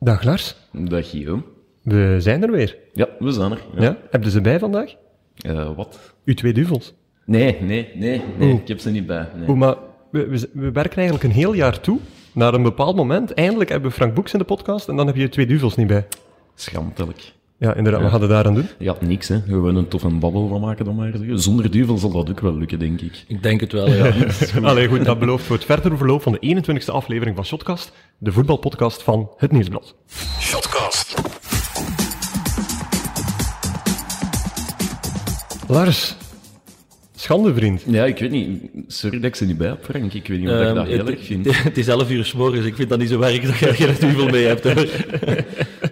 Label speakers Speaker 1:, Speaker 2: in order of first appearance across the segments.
Speaker 1: Dag Lars,
Speaker 2: Dag Guillaume.
Speaker 1: we zijn er weer.
Speaker 2: Ja, we zijn er.
Speaker 1: Ja. Heb je ze bij vandaag?
Speaker 2: Eh, wat?
Speaker 1: Uw twee duvels.
Speaker 2: Nee, nee, nee, nee. Ik heb ze niet bij. Nee.
Speaker 1: Oeh, maar we, we, z- we werken eigenlijk een heel jaar toe naar een bepaald moment. Eindelijk hebben we Frank Boeks in de podcast en dan heb je je twee duvels niet bij.
Speaker 2: Schandelijk.
Speaker 1: Ja, inderdaad, we gaan het daaraan doen.
Speaker 2: Ja, niks hè. We willen een toffe babbel van maken dan maar. te zeggen. Zonder duvel zal dat ook wel lukken, denk ik.
Speaker 3: Ik denk het wel, ja.
Speaker 1: Allee, goed, dat belooft voor het verdere verloop van de 21ste aflevering van Shotcast, de voetbalpodcast van het Nieuwsblad. Shotcast. Lars, schande vriend.
Speaker 2: Ja, ik weet niet. Sorry dat ik ze niet bij heb, Frank. Ik weet niet wat ik
Speaker 3: Ehm,
Speaker 2: dat heel
Speaker 3: het,
Speaker 2: erg vind.
Speaker 3: het- het is 11 uur s morgens, ik vind dat niet zo erg dat je er geen duivel mee hebt. hoor.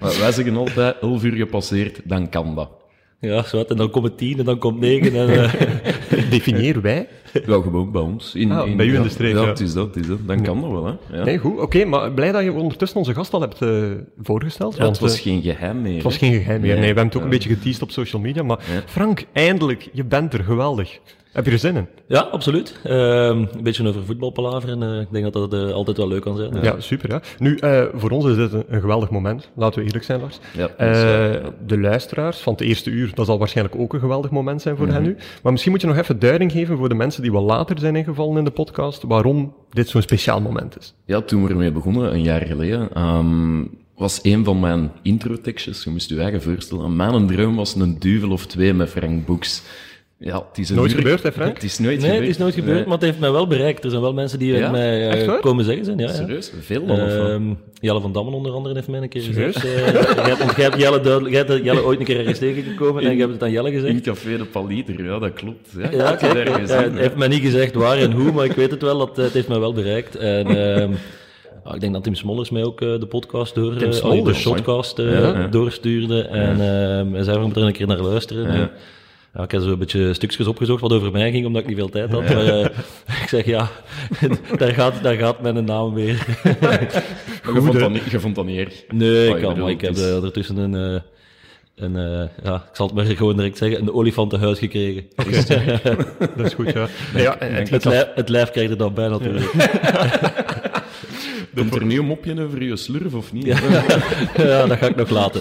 Speaker 2: Maar wij zeggen altijd, 11 uur gepasseerd, dan kan dat.
Speaker 3: Ja, zwart, en dan komt het 10 en dan komt 9. En, eh,
Speaker 1: Definieer wij.
Speaker 2: Ja, gewoon bij ons. In,
Speaker 1: Ah, bij u in de streek, ja.
Speaker 2: het is dat, het is dat. Dan kan dat wel, hè. Ja.
Speaker 1: Nee, goed. Oké, maar blij dat je ondertussen onze gast al hebt eh, voorgesteld.
Speaker 2: Ja, het was
Speaker 1: eh,
Speaker 2: geen geheim meer.
Speaker 1: het was geen geheim meer. Nee, we hebben het ook een beetje geteased op social media. Maar Frank, eindelijk, je bent er. Geweldig. Heb je er zin in?
Speaker 3: ja, absoluut. Ehm, een beetje over voetbalpalaver en eh, ik denk dat dat eh, altijd wel leuk kan zijn.
Speaker 1: Ja, super. Ja. Nu, eh, voor ons is dit een, een geweldig moment. Laten we eerlijk zijn, Lars.
Speaker 2: Ja, dat is
Speaker 1: Eh,
Speaker 2: waar, ja.
Speaker 1: De luisteraars van het eerste uur, dat zal waarschijnlijk ook een geweldig moment zijn voor
Speaker 2: Mhm.
Speaker 1: hen nu. Maar misschien moet je nog even duiding geven voor de mensen die wat later zijn ingevallen in de podcast, waarom dit zo'n speciaal moment is.
Speaker 2: Ja, toen we ermee begonnen, een jaar geleden, ehm, was een van mijn introtekstjes, je moest je eigen voorstellen, mijn droom was een duvel of twee met Frank Boeks. Ja, het is een
Speaker 1: Nooit
Speaker 2: uur-
Speaker 1: gebeurd, hè, Frank?
Speaker 2: Het is nooit
Speaker 3: Nee,
Speaker 2: gebeurd.
Speaker 3: het is nooit gebeurd,
Speaker 2: Nee.
Speaker 3: maar het heeft mij wel bereikt. Er zijn wel mensen die
Speaker 2: Ja?
Speaker 3: het mij eh,
Speaker 1: Echt waar?
Speaker 3: komen zeggen zijn. Ja, ja.
Speaker 2: Serieus? Veel dan, of wat?
Speaker 3: Ehm, Jelle van Dammen onder andere heeft mij een keer
Speaker 1: Serieus?
Speaker 3: gezegd. eh, jij hebt- want jij hebt Jelle, duidelijk- jij hebt Jelle ooit een keer ergens tegengekomen en je hebt het aan Jelle gezegd.
Speaker 2: In Café de Paliter, ja, dat klopt. Ja, ik
Speaker 3: Eh, Ja,
Speaker 2: had het
Speaker 3: kijk,
Speaker 2: ergens
Speaker 3: eh,
Speaker 2: in,
Speaker 3: het
Speaker 2: hè.
Speaker 3: heeft mij niet gezegd waar en hoe, maar ik weet het wel, dat, eh, het heeft mij wel bereikt. En, ehm, ah, ik denk dat Tim Smollers mij ook eh, de podcast door, eh,
Speaker 1: Smollers,
Speaker 3: oh, de
Speaker 1: mooi.
Speaker 3: shotcast eh,
Speaker 2: Ja.
Speaker 3: doorstuurde. En ehm, hij zei, we moeten er een keer naar luisteren. En, ja, ik heb zo een beetje stukjes opgezocht wat over mij ging, omdat ik niet veel tijd had. Maar eh, ik zeg, ja, daar gaat, daar gaat mijn naam weer.
Speaker 2: Maar je, vond dat niet, je vond dat niet erg.
Speaker 3: Nee,
Speaker 2: Oh,
Speaker 3: ik kan,
Speaker 2: bedoel,
Speaker 3: maar ik heb
Speaker 2: het is-
Speaker 3: eh, ertussen een... eh, een eh, ja, ik zal het maar gewoon direct zeggen, een olifantenhuis gekregen.
Speaker 1: Dat is goed, ja. Nee, ja, eh,
Speaker 2: denk
Speaker 1: het-
Speaker 2: dat
Speaker 3: Het, lijf, het lijf krijgt er dan bij natuurlijk.
Speaker 2: Komt er nu een mopje over je slurf of niet?
Speaker 3: Ja, dat ga ik nog laten.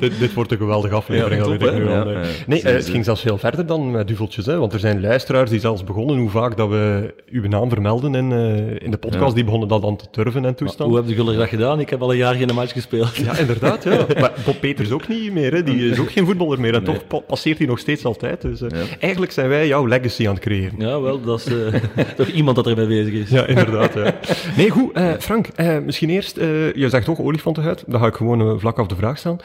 Speaker 1: dit, dit wordt een geweldige aflevering.
Speaker 2: Ja,
Speaker 1: al
Speaker 2: top,
Speaker 1: weet ik
Speaker 2: hè?
Speaker 1: nu al,
Speaker 2: Ja,
Speaker 1: nee,
Speaker 2: ja.
Speaker 1: nee eh, het
Speaker 2: Sowieso.
Speaker 1: ging zelfs veel verder dan met duveltjes. Hè, want er zijn luisteraars die zelfs begonnen hoe vaak dat we uw naam vermelden in, eh, in de podcast. Die begonnen dat dan te turven en toestand.
Speaker 3: Hoe heb je gelukkig dat gedaan? Ik heb al een jaar geen match gespeeld.
Speaker 1: Ja, inderdaad. Ja. Maar Bob Peters ook niet meer. Hè. Die is ook geen voetballer meer. En toch pa- passeert hij nog steeds altijd. Dus, eh, Eigenlijk zijn wij jouw legacy aan het creëren.
Speaker 3: Ja, wel, dat is eh, toch iemand dat erbij bezig is.
Speaker 1: Ja, inderdaad. ja. Nee, goed. eh, Frank, eh, misschien eerst. eh, je zegt toch olifantenhuid. Dan ga ik gewoon eh, vlak af de vraag staan.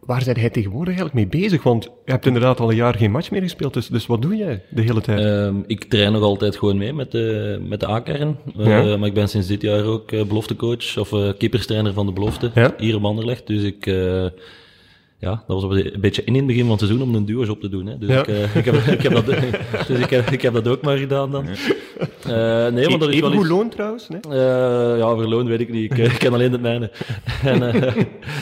Speaker 1: Waar zijn jij tegenwoordig eigenlijk mee bezig? Want je hebt inderdaad al een jaar geen match meer gespeeld. Dus, dus wat doe jij de hele tijd?
Speaker 3: Ehm, ik train nog altijd gewoon mee met de, met de A-kern. Eh,
Speaker 1: Ja.
Speaker 3: Maar ik ben sinds dit jaar ook eh, beloftecoach of eh keeperstrainer van de belofte
Speaker 1: Ja.
Speaker 3: hier op Anderlecht. Dus ik... eh, ja, dat was een beetje in in het begin van het seizoen om een duo's op te doen. Hè. Dus,
Speaker 1: Ja.
Speaker 3: ik, eh, ik heb, ik heb dat, dus ik heb, ik heb dat ook maar gedaan dan. Eh, nee, want dat is
Speaker 1: Even
Speaker 3: wel
Speaker 1: goed
Speaker 3: iets...
Speaker 1: loon trouwens. Nee?
Speaker 3: Eh, ja, over loon weet ik niet. Ik, eh, ken alleen het mijne. en, eh,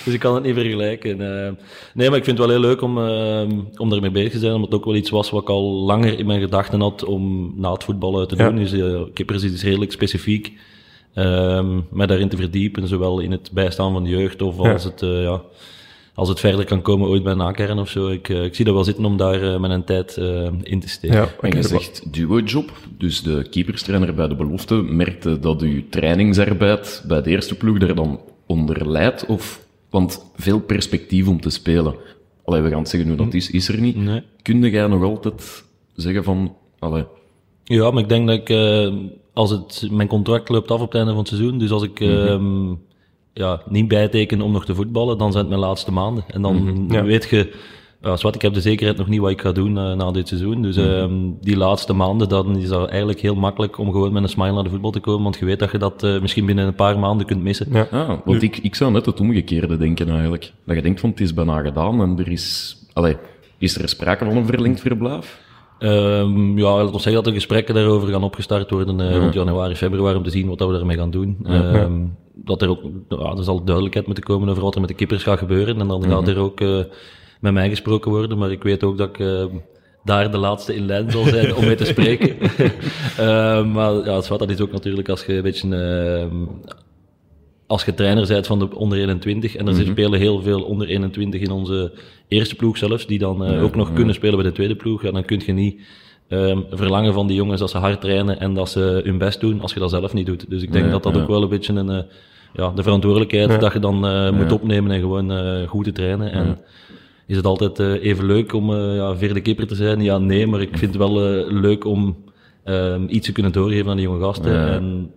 Speaker 3: dus ik kan het niet vergelijken. Eh, nee, maar ik vind het wel heel leuk om, eh, om daarmee bezig te zijn. Omdat het ook wel iets was wat ik al langer in mijn gedachten had om na het voetballen te
Speaker 1: Ja.
Speaker 3: doen. Dus eh, kippers is iets redelijk specifiek. ehm mij daarin te verdiepen, zowel in het bijstaan van de jeugd of
Speaker 1: Ja.
Speaker 3: als, het, eh, ja, als het verder kan komen ooit bij een A-kern of zo. Ik, eh, ik zie dat wel zitten om daar eh, mijn tijd eh, in te steken.
Speaker 2: En je zegt duo-job, dus de keeperstrainer bij de belofte merkte dat uw trainingsarbeid bij de eerste ploeg daar dan onder leidt, of, want veel perspectief om te spelen. Allee, we gaan het zeggen hoe
Speaker 1: Hm.
Speaker 2: dat is, is er niet.
Speaker 3: Nee.
Speaker 2: Kun jij nog altijd zeggen van, allee,
Speaker 3: Ja, maar ik denk dat ik, eh, als het, mijn contract loopt af op het einde van het seizoen, dus als ik
Speaker 1: Mhm.
Speaker 3: ehm, ja, niet bijteken om nog te voetballen, dan zijn het mijn laatste maanden. En dan
Speaker 1: Mhm. Ja.
Speaker 3: weet je, ja, zwart, ik heb de zekerheid nog niet wat ik ga doen eh, na dit seizoen. Dus
Speaker 1: Mhm.
Speaker 3: ehm, die laatste maanden, dan is dat eigenlijk heel makkelijk om gewoon met een smile naar de voetbal te komen, want je weet dat je dat eh, misschien binnen een paar maanden kunt missen.
Speaker 1: Ja.
Speaker 2: ah, want ik, ik zou net het omgekeerde denken eigenlijk. Dat je denkt van, het is bijna gedaan en er is, allee, is er sprake van een verlengd verblijf?
Speaker 3: Ehm, ja, laat ons zeggen dat de gesprekken daarover gaan opgestart worden eh, rond januari, februari, om te zien wat dat we daarmee gaan doen. Ehm, Dat er ook, ja, er zal duidelijkheid moeten komen over wat er met de kippers gaat gebeuren. En dan gaat er ook eh, met mij gesproken worden, maar ik weet ook dat ik eh, daar de laatste in lijn zal zijn om mee te spreken. Ehm, maar ja, zwart, dat is ook natuurlijk als je een beetje ehm, als je trainer bent van de onder 21, en er
Speaker 2: Mhm.
Speaker 3: zit spelen heel veel onder 21 in onze eerste ploeg zelfs, die dan eh, ook nog kunnen spelen bij de tweede ploeg, ja, dan kun je niet ehm, verlangen van die jongens dat ze hard trainen en dat ze hun best doen, als je dat zelf niet doet. Dus ik denk
Speaker 2: Nee,
Speaker 3: dat dat
Speaker 2: ja.
Speaker 3: ook wel een beetje een, eh, ja, de verantwoordelijkheid dat je dan eh, moet opnemen en gewoon eh, goed te trainen. En, is het altijd eh, even leuk om eh, ja, vierde keeper te zijn? Ja, nee, maar ik vind het wel eh, leuk om ehm, iets te kunnen doorgeven aan die jonge gasten.
Speaker 2: Ja.
Speaker 3: En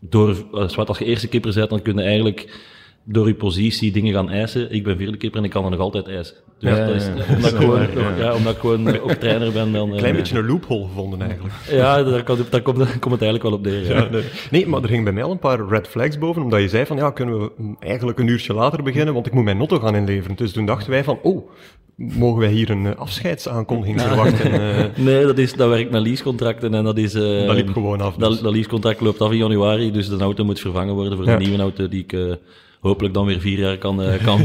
Speaker 3: door, eh, zwart, als je eerste keeper bent, dan kun je eigenlijk door je positie dingen gaan eisen. Ik ben vierde keeper en ik kan er nog altijd eisen. Dus
Speaker 2: Ja,
Speaker 3: dat is,
Speaker 2: ja, ja.
Speaker 3: Omdat, ik
Speaker 2: Zo
Speaker 3: gewoon,
Speaker 2: waar, ja.
Speaker 3: ja, omdat ik gewoon ook trainer ben. Dan, eh,
Speaker 1: Klein beetje een loophole gevonden eigenlijk.
Speaker 3: Ja, daar komt, daar, komt, daar komt het eigenlijk wel op neer. ja.
Speaker 1: Nee. Nee, maar er gingen bij mij al een paar red flags boven, omdat je zei van, ja, kunnen we mm, eigenlijk een uurtje later beginnen, want ik moet mijn notto gaan inleveren. Dus toen dachten wij van, oh, mogen wij hier een eh, afscheidsaankondiging verwachten? Eh,
Speaker 3: Nee, dat, is, dat werkt met leasecontracten en dat is... eh,
Speaker 1: Dat liep gewoon af, dus.
Speaker 3: Dat, dat leasecontract loopt af in januari, dus de auto moet vervangen worden voor
Speaker 1: Ja.
Speaker 3: een nieuwe auto die ik eh, hopelijk dan weer vier jaar kan... eh, kan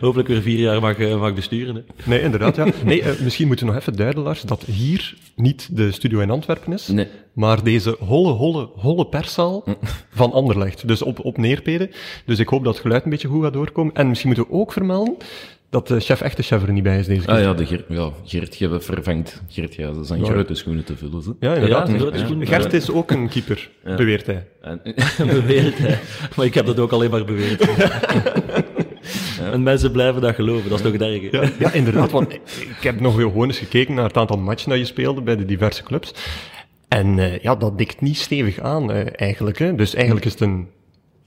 Speaker 3: hopelijk weer vier jaar mag, eh, mag besturen. hè.
Speaker 1: nee, inderdaad, ja. Nee, eh, misschien moeten we nog even duiden, Lars, dat hier niet de studio in Antwerpen is,
Speaker 2: Nee.
Speaker 1: maar deze holle, holle, holle perszaal
Speaker 3: Hm.
Speaker 1: van Anderlecht. Dus op, op Neerpede. Dus ik hoop dat het geluid een beetje goed gaat doorkomen. En misschien moeten we ook vermelden dat de chef echte chef er niet bij is deze keer.
Speaker 2: Ah ja, de Geert, ja, Geert je hebt vervangt. Geert, ja, dat zijn
Speaker 1: Ja.
Speaker 2: grote schoenen te vullen. Zo.
Speaker 1: Ja, inderdaad.
Speaker 3: Ja, dat is goed.
Speaker 1: Gert is ook een keeper, beweert hij.
Speaker 2: En,
Speaker 3: beweerd, hè. Maar ik heb dat ook alleen maar beweerd. En mensen blijven dat geloven, dat is toch het erge.
Speaker 1: Ja, ja, inderdaad. Want ik heb nog heel gewoon eens gekeken naar het aantal matchen dat je speelde bij de diverse clubs. En eh, ja, dat dikt niet stevig aan eh, eigenlijk. Hè. Dus eigenlijk is het een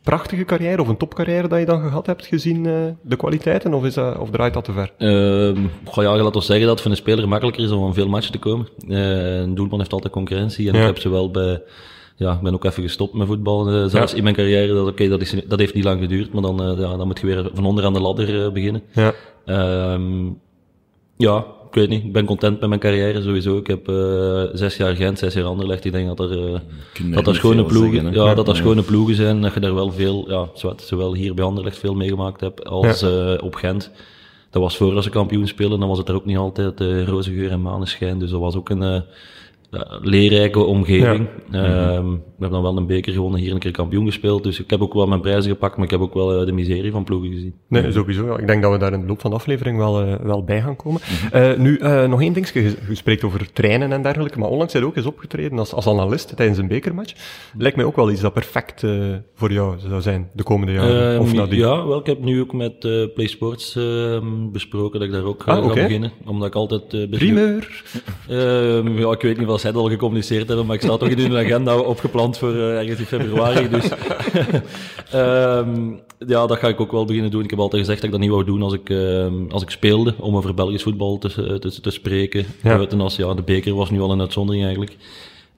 Speaker 1: prachtige carrière of een topcarrière dat je dan gehad hebt gezien eh, de kwaliteiten. Of, is dat, of draait dat te ver?
Speaker 3: Ehm goh, ja, laat ons zeggen dat het voor een speler makkelijker is om aan veel matchen te komen. Eh, een doelman heeft altijd concurrentie. En
Speaker 1: Ja.
Speaker 3: ik heb ze wel bij... Ja, ik ben ook even gestopt met voetbal. eh, zelfs in mijn carrière, dat, oké, dat, is, dat heeft niet lang geduurd. Maar dan, eh, ja, dan moet je weer van onder aan de ladder eh, beginnen.
Speaker 1: Ja.
Speaker 3: Ehm, ja, ik weet niet. Ik ben content met mijn carrière sowieso. Ik heb eh, zes jaar Gent, zes jaar Anderlecht. Ik denk dat er, eh,
Speaker 2: kunt
Speaker 3: dat
Speaker 2: er
Speaker 3: er
Speaker 2: niet
Speaker 3: schone
Speaker 2: veel
Speaker 3: ploegen,
Speaker 2: zeggen, hè.
Speaker 3: ja,
Speaker 2: Ja,
Speaker 3: dat er
Speaker 2: ja.
Speaker 3: schone ploegen zijn. Dat je daar wel veel, ja, zowat- zowel hier bij Anderlecht veel meegemaakt hebt als eh, op Gent. Dat was voor als ze kampioen spelen, dan was het er ook niet altijd eh roze geur en maneschijn. Dus dat was ook een eh, ja, leerrijke omgeving. Ehm, We hebben dan wel een beker gewonnen, hier een keer kampioen gespeeld. Dus ik heb ook wel mijn prijzen gepakt, maar ik heb ook wel eh, de miserie van ploegen gezien.
Speaker 1: Nee, sowieso. Ja. Ik denk dat we daar in de loop van de aflevering wel, eh, wel bij gaan komen. Eh, nu, eh, nog één ding. Je je spreekt over trainen en dergelijke, maar onlangs zijn ook eens opgetreden als, als analist tijdens een bekermatch. Lijkt mij ook wel iets dat perfect eh, voor jou zou zijn de komende jaren.
Speaker 3: Ehm,
Speaker 1: of nadien.
Speaker 3: ja, wel, ik heb nu ook met eh Play Sports ehm, besproken dat ik daar ook eh,
Speaker 1: Ah, oké.
Speaker 3: ga beginnen. Omdat ik altijd... eh best-
Speaker 1: Primeur.
Speaker 3: Ehm, ja, ik weet niet of zij dat al gecommuniceerd hebben, maar ik sta toch in hun agenda opgepland voor eh, ergens in februari. Dus ehm, ja, dat ga ik ook wel beginnen doen. Ik heb altijd gezegd dat ik dat niet wou doen als ik, ehm, als ik speelde, om over Belgisch voetbal te, eh, te, te spreken.
Speaker 1: Ja.
Speaker 3: Buiten als, ja, de beker was nu al een uitzondering eigenlijk.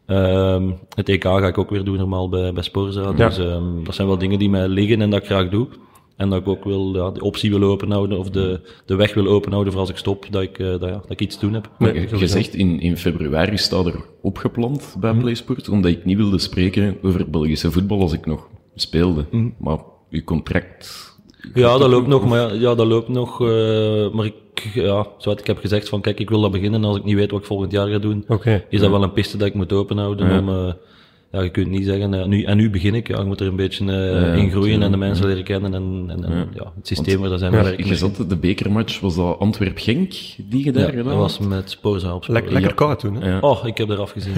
Speaker 3: Ehm, het EK ga ik ook weer doen normaal bij, bij Sporza. Dus ehm, dat zijn wel dingen die mij liggen en dat ik graag doe. En dat ik ook wil, ja, de optie wil openhouden of de, de weg wil openhouden voor als ik stop, dat ik, eh, dat, ja, dat ik iets te doen heb.
Speaker 2: Maar je- je zegt in, in februari staat er opgepland bij
Speaker 3: Mhm.
Speaker 2: PlaySport, omdat ik niet wilde spreken over Belgische voetbal als ik nog speelde.
Speaker 3: Mhm.
Speaker 2: Maar uw contract.
Speaker 3: Ja, dat loopt nog, maar ja, ja, dat loopt nog. eh, maar ik, ja, zoals ik heb gezegd van kijk, ik wil dat beginnen en als ik niet weet wat ik volgend jaar ga doen,
Speaker 1: Oké.
Speaker 3: is dat wel een piste dat ik moet openhouden. Om, eh, ja, je kunt niet zeggen, eh, nu, en nu begin ik, ja, je moet er een beetje eh, in groeien en de mensen leren kennen en, en, en, ja. het systeem waar dat zijn werken.
Speaker 2: Je zat de bekermatch, was dat Antwerp-Genk die je daar
Speaker 3: Ja,
Speaker 2: gedaan
Speaker 3: dat
Speaker 2: had?
Speaker 3: was met Sporza op
Speaker 1: Lek- lekker koud toen. Hè?
Speaker 2: Ja.
Speaker 3: Oh, ik heb eraf gezien.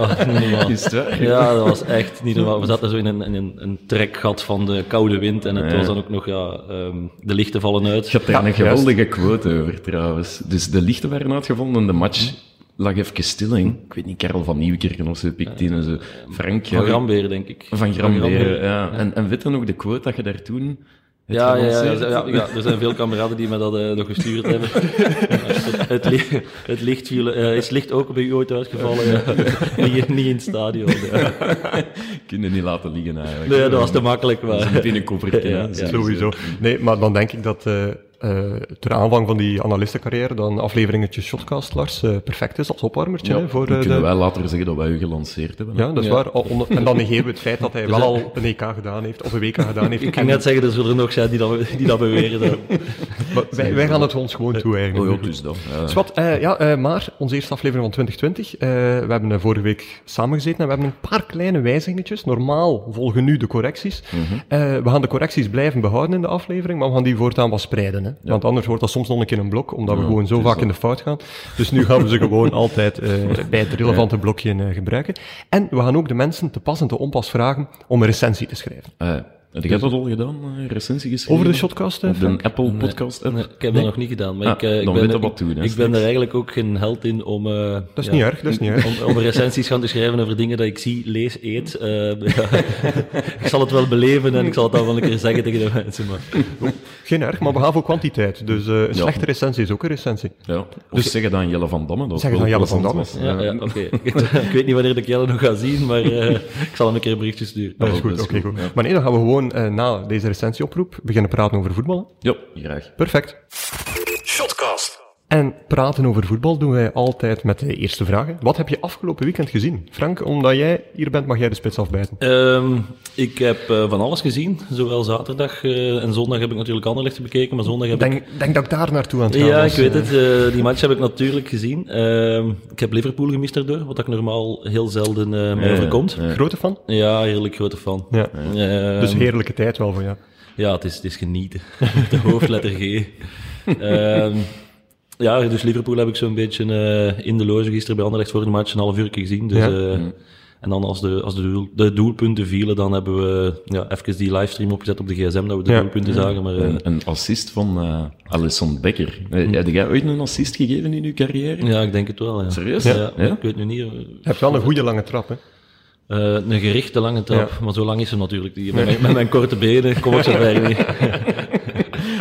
Speaker 3: oh, niet normaal.
Speaker 2: Is het waar?
Speaker 3: Ja, dat was echt niet normaal. We zaten zo in een, in een, een trekgat van de koude wind en het was dan ook nog, ja, ehm, de lichten vallen uit.
Speaker 2: Ik had daar
Speaker 1: Ja,
Speaker 2: een geweldige quote over trouwens. Dus de lichten waren uitgevonden en de
Speaker 3: Mhm.
Speaker 2: match lag even stil. En ik weet niet, Karel van Nieuwkerken of zo, Pictin en zo. Frank, ja,
Speaker 3: Van Grambeer, denk ik.
Speaker 2: Van Gramberen,
Speaker 3: Gramberen.
Speaker 2: ja. En, en weet dan ook de quote dat je daar toen hebt
Speaker 3: Ja, ja, ja,
Speaker 2: gelanceerd?
Speaker 3: ja, ja, er zijn veel kameraden die me dat eh, nog gestuurd hebben. het, li- het licht viel, eh, is licht ook bij u ooit uitgevallen. ja. niet, niet in het stadion. ja.
Speaker 2: Kun je niet laten liggen eigenlijk.
Speaker 3: Nee, dat was te makkelijk.
Speaker 2: Dat is
Speaker 3: Maar.
Speaker 2: een binnenkoffertje,
Speaker 3: Ja,
Speaker 2: hè.
Speaker 3: ja.
Speaker 2: Zo is het.
Speaker 1: Sowieso. Nee, maar dan denk ik dat eh, eh, ter aanvang van die analistencarrière dan afleveringetjes Shotcast, Lars, eh, perfect is als opwarmertje hè, voor eh,
Speaker 2: Dan kunnen
Speaker 1: de...
Speaker 2: wij later zeggen dat wij u gelanceerd hebben. hè.
Speaker 1: Ja, dat is waar. Al onder- En dan negeren we het feit dat hij wel al een EK gedaan heeft, of een WK gedaan heeft.
Speaker 3: Ik ging net zeggen, er zullen er nog zijn die dat, die dat beweren. dan.
Speaker 1: Maar wij, wij gaan het ons gewoon toe eigenlijk.
Speaker 2: Oh ja, dus dan. Ja.
Speaker 1: Swat, eh, ja, eh, maar onze eerste aflevering van 2020. eh, we hebben eh, vorige week samengezeten en we hebben een paar kleine wijzigingetjes. Normaal volgen nu de correcties.
Speaker 2: Mhm.
Speaker 1: Eh, we gaan de correcties blijven behouden in de aflevering, maar we gaan die voortaan wat spreiden. Hè? Want anders wordt dat soms nog een keer een blok, omdat we gewoon zo vaak in de fout gaan. Dus nu gaan we ze gewoon altijd eh, bij het relevante blokje eh, gebruiken. En we gaan ook de mensen te pas en te onpas vragen om een recensie te schrijven.
Speaker 2: Eh, heb jij dat al gedaan? eh, recensie geschreven?
Speaker 1: Over de shotcast, eh,
Speaker 2: Op de
Speaker 1: Frank?
Speaker 2: Apple podcast app?
Speaker 3: Nee, ik heb dat nog niet gedaan, maar
Speaker 2: Ah,
Speaker 3: ik, eh, ik,
Speaker 2: dan
Speaker 3: ben,
Speaker 2: weet je
Speaker 3: er-
Speaker 2: wat doen, hè,
Speaker 3: ik ben
Speaker 2: straks.
Speaker 3: er eigenlijk ook geen held in om... eh,
Speaker 1: Dat is
Speaker 3: ja,
Speaker 1: niet erg, dat is niet erg.
Speaker 3: Om, om recensies gaan te schrijven over dingen dat ik zie, lees, eet. eh, ja. ik zal het wel beleven en ik zal het dan wel een keer zeggen tegen de mensen. Maar
Speaker 1: Geen erg, maar we gaan voor kwantiteit. Dus eh, een slechte recensie is ook een recensie.
Speaker 2: Ja. Of zeg het aan Jelle van Damme. Dat
Speaker 1: Zeg het
Speaker 2: wel
Speaker 1: aan Jelle van
Speaker 2: plezant
Speaker 1: Damme.
Speaker 2: was.
Speaker 3: ja, ja, oké. ik weet niet wanneer ik Jelle nog ga zien, maar eh, ik zal hem een keer een berichtje sturen.
Speaker 1: Oh, Dat is goed, oké
Speaker 2: dat is
Speaker 1: goed. Maar nee, dan gaan we gewoon eh, na deze recensieoproep beginnen praten over voetbal.
Speaker 2: Ja, graag.
Speaker 1: Perfect. Shotcast. En praten over voetbal doen wij altijd met de eerste vraag. hè. Wat heb je afgelopen weekend gezien? Frank, omdat jij hier bent, mag jij de spits afbijten.
Speaker 3: Ehm, ik heb eh, van alles gezien, zowel zaterdag eh, en zondag heb ik natuurlijk Anderlecht bekeken, maar zondag heb ik...
Speaker 1: Denk, denk dat ik daar naartoe aan het gaan
Speaker 3: Ja, ik
Speaker 1: was.
Speaker 3: weet het. eh, die match heb ik natuurlijk gezien. Ehm, ik heb Liverpool gemist daardoor, wat ik normaal heel zelden eh mij
Speaker 2: Ja,
Speaker 3: overkomt. Ja,
Speaker 2: ja.
Speaker 1: Grote fan?
Speaker 3: heerlijk grote fan.
Speaker 1: Ja.
Speaker 3: Ehm,
Speaker 1: Dus heerlijke tijd wel voor jou.
Speaker 3: ja, het is, het is genieten. Met De hoofdletter G. Ehm, ja, dus Liverpool heb ik zo'n beetje eh, in de loge gisteren bij Anderlecht voor de match een half uur gezien. Dus,
Speaker 1: Ja.
Speaker 3: eh, En dan als de, als de, doel- de doelpunten vielen, dan hebben we ja, even die livestream opgezet op de gsm, dat we de
Speaker 1: Ja.
Speaker 3: doelpunten zagen. Maar, eh,
Speaker 2: Een, een assist van eh Alessand Becker. Eh, Heb jij ooit een assist gegeven in uw carrière?
Speaker 3: ja, ik denk het wel. Ja.
Speaker 2: Serieus?
Speaker 3: Ja,
Speaker 2: Ja.
Speaker 3: maar
Speaker 2: Ja?
Speaker 3: Ik weet nu niet... eh,
Speaker 1: Je hebt wel een goede lange trap, hè?
Speaker 3: Eh, een gerichte lange trap,
Speaker 1: Ja.
Speaker 3: maar zo lang is ze natuurlijk niet. Met, mijn, met mijn korte benen kom ik zo ver niet.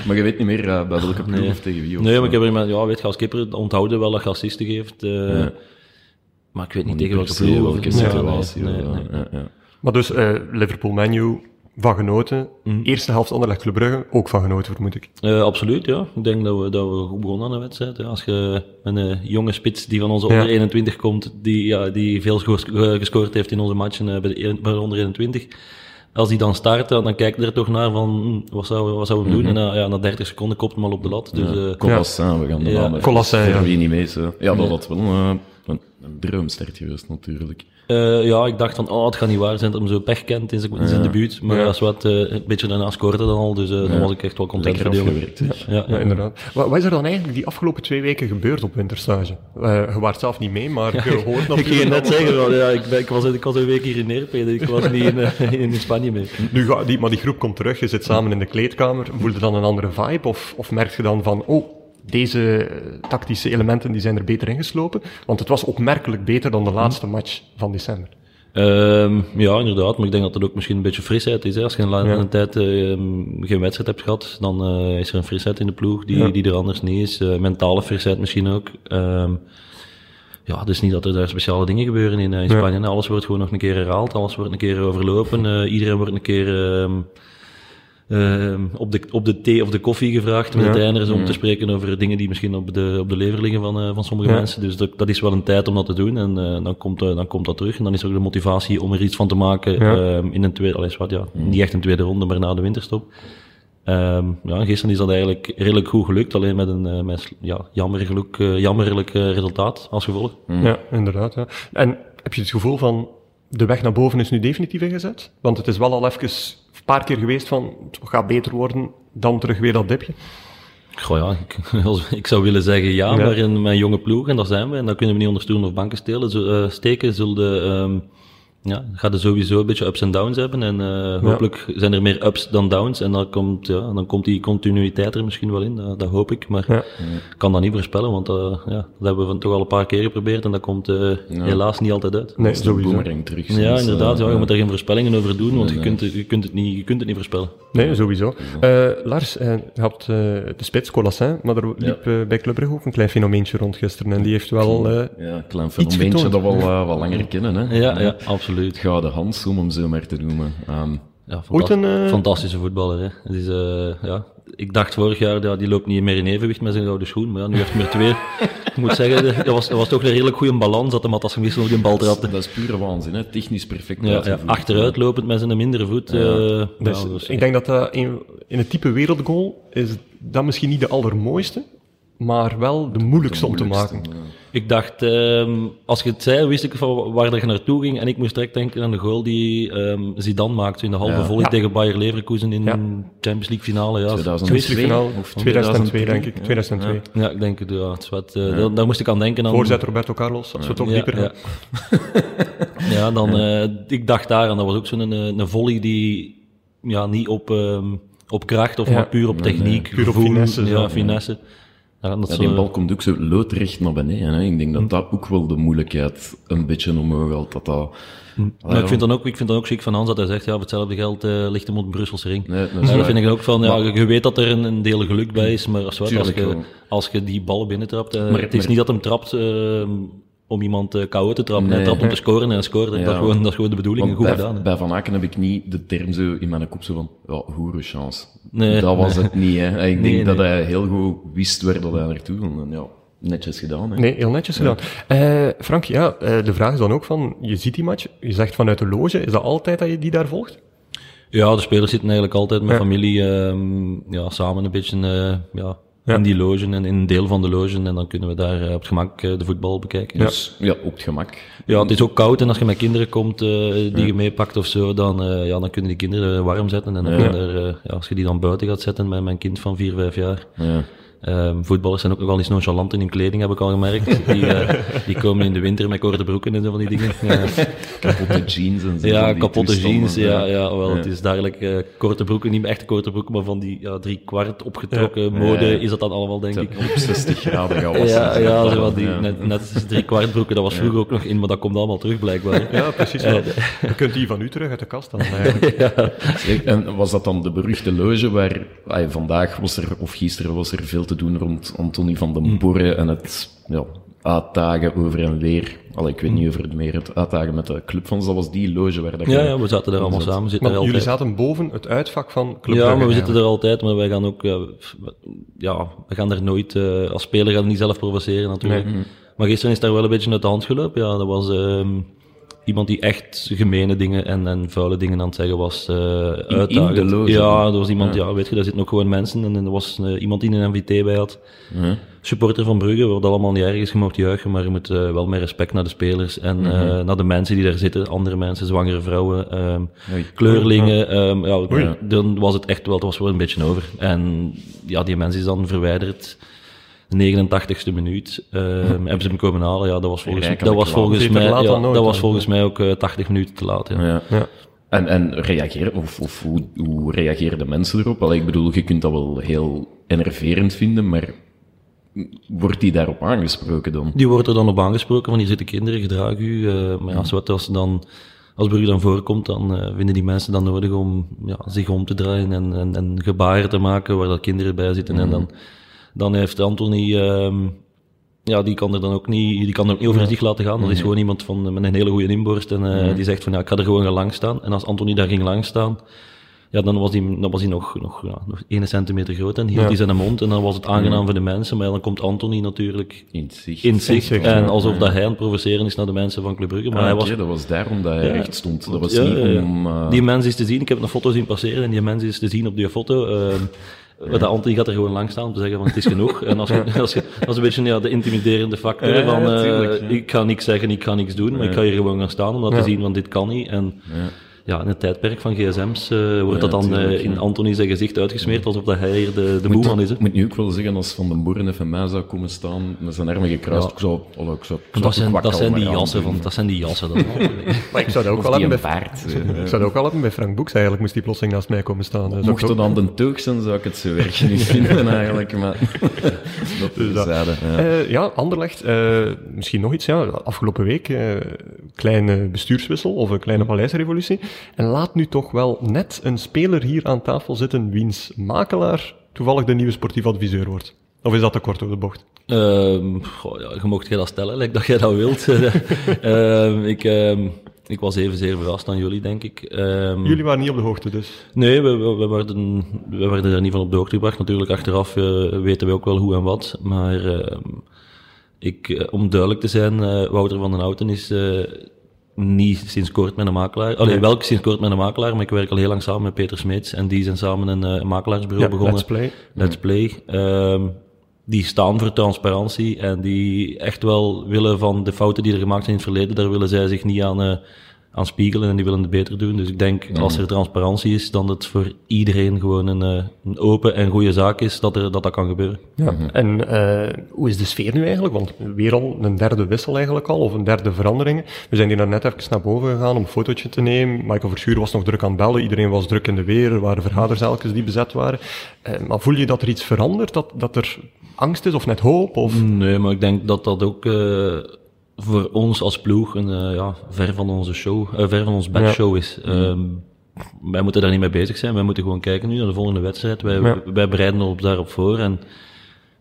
Speaker 2: Maar je weet niet meer eh, bij welke ploeg
Speaker 3: Nee.
Speaker 2: of tegen wie. Of, eh,
Speaker 3: Nee, maar ik heb er iemand- ja, weet je, als kipper onthouden wel dat je assisten geeft. eh,
Speaker 2: Ja.
Speaker 3: Maar ik weet niet
Speaker 2: niet
Speaker 3: tegen welke
Speaker 2: per se
Speaker 3: ploeg. of-
Speaker 2: welke
Speaker 3: Ja, nee,
Speaker 2: situatie.
Speaker 3: nee,
Speaker 2: eh,
Speaker 3: nee.
Speaker 2: ja, ja.
Speaker 1: Maar dus, eh, Liverpool menu, van genoten.
Speaker 3: Mm.
Speaker 1: Eerste helft Anderlecht Club Brugge, ook van genoten, vermoed ik.
Speaker 3: Eh, absoluut, ja. Ik denk dat we, dat we goed begonnen aan de wedstrijd. ja. Als je een eh, jonge spits die van onze
Speaker 1: Ja.
Speaker 3: onder 21 komt, die, ja, die veel scoors- eh, gescoord heeft in onze matchen eh, bij, de, e- bij de onder 21, als die dan start, ja, dan kijk je er toch naar van hm, wat zouden we, wat zouden we doen.
Speaker 2: Mhm.
Speaker 3: En na, ja, na 30 seconden kopt hem al op de lat. Dus, eh,
Speaker 2: Colassin, we gaan de
Speaker 3: Ja.
Speaker 2: naam even-
Speaker 1: Colassin,
Speaker 2: Voor
Speaker 1: ja.
Speaker 2: wie niet weet. eh. Ja, dat had wel eh, een, een droomstart geweest, natuurlijk.
Speaker 3: Eh, ja, ik dacht van, oh, het gaat niet waar zijn dat hem zo pech kent in zijn, in zijn debuut. Maar
Speaker 1: Ja.
Speaker 3: dat is wat, eh, een beetje daarna scoorde dan al, dus eh, dan was ik echt wel content
Speaker 2: Lekker
Speaker 3: voor die jongen.
Speaker 2: afgewerkt. zeg.
Speaker 3: Ja,
Speaker 1: Ja,
Speaker 3: ja.
Speaker 1: inderdaad. Wat, wat is er dan eigenlijk die afgelopen twee weken gebeurd op winterstage? Eh je waart zelf niet mee, maar je hoort
Speaker 3: Ik ging
Speaker 1: natuurlijk...
Speaker 3: het net
Speaker 1: allemaal-
Speaker 3: zeggen, van, ja, ik, ben, ik, was, ik was een week hier in Neerpede, ik was niet in, eh, in, Spanje mee.
Speaker 1: Nu ga, die, maar die groep komt terug, je zit samen in de kleedkamer. Voel je dan een andere vibe? Of, of merk je dan van, oh, deze eh, tactische elementen die zijn er beter ingeslopen? Want het was opmerkelijk beter dan de
Speaker 3: Hm.
Speaker 1: laatste match van december.
Speaker 3: Ehm, ja, inderdaad, maar ik denk dat dat ook misschien een beetje frisheid is. Hè. Als je een lange
Speaker 1: Ja.
Speaker 3: tijd eh, geen wedstrijd hebt gehad, dan eh, is er een frisheid in de ploeg die, die er anders niet is. Eh, mentale frisheid misschien ook. Ehm, ja, het is niet dat er daar speciale dingen gebeuren in, eh, in Spanje. Alles wordt gewoon nog een keer herhaald, alles wordt een keer overlopen. eh, iedereen wordt een keer ehm, ehm, op, de, op de thee of de koffie gevraagd met
Speaker 1: Ja.
Speaker 3: de trainers om te spreken over dingen die misschien op de, op de lever liggen van, eh, van sommige
Speaker 1: Ja.
Speaker 3: mensen. Dus dat, dat is wel een tijd om dat te doen en eh, dan, komt, eh, dan komt dat terug. En dan is ook de motivatie om er iets van te maken
Speaker 1: Ja.
Speaker 3: ehm, in een tweede, allee, zwart, ja, niet echt een tweede ronde, maar na de winterstop. Ehm, ja, gisteren is dat eigenlijk redelijk goed gelukt, alleen met een eh, met, ja, jammerlijk, eh, jammerlijk eh, resultaat als gevolg.
Speaker 1: Ja, inderdaad. Ja. En heb je het gevoel van, de weg naar boven is nu definitief ingezet? Want het is wel al even een paar keer geweest van, het gaat beter worden dan terug weer dat dipje.
Speaker 3: Goh ja, ik, als- ik zou willen zeggen ja,
Speaker 1: Ja.
Speaker 3: maar in mijn jonge ploeg, en daar zijn we, en daar kunnen we niet onder stoelen of banken stelen, zo, eh, steken, zullen de, ehm, ja, gaat er sowieso een beetje ups en downs hebben. En eh, hopelijk zijn er meer ups dan downs. En dan komt, ja, dan komt die continuïteit er misschien wel in, dat, dat hoop ik. Maar
Speaker 1: Ja.
Speaker 3: ik kan dat niet voorspellen, want eh, ja, dat hebben we van- toch al een paar keer geprobeerd en dat komt eh, helaas niet altijd uit.
Speaker 1: Nee,
Speaker 2: Dat is de
Speaker 1: sowieso.
Speaker 2: boomerang terug.
Speaker 3: Ja,
Speaker 2: sinds,
Speaker 3: inderdaad.
Speaker 2: eh,
Speaker 3: Ja, je moet daar geen voorspellingen over doen, want je kunt, het- je kunt, het, niet, je kunt het niet voorspellen.
Speaker 1: Nee, sowieso. Eh, Lars, eh, je had eh, de spits, Colassin, maar er liep eh, bij Club Brugge ook een klein fenomeentje rond gisteren. En die heeft wel... eh,
Speaker 2: Ja, een klein
Speaker 1: Iets
Speaker 2: fenomeentje
Speaker 1: getoond.
Speaker 2: dat we al eh, wat langer kennen. Hè?
Speaker 3: Ja, ja, absoluut.
Speaker 2: Het gouden Hans, om hem zo maar te noemen. Ehm,
Speaker 3: Ja,
Speaker 1: Ooit een, eh,
Speaker 3: Fantastische voetballer. Hè. Het is, eh, ja. Ik dacht vorig jaar, ja, die loopt niet meer in evenwicht met zijn oude schoen. Maar ja, nu heeft hij er twee. ik moet zeggen, er er was, er was toch een redelijk goede balans dat hem had als hij wissel op die bal trapte.
Speaker 2: Dat is pure waanzin, hè? technisch perfect
Speaker 3: Ja, ja,
Speaker 2: uitgevoerd.
Speaker 3: achteruitlopend met zijn mindere voet. eh, ja,
Speaker 1: Dus
Speaker 3: dus-
Speaker 1: ik denk dat dat in, in het type wereldgoal is dat misschien niet de allermooiste, maar wel de moeilijkste om te
Speaker 2: moeilijkste,
Speaker 1: maken.
Speaker 3: Ik dacht, ehm, als je het zei, wist ik van waar dat je naartoe ging. En ik moest direct denken aan de goal die ehm, Zidane maakte in de halve
Speaker 2: Ja.
Speaker 3: volley
Speaker 1: Ja.
Speaker 3: tegen Bayer Leverkusen in de
Speaker 1: Ja.
Speaker 3: Champions League finale. Ja,
Speaker 2: 2002.
Speaker 1: Champions League finale,
Speaker 2: Of
Speaker 1: 2002 denk ik,
Speaker 2: ja.
Speaker 1: 2002.
Speaker 3: ja ik denk het. Ja, het is wat, eh, daar, daar moest ik aan denken. Dan,
Speaker 1: Voorzet Roberto Carlos, als we toch dieper gaan.
Speaker 3: ja. Ja, dan, eh, ik dacht daaraan. Dat was ook zo'n eh, een volley die ja, niet op, ehm, op kracht of
Speaker 1: Ja.
Speaker 3: maar puur op techniek.
Speaker 1: Puur op
Speaker 3: gevoel,
Speaker 1: finesse, zo.
Speaker 3: Ja, finesse. Ja, dat
Speaker 2: Ja,
Speaker 3: zo- eh. Hm.
Speaker 2: die bal komt ook zo loodrecht naar beneden. Hè. Ik denk dat dat ook wel de moeilijkheid een beetje omhoog haalt. Dat dat...
Speaker 3: eh, Maar ik vind, dan ook, ik vind dan ook ziek van Hans dat hij zegt, ja, voor hetzelfde geld eh, ligt hem op de Brusselse ring.
Speaker 2: Nee, dat is
Speaker 3: Ja, dat
Speaker 2: waar.
Speaker 3: vind ik dan ook van, ja, je weet dat er een, een deel geluk bij is, maar als, wat, als,
Speaker 2: Tuurlijk
Speaker 3: je,
Speaker 2: wel.
Speaker 3: als je die ballen binnentrapt, eh,
Speaker 2: Maar-
Speaker 3: het is
Speaker 2: maar-
Speaker 3: niet dat hem trapt eh, om iemand eh KO te trappen, hij
Speaker 2: Nee.
Speaker 3: trapt om te scoren en hij scoort.
Speaker 2: Ja.
Speaker 3: Dat, is gewoon, dat is gewoon de bedoeling,
Speaker 2: Want
Speaker 3: goed
Speaker 2: bij,
Speaker 3: gedaan. hè.
Speaker 2: bij Van Aken heb ik niet de term zo in mijn kop zo van, ja, hoerenchance.
Speaker 3: Nee.
Speaker 2: dat was het niet. Hè. Ik denk
Speaker 3: Nee,
Speaker 2: dat
Speaker 3: nee.
Speaker 2: hij heel goed wist waar dat hij naartoe wilde. En Ja, netjes gedaan. Hè.
Speaker 1: Nee, heel netjes gedaan. Eh, Frank, ja, eh, de vraag is dan ook van, je ziet die match, je zegt vanuit de loge, is dat altijd dat je die daar volgt?
Speaker 3: Ja, de spelers zitten eigenlijk altijd met
Speaker 1: Ja.
Speaker 3: familie ehm, ja, samen een beetje eh, ja,
Speaker 1: Ja.
Speaker 3: in die loge en in een deel van de loge en dan kunnen we daar eh, op het gemak eh, de voetbal bekijken.
Speaker 2: Dus ja, op het gemak.
Speaker 3: Ja, het is ook koud en als je met kinderen komt eh, die je meepakt of zo, dan, eh, ja, dan kunnen die kinderen warm zetten. En dan
Speaker 2: Ja.
Speaker 3: kan er, eh, ja, als je die dan buiten gaat zetten met mijn kind van 4, 5 jaar.
Speaker 2: Ja.
Speaker 3: Ehm, voetballers zijn ook nogal eens nonchalant in hun kleding, heb ik al gemerkt. Die, eh, die komen in de winter met korte broeken en zo van die dingen. Ja,
Speaker 2: Kapotte jeans en zo. van
Speaker 3: ja
Speaker 2: die eh,
Speaker 3: kapotte
Speaker 2: toestanden,
Speaker 3: jeans. Ja,
Speaker 2: ja.
Speaker 3: ja, wel,
Speaker 2: Ja.
Speaker 3: Het is duidelijk eh, korte broeken, niet meer echte korte broeken, maar van die ja, drie kwart opgetrokken
Speaker 2: Ja.
Speaker 3: mode
Speaker 2: Ja, ja.
Speaker 3: is dat dan allemaal, denk ik.
Speaker 2: Op 60 graden gaan wassen.
Speaker 3: Ja, ja, zo wat die,
Speaker 2: Ja.
Speaker 3: net, net drie kwart broeken, dat was vroeger ook nog in, maar dat komt allemaal terug blijkbaar.
Speaker 1: Ja, precies. wel. Je kunt die van u terug uit de kast dan eigenlijk.
Speaker 2: En was dat dan de beruchte loge waar ay, vandaag was er, of gisteren was er veel te doen rond Anthony van
Speaker 3: Mm.
Speaker 2: den Borre en het ja, uitdagen over en weer. Allee, ik weet niet over het meer, het uitdagen met de club van, dat was die loge waar dat
Speaker 3: Mm. Ja,
Speaker 2: je-
Speaker 3: ja, we zaten daar allemaal samen. we Zitten
Speaker 1: Want
Speaker 3: er
Speaker 1: jullie
Speaker 3: altijd.
Speaker 1: zaten boven het uitvak van Club
Speaker 3: ja,
Speaker 1: Brugge
Speaker 3: maar we
Speaker 1: eigenlijk.
Speaker 3: zitten er altijd, maar wij gaan ook, eh, f- ja, we gaan er nooit, eh, als speler gaan we niet zelf provoceren natuurlijk. Maar gisteren is daar wel een beetje uit de hand gelopen. Ja, dat was ehm, iemand die echt gemene dingen en, en vuile dingen aan het zeggen was. eh uitdagend.
Speaker 2: de loge?
Speaker 3: Ja, er was iemand, ja. weet je, daar zitten ook gewoon mensen en er was eh, iemand die een MVT bij had. Supporter van Brugge, wat allemaal niet erg is, je mag juichen, maar je moet eh, wel met respect naar de spelers en eh, naar de mensen die daar zitten, andere mensen, zwangere vrouwen, ehm,
Speaker 2: Oei.
Speaker 3: kleurlingen. ehm, ja, dan was het echt wel, het was wel een beetje over. En ja, die mens is dan verwijderd. 89ste minuut. ehm, hebben ze hem komen halen? Ja, dat was volgens,
Speaker 2: Rijkelijk
Speaker 3: dat was
Speaker 2: laat.
Speaker 3: volgens
Speaker 1: Beter
Speaker 3: mij,
Speaker 1: laat
Speaker 3: ja,
Speaker 1: dan nooit,
Speaker 3: dat was
Speaker 1: hè.
Speaker 3: volgens mij ook eh, 80 minuten te laat. Ja.
Speaker 2: Ja.
Speaker 1: Ja.
Speaker 2: En, en reageren, of, of hoe, hoe reageerden mensen erop? Allee, ik bedoel, je kunt dat wel heel enerverend vinden, maar wordt die daarop aangesproken dan?
Speaker 3: Die wordt er dan op aangesproken van hier zitten kinderen, gedraag u. eh, maar ja, zowat als, ze dan, als Brugge dan voorkomt, dan eh, vinden die mensen dan nodig om ja, zich om te draaien en, en, en gebaren te maken waar dat kinderen bij zitten. En dan, dan heeft Anthony, ehm, ja, die kan er dan ook niet, die kan er ook niet over zich laten gaan. Dat is gewoon iemand van, met een hele goede inborst en eh, die zegt van ja, ik ga er gewoon gaan lang staan. En als Anthony daar ging lang staan, ja, dan was hij, dan was hij nog, nog, ja, nog 1 centimeter groot en hield
Speaker 1: Ja.
Speaker 3: hij zijn mond en dan was het aangenaam voor de mensen. Maar ja, dan komt Anthony natuurlijk
Speaker 2: In zicht.
Speaker 3: in zicht.
Speaker 1: zicht,
Speaker 3: En alsof dat hij aan het provoceren is naar de mensen van Club Brugge. Maar
Speaker 2: Ah,
Speaker 3: hij
Speaker 2: oké,
Speaker 3: was...
Speaker 2: dat was daarom dat hij
Speaker 3: Ja.
Speaker 2: recht stond. Dat was
Speaker 3: Ja,
Speaker 2: niet
Speaker 3: ja, ja.
Speaker 2: om... eh,
Speaker 3: Die mens is te zien. Ik heb een foto zien passeren en die mens is te zien op die foto. ehm, Dat Anthony gaat er gewoon langs staan om te zeggen van het is genoeg. En als je, als je, dat is een beetje ja, de intimiderende factor
Speaker 2: Ja, ja,
Speaker 3: van eh,
Speaker 2: tuurlijk, ja.
Speaker 3: ik ga niks zeggen, ik ga niks doen, maar ik ga hier gewoon gaan staan om dat te zien, want dit kan niet. En ja. in het tijdperk van gsm's eh, wordt
Speaker 2: Ja,
Speaker 3: dat dan eh,
Speaker 2: tuurlijk,
Speaker 3: in
Speaker 2: ja.
Speaker 3: Anthony zijn gezicht uitgesmeerd alsof dat hij hier de, de boeman is. Hè.
Speaker 2: Ik moet nu ook wel zeggen, als Van den Boeren even mij zou komen staan, met zijn armen gekruist, ik zou... allee, ik zou ik zou
Speaker 3: Dat zijn,
Speaker 2: ook wat
Speaker 3: dat zijn die
Speaker 2: kalmer
Speaker 3: jassen,
Speaker 2: aandoen.
Speaker 3: van, dat zijn die jassen. Dat
Speaker 1: Maar ik zou dat ook
Speaker 2: Of
Speaker 1: wel
Speaker 2: die
Speaker 1: hebben
Speaker 2: een
Speaker 1: bij...
Speaker 2: paard. eh.
Speaker 1: Ik zou dat ook wel hebben bij Frank Boeks eigenlijk, moest die plotseling naast mij komen staan. eh, Dat is
Speaker 2: Mocht
Speaker 1: ook-
Speaker 2: het aan de teug zijn, zou ik het zo erg niet vinden eigenlijk, maar...
Speaker 3: Dus
Speaker 2: dat is
Speaker 1: dat.
Speaker 2: zijde, ja.
Speaker 1: Eh, ja, Anderlecht, eh, misschien nog iets. Ja, afgelopen week, eh, kleine bestuurswissel of een kleine paleisrevolutie. En laat nu toch wel net een speler hier aan tafel zitten wiens makelaar toevallig de nieuwe sportief adviseur wordt. Of is dat te kort door de bocht?
Speaker 3: Ehm goh, ja, je mocht jij dat stellen, lijkt dat jij dat wilt. Ehm, Eh, ik, ehm, Ik was evenzeer verrast dan jullie, denk ik. Ehm,
Speaker 1: Jullie waren niet op de hoogte, dus.
Speaker 3: Nee, we, we, we werden, we werden er niet van op de hoogte gebracht. Natuurlijk, achteraf eh, weten we ook wel hoe en wat. Maar ehm, ik, eh, om duidelijk te zijn, eh, Wouter van den Houten is eh, niet sinds kort met een makelaar. Allee, wel sinds kort met een makelaar, maar ik werk al heel lang samen met Peter Smeets. En die zijn samen een eh, makelaarsbureau
Speaker 1: Ja,
Speaker 3: begonnen.
Speaker 1: Let's Play.
Speaker 3: Let's Play. Ehm, die staan voor transparantie en die echt wel willen van de fouten die er gemaakt zijn in het verleden, daar willen zij zich niet aan, eh, aan spiegelen en die willen het beter doen. Dus ik denk, als er transparantie is, dan dat het voor iedereen gewoon een, eh, een open en goede zaak is dat er, dat, dat kan gebeuren.
Speaker 1: Ja. En eh, hoe is de sfeer nu eigenlijk? Want weer al een derde wissel eigenlijk al, of een derde verandering. We zijn hier net even naar boven gegaan om een fotootje te nemen. Michael Verschuur was nog druk aan het bellen, iedereen was druk in de weer, er waren vergaderzaaltjes die bezet waren. Eh, maar voel je dat er iets verandert, dat, dat er angst is of net hoop? Of...
Speaker 3: Nee, maar ik denk dat dat ook eh, voor ons als ploeg een, eh, ja, ver van onze show, eh, ver van ons bedshow is. Ehm, wij moeten daar niet mee bezig zijn. Wij moeten gewoon kijken nu naar de volgende wedstrijd. Wij,
Speaker 1: Ja.
Speaker 3: wij bereiden ons daarop voor. En,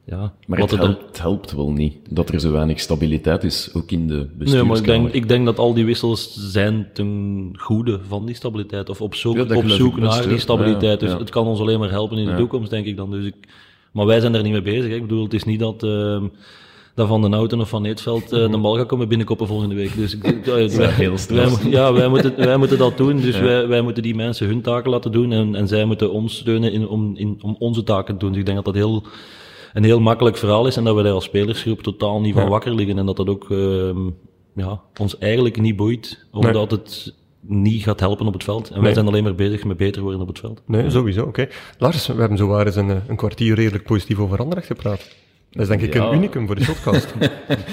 Speaker 3: ja,
Speaker 2: Maar
Speaker 3: wat
Speaker 2: het
Speaker 3: er dan-
Speaker 2: helpt, het helpt wel niet dat er zo weinig stabiliteit is, ook in de
Speaker 3: Nee,
Speaker 2: bestuurskamer.
Speaker 3: maar ik denk, ik denk dat al die wissels zijn ten goede van die stabiliteit. Of op zoek,
Speaker 2: Ja, dat
Speaker 3: op
Speaker 2: geloof
Speaker 3: zoek
Speaker 2: ik best,
Speaker 3: naar
Speaker 2: ja.
Speaker 3: die stabiliteit.
Speaker 2: Ja,
Speaker 3: Dus
Speaker 2: ja.
Speaker 3: het kan ons alleen maar helpen in de
Speaker 2: Ja.
Speaker 3: toekomst, denk ik dan. Dus ik, maar wij zijn daar niet mee bezig. Hè. Ik bedoel, het is niet dat, ehm, dat Van den Houten of Van Eetveld eh,
Speaker 2: Mhm.
Speaker 3: de bal gaat komen binnenkoppen volgende week. Dus ik, ik- eh, wij,
Speaker 2: heel
Speaker 3: wij,
Speaker 2: stressend.
Speaker 3: ja, wij, moeten, wij moeten dat doen. Dus wij, wij moeten die mensen hun taken laten doen. En, en zij moeten ons steunen in, om, in, om onze taken te doen. Dus ik denk dat dat heel een heel makkelijk verhaal is en dat we daar als spelersgroep totaal niet van wakker liggen en dat dat ook ehm, ja, ons eigenlijk niet boeit, omdat het niet gaat helpen op het veld. En wij
Speaker 1: Nee.
Speaker 3: zijn alleen maar bezig met beter worden op het veld.
Speaker 1: Nee, sowieso, oké. Lars, we hebben zowaar eens een, eh, een kwartier redelijk positief over Anderlecht gepraat. Dat is denk ik
Speaker 2: Ja.
Speaker 1: een unicum voor de podcast.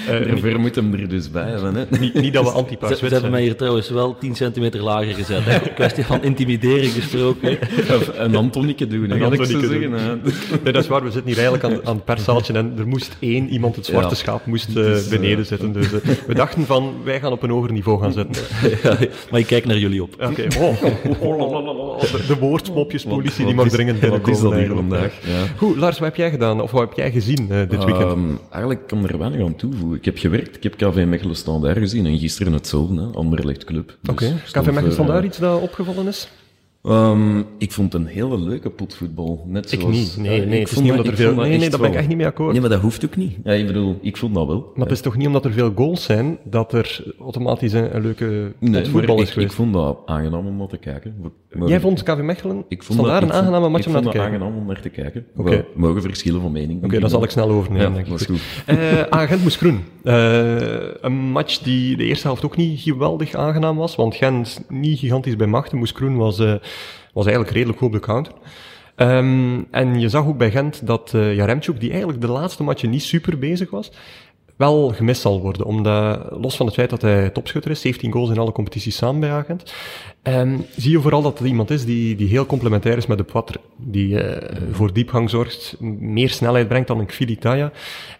Speaker 2: Daarvoor moet Eh, hem er dus bij hebben, hè.
Speaker 1: niet, niet dat we
Speaker 3: Ze,
Speaker 1: anti-paars wit
Speaker 3: ze hebben
Speaker 1: zijn.
Speaker 3: mij hier trouwens wel 10 centimeter lager gezet. hè. Kwestie van intimidering gesproken.
Speaker 2: Een Antonieke doen, hè,
Speaker 1: Een
Speaker 2: kan ik zo
Speaker 1: Antonieke
Speaker 2: zeggen. hè.
Speaker 1: Nee, dat is waar. We zitten hier eigenlijk aan, aan het perszaaltje en er moest één iemand, het zwarte
Speaker 2: Ja.
Speaker 1: schaap, moest eh,
Speaker 2: Dus, eh,
Speaker 1: beneden zitten. Dus eh, we dachten van, wij gaan op een hoger niveau gaan zitten.
Speaker 3: Ja, maar ik kijk naar jullie op.
Speaker 1: Oké, oh, de, de woordmopjespolitie die
Speaker 2: Wat
Speaker 1: mag
Speaker 2: is-
Speaker 1: dringend
Speaker 2: Wat is
Speaker 1: binnenkomen.
Speaker 2: dat hier
Speaker 1: eigenlijk.
Speaker 2: vandaag? Ja.
Speaker 1: Goed, Lars, wat heb jij gedaan? Of wat heb jij gezien eh, dit weekend?
Speaker 2: Ehm, eigenlijk kan er weinig aan toevoegen. Ik heb gewerkt, ik heb KV Mechelen Standaard gezien en gisteren hetzelfde, hè, Anderlecht Club. Dus
Speaker 1: Oké,
Speaker 2: stond
Speaker 1: KV Mechelen
Speaker 2: voor,
Speaker 1: stond daar
Speaker 2: eh,
Speaker 1: iets dat opgevallen is?
Speaker 2: ehm, ik vond het een hele leuke potvoetbal. Net
Speaker 1: Ik
Speaker 2: zoals,
Speaker 1: niet. Nee, nee,
Speaker 2: Ja,
Speaker 1: het
Speaker 2: ik
Speaker 1: is
Speaker 2: vond
Speaker 1: niet
Speaker 2: dat-
Speaker 1: omdat er
Speaker 2: ik
Speaker 1: veel...
Speaker 2: vond dat
Speaker 1: Nee, nee, daar ben ik
Speaker 2: wel-
Speaker 1: echt niet mee akkoord.
Speaker 2: Nee, maar dat hoeft ook niet. Ja, ik bedoel, ik vond dat wel.
Speaker 1: Maar het is toch niet omdat er veel goals zijn, dat er automatisch een, een leuke
Speaker 2: Nee,
Speaker 1: voetbal
Speaker 2: maar
Speaker 1: is
Speaker 2: ik, ik
Speaker 1: geweest?
Speaker 2: vond dat aangenaam om naar te kijken. Maar-
Speaker 1: Jij vond KV Mechelen
Speaker 2: ik vond
Speaker 1: stond daar
Speaker 2: dat-
Speaker 1: een
Speaker 2: ik vond-
Speaker 1: aangename match om naar te
Speaker 2: Ik vond
Speaker 1: kijken?
Speaker 2: dat aangenaam om naar te kijken.
Speaker 1: Oké.
Speaker 2: We mogen verschillen van mening.
Speaker 1: Oké, dan zal ik snel overnemen.
Speaker 2: Ja,
Speaker 1: denk ik.
Speaker 2: dat is goed.
Speaker 1: Eh, Agent moest groen. Eh, een match die de eerste helft ook niet geweldig aangenaam was, want Gent niet gigantisch bij machten. Moes groen was, eh, was eigenlijk redelijk goed op de counter. Ehm, en je zag ook bij Gent dat eh Jaremchuk, die eigenlijk de laatste matchen niet super bezig was, wel gemist zal worden. Omdat, los van het feit dat hij topschutter is, 17 goals in alle competities samen bij Agent, ehm, zie je vooral dat het iemand is die, die heel complementair is met de Poitre. Die eh, voor diepgang zorgt, m- meer snelheid brengt dan een Kvilitaya.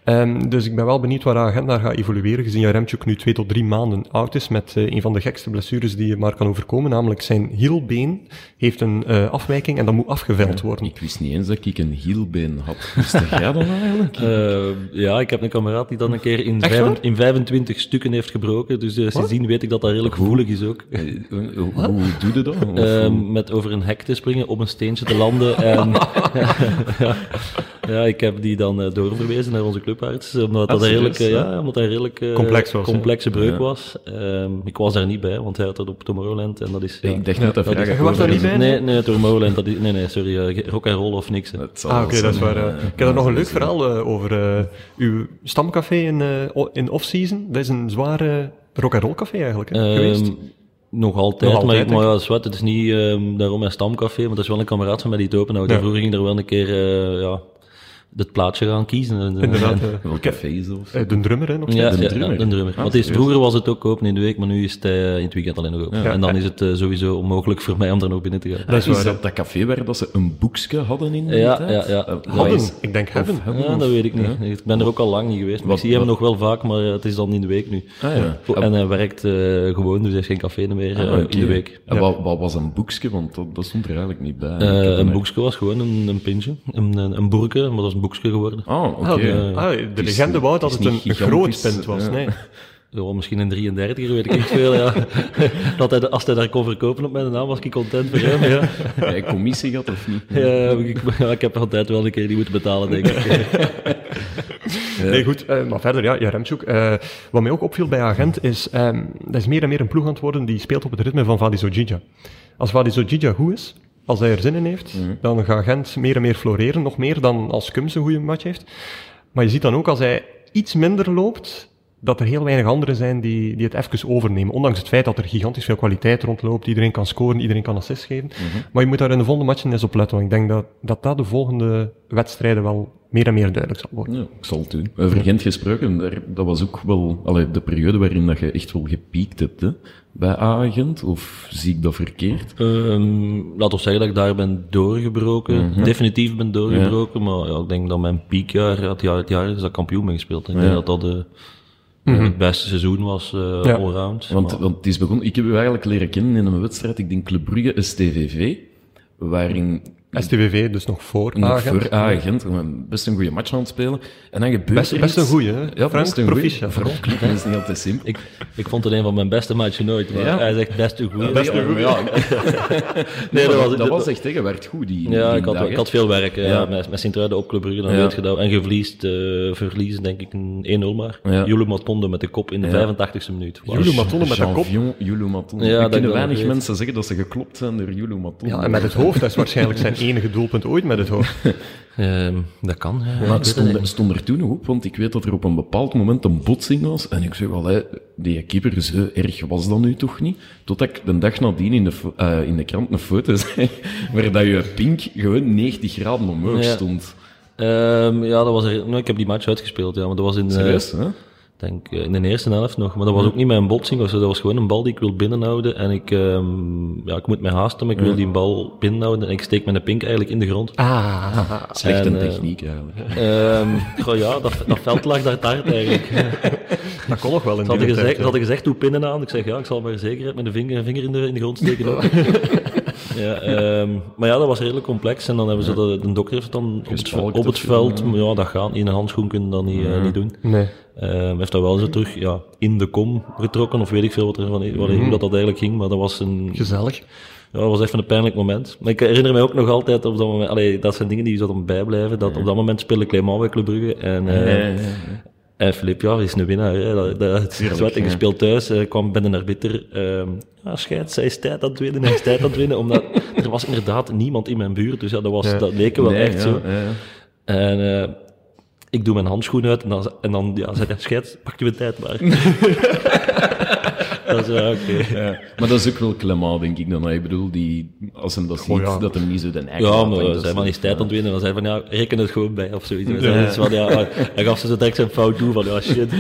Speaker 1: Ehm dus ik ben wel benieuwd waar Agent naar gaat evolueren, gezien Jaremchuk nu twee tot drie maanden oud is, met eh, een van de gekste blessures die je maar kan overkomen, namelijk zijn hielbeen heeft een eh, afwijking en dat moet afgeveld worden.
Speaker 2: Ik wist niet eens dat ik een hielbeen had. Wist jij dat eigenlijk?
Speaker 3: Eh, ja, ik heb een kameraad die dat een keer in,
Speaker 1: Echt
Speaker 3: vijf-
Speaker 1: waar?
Speaker 3: in 25 stukken heeft gebroken. Dus eh, sindsdien weet ik dat dat redelijk gevoelig is ook.
Speaker 2: Eh, eh, Hoe hoe doe je dat? Of-
Speaker 3: Ehm, met over een hek te springen, op een steentje te landen. En, ja, ja, ik heb die dan eh, doorverwezen naar onze clubarts, omdat dat een
Speaker 2: serieus,
Speaker 3: redelijk, eh,
Speaker 2: ja?
Speaker 3: ja, omdat dat een redelijk eh,
Speaker 1: Complex was, hè?
Speaker 3: complexe breuk was. Ehm, ik was daar niet bij, want hij had dat op Tomorrowland en dat is... ja,
Speaker 2: Ik dacht net dat
Speaker 3: dat
Speaker 2: vraag
Speaker 3: is-
Speaker 2: ik
Speaker 1: Je was daar
Speaker 2: hoorde.
Speaker 1: niet bij?
Speaker 3: Nee, nee, Tomorrowland, dat is, nee, nee, sorry, eh, rock and roll of niks. hè.
Speaker 2: Het zal
Speaker 1: Ah,
Speaker 2: wel
Speaker 1: oké,
Speaker 2: zijn,
Speaker 1: dat is waar.
Speaker 2: eh,
Speaker 1: eh.
Speaker 2: eh,
Speaker 1: ik heb er nog een leuk
Speaker 2: dus, eh,
Speaker 1: verhaal eh, over eh, uw stamcafé in, eh, o- in off-season. Dat is een zware rock-and-roll café eigenlijk, hè,
Speaker 3: Ehm,
Speaker 1: geweest.
Speaker 3: Nog altijd,
Speaker 1: Nog
Speaker 3: maar,
Speaker 1: altijd,
Speaker 3: ik, maar ja, zwart, het is niet ehm, daarom een stamcafé, maar dat is wel een kameraad van mij die het openhoudt.
Speaker 1: Ja.
Speaker 3: En Vroeger ging er wel een keer eh, ja, het plaatje gaan kiezen. En-
Speaker 1: Inderdaad. eh,
Speaker 2: Wel
Speaker 1: ik heb-
Speaker 2: cafés of zo.
Speaker 1: eh, de drummer, hè, nog
Speaker 3: Ja,
Speaker 1: steeds.
Speaker 3: ja,
Speaker 2: de
Speaker 3: ja,
Speaker 2: drummer.
Speaker 3: de drummer.
Speaker 2: Ah,
Speaker 3: Want het is,
Speaker 2: serieus?
Speaker 3: vroeger was het ook open in de week, maar nu is het eh, in het weekend alleen nog open.
Speaker 1: Ja.
Speaker 3: En dan is het eh, sowieso onmogelijk voor mij om daar nog binnen te gaan.
Speaker 1: Dat is
Speaker 2: Is
Speaker 1: waar.
Speaker 2: dat dat café waar dat ze een boekje hadden in? die
Speaker 3: Ja,
Speaker 2: tijd?
Speaker 3: ja, ja.
Speaker 2: Eh, dat
Speaker 1: Hadden,
Speaker 2: is-
Speaker 1: ik denk hebben.
Speaker 2: Of hebben
Speaker 3: Ja, dat
Speaker 2: of-
Speaker 3: weet ik niet. Ik ben er ook al lang niet geweest. maar
Speaker 2: Wat-
Speaker 3: ik zie hem
Speaker 2: wat-
Speaker 3: nog wel vaak, maar eh, het is dan in de week nu.
Speaker 2: Ah, ja.
Speaker 3: En hij werkt eh, gewoon, dus hij heeft geen café meer eh,
Speaker 2: Ah, oké.
Speaker 3: in de week.
Speaker 2: En wat, wat was een boekje? Want dat, dat stond er eigenlijk niet bij.
Speaker 3: Eh,
Speaker 2: Ik heb
Speaker 3: een
Speaker 2: er-
Speaker 3: boekje was gewoon een, een pintje, een, een, een boerke, maar dat is een boekje geworden.
Speaker 2: Ah, oké.
Speaker 1: Ah, de-
Speaker 2: Ja.
Speaker 1: ah, de
Speaker 2: is
Speaker 1: legende
Speaker 2: niet-
Speaker 1: wou dat
Speaker 2: is
Speaker 1: het een
Speaker 2: niet
Speaker 1: een groot
Speaker 2: gigantisch,
Speaker 1: pint was.
Speaker 2: ja.
Speaker 1: Nee.
Speaker 3: Ja, misschien een 33 weet ik niet veel. Ja. Dat hij, als hij daar kon verkopen op mijn naam, was ik content voor hem. Ja.
Speaker 2: Jij commissie gehad of niet?
Speaker 3: Ja, ik, ja, ik heb altijd wel een keer die moeten betalen, denk ik.
Speaker 1: Nee, goed, eh, maar verder, ja, ja Remchuk. eh, wat mij ook opviel bij Agent is, ehm, dat is meer en meer een ploeg aan het worden die speelt op het ritme van Vadi Zojija. Als Vadi Zojija goed is, als hij er zin in heeft, dan gaat Gent meer en meer floreren, nog meer dan als Kums een goede match heeft. Maar je ziet dan ook als hij iets minder loopt, dat er heel weinig anderen zijn die, die het even overnemen. Ondanks het feit dat er gigantisch veel kwaliteit rondloopt, iedereen kan scoren, iedereen kan assist geven. Maar je moet daar in de volgende matchen eens op letten, want ik denk dat, dat dat de volgende wedstrijden wel meer en meer duidelijk zal worden.
Speaker 2: Ja, ik zal het doen. Eh, Over Gent gesproken, daar, dat was ook wel allee, de periode waarin dat je echt wel gepiekt hebt hè, bij A-agent. Of zie ik dat verkeerd?
Speaker 3: Ehm laat ons zeggen dat ik daar ben doorgebroken.
Speaker 2: Mhm.
Speaker 3: Definitief ben doorgebroken. Maar ja, ik denk dat mijn piekjaar, het jaar, het jaar is dat ik kampioen ben gespeeld. Ik denk dat dat eh,
Speaker 2: Mhm.
Speaker 3: het beste seizoen was, eh
Speaker 1: Ja.
Speaker 3: allround.
Speaker 2: Want, want het is begonnen, ik heb u eigenlijk leren kennen in een wedstrijd, ik denk Club Brugge STVV, waarin
Speaker 1: STVV, dus nog voor
Speaker 2: nog
Speaker 1: Agent.
Speaker 2: voor A-agent best een goede match aan het spelen. En dan gebeurt
Speaker 1: Best-
Speaker 2: er
Speaker 1: best
Speaker 2: iets.
Speaker 1: een goeie, hè?
Speaker 2: Ja,
Speaker 1: Frank,
Speaker 2: best een goeie.
Speaker 1: proficiat.
Speaker 2: Vooral Club, dat is niet altijd simpel.
Speaker 3: Ik, ik vond het een van mijn beste matchen nooit. Maar
Speaker 2: Ja.
Speaker 3: Hij is echt best een goede.
Speaker 2: Ja, maar ja,
Speaker 3: nee, dat was,
Speaker 2: dat was echt, hè, je werd goed die,
Speaker 3: ja,
Speaker 2: die
Speaker 3: ik had,
Speaker 2: dag,
Speaker 3: wel- ik
Speaker 2: hè.
Speaker 3: had veel werk. Ja.
Speaker 2: Ja.
Speaker 3: met, met Sint-Truiden op Club Brugge, dan
Speaker 2: Ja.
Speaker 3: weet je dat. En gevliesd, eh verliezen denk ik een 1-0 maar.
Speaker 2: Ja.
Speaker 3: Jule Matondo met de kop in de 85ste minuut. Wauw.
Speaker 1: Jule Matondo met de
Speaker 2: Jean
Speaker 1: kop.
Speaker 2: Vion, Julu Matondo.
Speaker 3: Ja,
Speaker 2: Er
Speaker 3: dat ik
Speaker 2: kunnen
Speaker 3: dat
Speaker 2: weinig
Speaker 3: weet.
Speaker 2: mensen zeggen dat ze geklopt zijn door Julu Matondo.
Speaker 1: Ja, en met het hoofd. Dat is waarschijnlijk zijn enige doelpunt ooit met het hoofd.
Speaker 3: Ehm, dat kan. ja. Ik weet
Speaker 2: Maar
Speaker 3: het
Speaker 2: stond,
Speaker 3: niet.
Speaker 2: er- stond er toen nog op, want ik weet dat er op een bepaald moment een botsing was. En ik zeg wel, hè, die keeper, zo erg was dat nu toch niet? Totdat ik de dag nadien in de, fo- eh, in de krant een foto zei, waar dat je pink gewoon 90 graden omhoog
Speaker 3: Ja.
Speaker 2: stond.
Speaker 3: Ehm, ja, dat was er, nou, ik heb die match uitgespeeld, ja, maar dat was in, eh,
Speaker 2: Serieus, hè?
Speaker 3: denk, eh, in de eerste helft nog. Maar dat was ook niet met een botsing, of zo, dat was gewoon een bal die ik wil binnenhouden. En ik, ehm, ja, ik moet mij haasten, maar ik wil die bal binnenhouden en ik steek mijn pink eigenlijk in de grond.
Speaker 1: Ah,
Speaker 2: Slechte
Speaker 3: En, eh,
Speaker 2: techniek eigenlijk.
Speaker 3: Ehm, goh, ja, dat, dat veld lag daar taart eigenlijk.
Speaker 1: dat kon nog wel in
Speaker 3: Ze hadden
Speaker 1: die tijd,
Speaker 3: gezegd, ze
Speaker 1: hè.
Speaker 3: hadden gezegd, doe pinnen aan. Ik zeg, ja, ik zal maar zekerheid met de vinger, vinger in, de, in de grond steken. hoor. ja, ehm, maar ja, dat was redelijk complex. En dan hebben ze dat, de dokter heeft het dan op het,
Speaker 2: Gespalkt
Speaker 3: op
Speaker 2: of
Speaker 3: het
Speaker 2: zo,
Speaker 3: veld... maar Ja, dat gaan. In een handschoen kunnen we dat niet, eh, niet doen.
Speaker 1: Nee.
Speaker 3: Ehm, heeft dat wel zo terug ja, in de kom getrokken, of weet ik veel wat er van, wat,
Speaker 2: Mhm.
Speaker 3: hoe dat, dat eigenlijk ging. Maar dat was, een,
Speaker 1: Gezellig.
Speaker 3: ja, dat was even een pijnlijk moment. Maar ik herinner mij ook nog altijd op dat moment, allee, dat zijn dingen die je zat om bijblijven. Dat op dat moment speelde Clément bij Club Brugge. En, eh, en Filip, ja, is een winnaar. Hè. Dat, dat, het is wat ik gespeeld thuis. eh, kwam bij de arbiter. ehm ja, scheids, zij is tijd aan het winnen. Hij is tijd aan het winnen. Omdat er was inderdaad niemand in mijn buurt. Dus ja, dat, was, dat leek wel
Speaker 2: Nee,
Speaker 3: echt
Speaker 2: ja,
Speaker 3: zo.
Speaker 2: ja, ja.
Speaker 3: En eh, ik doe mijn handschoen uit en dan, en dan ja, zei hij, scheids, pak je tijd maar. dat is ja, oké.
Speaker 2: Ja. Maar dat is ook wel Clement, denk ik dan. Ik bedoel, die, als hem dat ziet,
Speaker 1: ja.
Speaker 2: dat hem niet zo de eigen
Speaker 3: Ja,
Speaker 2: laat, denk ik
Speaker 3: maar zij
Speaker 2: dat
Speaker 3: zijn van
Speaker 2: ze-
Speaker 3: die tijd aan het winnen. Dan zei van, ja, reken het gewoon bij of zoiets. Ja. Dat is wel, dus ja, hij gaf ze zo direct zijn fout toe van, ja, shit.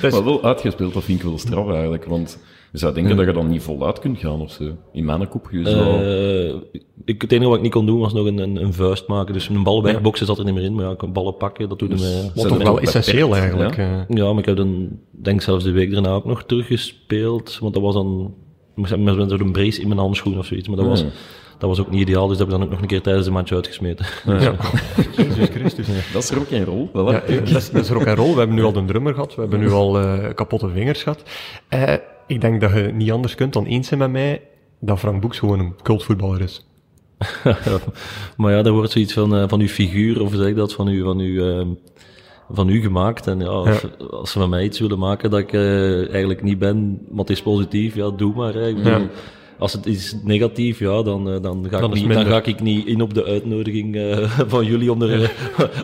Speaker 1: Dus-
Speaker 2: Maar wel uitgespeeld, dat vind ik wel straf eigenlijk. Want je zou denken dat je dan niet voluit kunt gaan of zo. In mijn kop, je zou...
Speaker 3: Eh, ik, het enige wat ik niet kon doen was nog een, een, een vuist maken. Dus een bal wegboksen zat er niet meer in. Maar ja, ik kon ballen pakken, dat doet hem. eh,
Speaker 1: Wat
Speaker 2: Zijn
Speaker 1: toch
Speaker 2: er
Speaker 1: wel
Speaker 2: nog
Speaker 1: essentieel
Speaker 2: beperkt,
Speaker 1: eigenlijk.
Speaker 2: ja?
Speaker 1: eh.
Speaker 3: Ja, maar ik heb dan, denk zelfs de week daarna ook nog teruggespeeld. Want dat was dan, ik moest hebben met zo'n brace in mijn handschoen of zoiets. Maar dat was, dat was ook niet ideaal, dus dat heb ik dan ook nog een keer tijdens de match uitgesmeten.
Speaker 1: Ja. Jezus Christus.
Speaker 2: Dat is er ook geen rol.
Speaker 1: eh.
Speaker 2: Wel,
Speaker 1: Ja, eh,
Speaker 2: hè?
Speaker 1: dat is, dat is rock and roll. We hebben nu al de drummer gehad. We hebben nu al eh, kapotte vingers gehad. Eh, ik denk dat je niet anders kunt dan eens zijn met mij dat Frank Boeks gewoon een cultvoetballer is.
Speaker 3: maar ja, daar wordt zoiets van, eh, van uw figuur, of hoe zeg ik dat, van u, van u, ehm, van u gemaakt. En ja, als, als ze van mij iets willen maken dat ik eh, eigenlijk niet ben, maar het is positief, ja, doe maar. Hè. Ik bedoel,
Speaker 1: Ja.
Speaker 3: Als het is negatief, ja, dan, eh, dan, ga
Speaker 1: Dan
Speaker 3: ik
Speaker 1: is het
Speaker 3: niet, dan
Speaker 1: minder.
Speaker 3: ga ik niet in op de uitnodiging eh, van jullie om, er,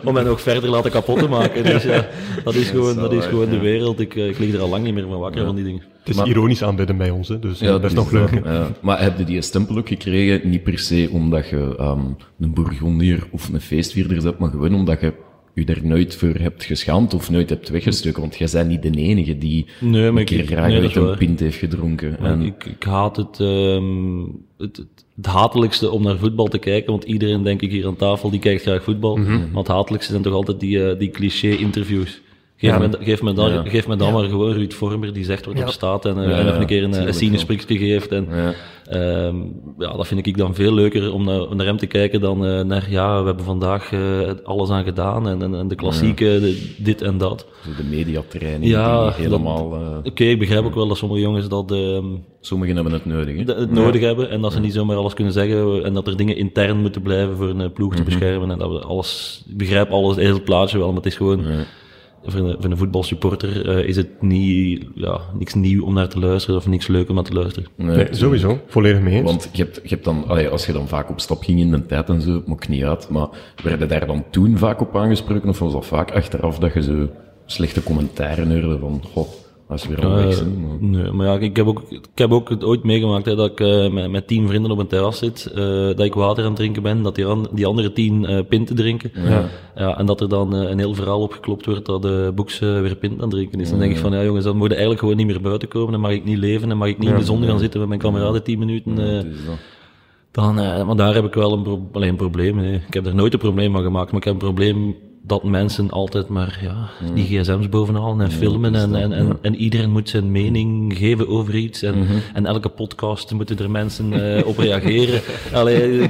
Speaker 3: om mij nog verder laten kapot te maken. Dus ja, dat is gewoon, dat is gewoon de wereld. Ik, eh, ik lig er al lang niet meer van wakker van die dingen.
Speaker 1: Het is ironisch aanbidden bij ons, hè, dus ja, dat is nog
Speaker 2: dus,
Speaker 1: leuk. hè.
Speaker 2: ja. maar heb je die stempel ook gekregen? Niet per se omdat je ehm, een bourgondier of een feestvierder bent, maar gewoon omdat je je daar nooit voor hebt geschaamd of nooit hebt weggestoken. Want jij bent niet de enige die
Speaker 3: Nee, maar
Speaker 2: een
Speaker 3: ik-
Speaker 2: keer graag
Speaker 3: nee, dat
Speaker 2: uit
Speaker 3: is waar.
Speaker 2: een pint heeft gedronken. En,
Speaker 3: Ik, ik haat het, ehm, het, het, het hatelijkste om naar voetbal te kijken, want iedereen,
Speaker 2: Mhm.
Speaker 3: denk ik, hier aan tafel, die kijkt graag voetbal. Maar het hatelijkste zijn toch altijd die, eh, die cliché-interviews. Geef,
Speaker 1: Ja.
Speaker 3: me, geef, me dan,
Speaker 2: Ja.
Speaker 3: geef me dan maar gewoon Ruud Vormer, die zegt wat er
Speaker 1: Ja.
Speaker 3: staat en,
Speaker 2: Ja,
Speaker 3: eh, en nog
Speaker 2: ja,
Speaker 3: een keer een, een
Speaker 2: tuurlijk
Speaker 3: cynisch
Speaker 2: wel.
Speaker 3: prikje geeft. En,
Speaker 2: Ja.
Speaker 3: Ehm, ja, dat vind ik dan veel leuker om naar, om naar hem te kijken dan eh, naar, ja, we hebben vandaag eh, alles aan gedaan en, en, en de klassieke, de- dit en dat.
Speaker 2: Zo de mediatraining
Speaker 3: Ja,
Speaker 2: die helemaal... eh,
Speaker 3: Oké, ik begrijp ook wel dat sommige jongens dat, ehm,
Speaker 2: sommigen hebben het nodig, hè?
Speaker 3: dat het nodig hebben en dat ze niet zomaar alles kunnen zeggen en dat er dingen intern moeten blijven voor een eh, ploeg te beschermen en dat we alles, ik begrijp alles, het hele plaatje wel, maar het is gewoon... Voor een, voor een voetbalsupporter eh, is het niet, ja, niks nieuw om naar te luisteren of niks leuk om naar te luisteren.
Speaker 2: Nee,
Speaker 1: Nee, sowieso. Volledig mee eens.
Speaker 2: Want je hebt, je hebt dan, allee, als je dan vaak op stap ging in de tijd en zo, maakt niet uit, maar werden daar dan toen vaak op aangesproken of was dat vaak achteraf dat je zo slechte commentaren hoorde van, god, als weer al weg
Speaker 3: Eh,
Speaker 2: zijn. maar-
Speaker 3: nee, maar ja, ik heb ook, ik heb ook het ooit meegemaakt hè, dat ik eh, met, met tien vrienden op een terras zit, eh, dat ik water aan het drinken ben, dat die, an- die andere tien eh, pinten drinken. Ja. en dat er dan eh, een heel verhaal opgeklopt wordt dat de Boeks eh, weer pint aan het drinken is. Dan denk ik van, ja jongens, dan moet je eigenlijk gewoon niet meer buiten komen, dan mag ik niet leven, dan mag ik niet in de zon gaan zitten met mijn kameraden tien minuten. eh,
Speaker 2: Het is Dus dat.
Speaker 3: dan, eh, maar daar heb ik wel een, pro- allee, een probleem mee. Ik heb er nooit een probleem van gemaakt, maar ik heb een probleem dat mensen altijd maar ja, die gsm's bovenhalen en filmen en, en, en, en iedereen moet zijn mening geven over iets en, en elke podcast moeten er mensen eh, op reageren. Allee,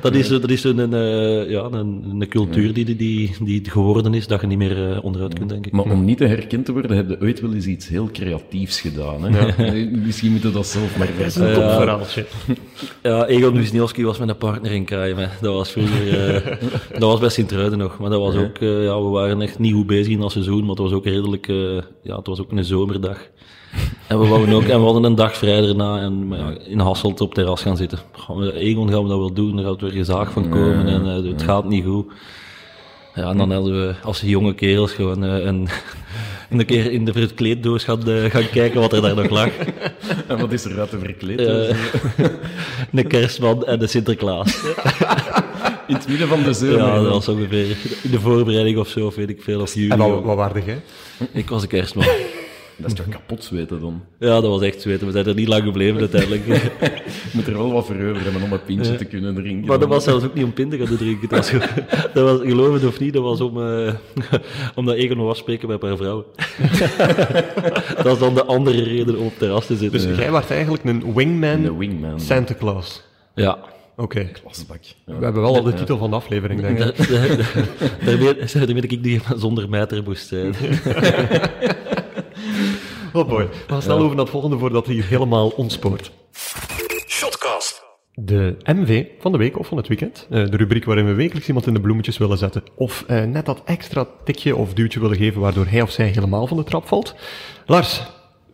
Speaker 3: dat is, dat is een, eh, ja, een, een cultuur die, die, die het geworden is dat je niet meer eh, onderuit kunt, denk ik.
Speaker 2: Maar om niet te herkend te worden, heb je ooit wel eens iets heel creatiefs gedaan. Hè? Misschien moeten we dat zelf maar verzinnen.
Speaker 1: Top verhaaltje.
Speaker 3: Ja, Egon Wisniewski was mijn partner in crime. Hè. Dat was vroeger... eh, dat was bij Sint-Truiden nog. Maar dat was ook... eh, ja, we waren echt niet goed bezig in dat seizoen, maar het was ook redelijk... eh, ja, het was ook een zomerdag. En we, wouden ook, en we hadden een dag vrij daarna en, maar ja, in Hasselt op terras gaan zitten. Goh, met Egon gaan we dat wel doen, daar gaat weer gezaag van komen en eh, het gaat niet goed. Ja, en dan hadden we als jonge kerels gewoon eh, een, een keer in de verkleeddoos gaan, eh, gaan kijken wat er daar nog lag.
Speaker 2: En wat is er uit te verkleed?
Speaker 3: Eh, de kerstman en de Sinterklaas.
Speaker 2: In het midden van de zomer.
Speaker 3: Ja, dat was ongeveer in de voorbereiding of zo, of weet ik veel, of juli.
Speaker 1: En al,
Speaker 3: ook.
Speaker 1: wat waardig, hè?
Speaker 3: Ik was een kerstman.
Speaker 2: Dat is toch kapot zweten dan?
Speaker 3: Ja, dat was echt zweten. We zijn er niet lang gebleven uiteindelijk.
Speaker 2: Je moet er wel wat voor over hebben om een pintje te kunnen drinken.
Speaker 3: Maar dat was zelfs ook niet om pinten gaan drinken. Dat was, gewoon- dat was, geloof het of niet, dat was om, eh omdat Egon was spreken bij een paar vrouwen. dat was dan de andere reden om op het terras te zitten.
Speaker 1: Dus jij werd eigenlijk een wingman,
Speaker 2: Een wingman.
Speaker 1: Santa Claus.
Speaker 3: ja.
Speaker 1: Oké.
Speaker 2: Plasbak.
Speaker 1: We hebben wel al de titel van de aflevering, denk ik.
Speaker 3: Daar- daar- Daarmee daarmee dat ik die zonder mijter moest eh. zijn.
Speaker 1: Oh boy. We gaan snel over naar het volgende voordat hij hier helemaal ontspoort.
Speaker 4: Shotcast.
Speaker 1: De MV van de week of van het weekend. Eh, de rubriek waarin we wekelijks iemand in de bloemetjes willen zetten. Of eh, net dat extra tikje of duwtje willen geven waardoor hij of zij helemaal van de trap valt. Lars,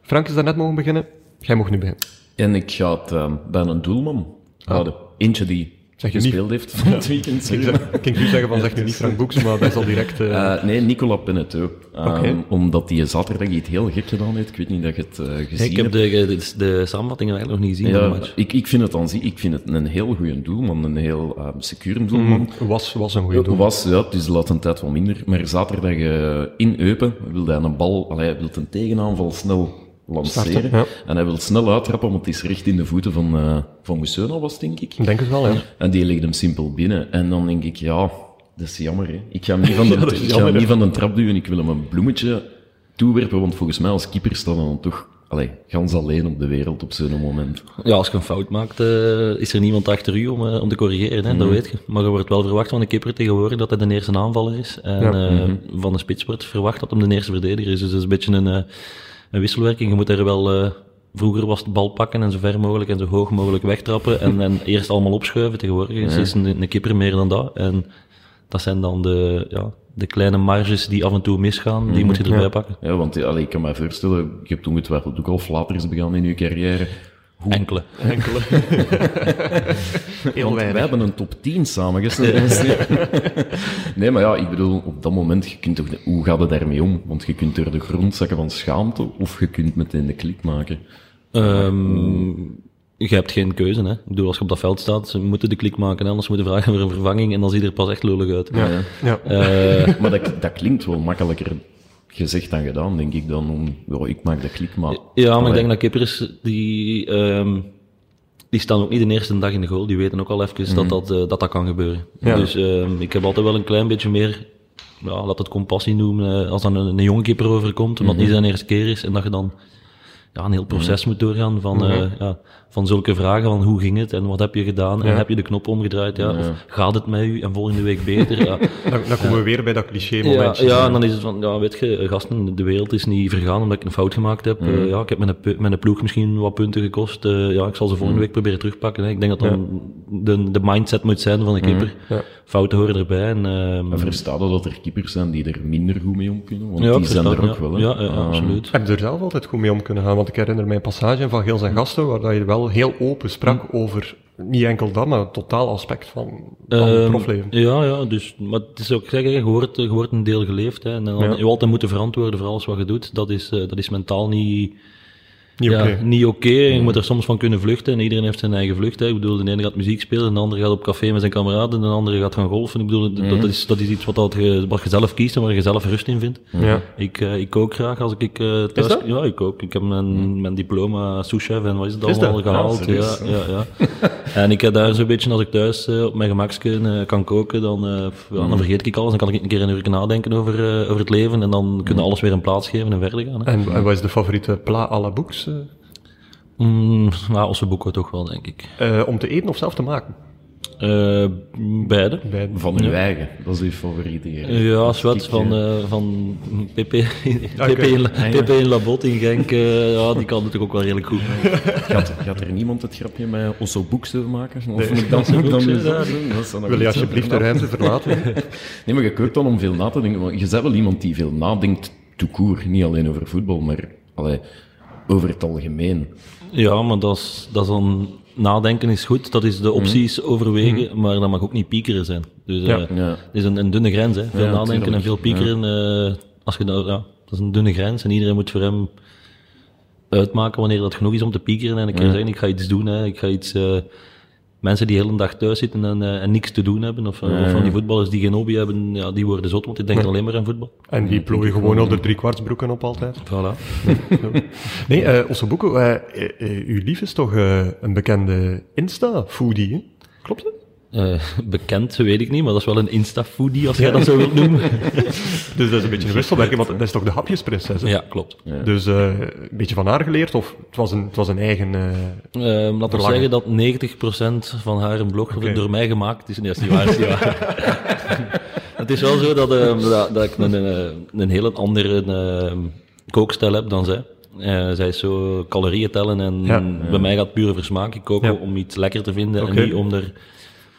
Speaker 1: Frank is daarnet mogen beginnen. Jij mag nu beginnen.
Speaker 2: En ik ga het eh, bij een doelman houden. Eentje die
Speaker 1: Zeg je
Speaker 2: gespeeld heeft van het weekend.
Speaker 1: Ik zeg- ik kan nu zeggen van zeg nu niet Frank Boeks, maar dat is al direct... eh,
Speaker 2: Eh, nee, Nicola Pineto. Ehm,
Speaker 1: Oké.
Speaker 2: Omdat die zaterdag iets heel gek gedaan heeft. Ik weet niet dat je het eh, gezien
Speaker 3: Ik heb
Speaker 2: hebt.
Speaker 3: de, de, de samenvattingen eigenlijk nog niet gezien van de
Speaker 2: Ja,
Speaker 3: match.
Speaker 2: ik, ik vind het aan zich, ik vind het een heel goede doelman, een heel ehm secure doelman.
Speaker 1: was, was een goede doel.
Speaker 2: Was, ja, dus de laatste tijd wat minder. Maar zaterdag eh, in Eupen wilde hij een bal, allee, hij wil een tegenaanval snel lanceren.
Speaker 1: Starten, ja.
Speaker 2: En hij wil snel uittrappen, want het is recht in de voeten van, eh van Mousseuna was, het, denk ik.
Speaker 1: Ik denk het wel, hè.
Speaker 2: En die legde hem simpel binnen. En dan denk ik, ja, dat is jammer. Hè. Ik, ga hem niet van de,
Speaker 1: Ja, dat is
Speaker 2: ik ga hem
Speaker 1: jammer, hè.
Speaker 2: niet van de trap duwen, ik wil hem een bloemetje toewerpen. Want volgens mij als keeper staat hij dan toch allee, gans alleen op de wereld op zo'n moment.
Speaker 3: Ja, als je een fout maakt, eh, is er niemand achter u om, eh, om te corrigeren, hè? dat weet je. Maar er wordt wel verwacht van de keeper tegenwoordig dat hij de eerste aanvaller is. En
Speaker 1: Ja.
Speaker 3: eh, van de spits wordt verwacht dat hem de eerste verdediger is. Dus dat is een beetje een, eh, een wisselwerking. Je moet er wel... eh, vroeger was het bal pakken en zo ver mogelijk en zo hoog mogelijk wegtrappen. En, en eerst allemaal opschuiven. Tegenwoordig is, is een, een keeper meer dan dat. En dat zijn dan de, ja, de kleine marges die af en toe misgaan, die moet je erbij pakken.
Speaker 2: Ja, want eh, allee, ik kan me voorstellen, je hebt ongetwijfeld ook al flaters begaan in je carrière.
Speaker 3: Enkele.
Speaker 1: Heel
Speaker 2: We
Speaker 1: weinig.
Speaker 2: hebben een top 10 samengesteld. nee, maar ja, ik bedoel, op dat moment, je kunt toch, hoe gaat het daarmee om? Want je kunt door de grond zakken van schaamte, of je kunt meteen de klik maken.
Speaker 3: Ehm je hebt geen keuze, hè. Ik bedoel, als je op dat veld staat, ze moeten de klik maken, hè, anders moeten vragen voor een vervanging en dan ziet er pas echt lullig uit.
Speaker 1: Ja. Ja.
Speaker 2: maar dat, dat klinkt wel makkelijker gezegd dan gedaan, denk ik dan. Om, ja, ik maak de klik, maar...
Speaker 3: Ja, maar ik
Speaker 2: Allee,
Speaker 3: denk dat kippers, die, ehm, die staan ook niet de eerste dag in de goal, die weten ook al even dat, dat, eh, dat dat kan gebeuren.
Speaker 1: Ja.
Speaker 3: Dus ehm, ik heb altijd wel een klein beetje meer ja, laat het compassie noemen, eh, als dan een, een jonge keeper overkomt, omdat het niet zijn eerste keer is, en dat je dan ja, een heel proces moet doorgaan van, eh, ja, van zulke vragen van hoe ging het en wat heb je gedaan en heb je de knop omgedraaid, ja, of gaat het met u en volgende week beter. ja.
Speaker 1: Dan, dan komen we weer bij dat cliché
Speaker 3: Ja,
Speaker 1: momentje.
Speaker 3: ja, en dan is het van, ja, weet je, gasten, de wereld is niet vergaan omdat ik een fout gemaakt
Speaker 2: Mm.
Speaker 3: heb. Eh, ja, ik heb mijn, pu- mijn ploeg misschien wat punten gekost. Eh, ja, ik zal ze
Speaker 2: Mm.
Speaker 3: volgende week proberen terugpakken. Hè. Ik denk dat dan de, de mindset moet zijn van de keeper.
Speaker 2: Mm.
Speaker 3: Fouten horen erbij. En, ehm,
Speaker 2: Maar versta dat dat er keepers zijn die er minder goed mee om kunnen? Want
Speaker 3: ja,
Speaker 2: die zijn
Speaker 3: verstaan,
Speaker 2: er ook
Speaker 3: ja.
Speaker 2: wel. hè.
Speaker 3: Ja, ja,
Speaker 2: Ehm,
Speaker 3: absoluut.
Speaker 1: Heb je er zelf altijd goed mee om kunnen gaan? Want ik herinner mij een passage van Geel en Gasten, waar dat je wel heel open sprak
Speaker 3: Hm.
Speaker 1: over niet enkel dat, maar het totaal aspect van, van het
Speaker 3: Ehm,
Speaker 1: profleven.
Speaker 3: Ja, ja, dus, maar het is ook zeggen, je wordt, je wordt een deel geleefd. Hè, en dan
Speaker 1: Ja.
Speaker 3: je altijd moeten verantwoorden voor alles wat je doet. Dat is, eh, dat is mentaal niet...
Speaker 1: Niet
Speaker 3: ja,
Speaker 1: oké.
Speaker 3: niet oké. Je moet er soms van kunnen vluchten. En iedereen heeft zijn eigen vlucht. Hè. Ik bedoel, de ene gaat muziek spelen, de andere gaat op café met zijn kameraden, de andere gaat gaan golfen. Ik bedoel, d- dat, is, dat is iets wat, dat je, wat je zelf kiest en waar je zelf rust in vindt.
Speaker 1: Ja.
Speaker 3: Ik, eh, ik kook graag als ik eh thuis...
Speaker 1: dat?
Speaker 3: Ja, ik ook. Ik heb mijn, mijn diploma souschef en wat is het
Speaker 1: Is dat?
Speaker 3: allemaal gehaald.
Speaker 2: Ah,
Speaker 3: ja,
Speaker 2: serieus?
Speaker 3: ja, ja. en ik heb daar zo'n beetje, als ik thuis eh, op mijn gemakje eh, kan koken, dan, eh, pff, ja, dan vergeet ik alles. Dan kan ik een keer een uur nadenken over, eh, over het leven. En dan kunnen alles weer een plaats geven en verder gaan. Hè.
Speaker 1: En, en wat is de favoriete pla à la boeks? eh?
Speaker 3: Mm, nou, Ossenboeken toch wel, denk ik.
Speaker 1: Eh, om te eten of zelf te maken?
Speaker 3: Eh, beide.
Speaker 1: Bij,
Speaker 2: Van uw eigen, dat is uw favoriete. hier.
Speaker 3: Ja, zwart
Speaker 2: Kijk,
Speaker 3: van,
Speaker 2: eh,
Speaker 3: eh, van PP, PP,
Speaker 1: Oké.
Speaker 3: in, La- PP in Labot in Genk. eh, ja, die kan natuurlijk ook wel redelijk goed.
Speaker 2: Gaat, gaat er niemand het grapje met Osso Boekse maken? Of moet ik
Speaker 3: Osso
Speaker 2: dat moet ik dan
Speaker 3: Boekse,
Speaker 2: mezelf
Speaker 3: ja,
Speaker 2: doen? Dat zou nog
Speaker 1: Wil je
Speaker 2: iets
Speaker 1: alsjeblieft de
Speaker 2: zijn.
Speaker 1: ruimte verlaten?
Speaker 2: Nee, maar je kookt dan om veel na te denken. Want je bent wel iemand die veel nadenkt, tout court. Niet alleen over voetbal, maar allee, over het algemeen.
Speaker 3: Ja, maar dat is, dat is dan... Nadenken is goed, dat is de opties overwegen, maar dat mag ook niet piekeren zijn. Dus eh,
Speaker 1: Ja.
Speaker 2: Ja.
Speaker 3: het is een, een dunne grens. Hè. Veel
Speaker 2: Ja,
Speaker 3: nadenken en
Speaker 2: tuurlijk.
Speaker 3: veel piekeren, eh, als je dat, ja, dat is een dunne grens en iedereen moet voor hem uitmaken wanneer dat genoeg is om te piekeren en een keer zeggen, ik ga iets doen, hè, ik ga iets... eh, mensen die de hele dag thuis zitten en, eh, en niks te doen hebben, of, eh, of van die voetballers die geen hobby hebben, ja, die worden zot, want die denken alleen maar aan voetbal.
Speaker 1: en die plooien gewoon al de driekwartsbroeken op altijd.
Speaker 3: Voilà.
Speaker 1: Nee, eh Ossoboeko, eh, eh, eh, uw lief is toch eh, een bekende Insta-foodie, hè? Klopt het?
Speaker 3: Eh, bekend, weet ik niet, maar dat is wel een insta-foodie, als jij dat zo wilt noemen.
Speaker 1: Dus dat is een beetje een wisselwerking, want dat is toch de hapjesprinses, hè?
Speaker 3: ja, klopt.
Speaker 1: Dus eh, een beetje van haar geleerd, of het was een, het was een eigen... eh,
Speaker 3: Ehm laten we
Speaker 1: Belangen.
Speaker 3: zeggen dat 90% van haar een blog
Speaker 1: Oké.
Speaker 3: door mij gemaakt is. Nee, dat is niet waar. dat is niet waar. het is wel zo dat, ehm, dat, dat ik een, een, een heel andere ehm, kookstijl heb dan zij. Eh, zij is zo calorieën tellen en
Speaker 1: Ja.
Speaker 3: bij mij gaat het puur over smaak. Ik kook
Speaker 1: Ja.
Speaker 3: om iets lekker te vinden
Speaker 1: Oké.
Speaker 3: en niet om er...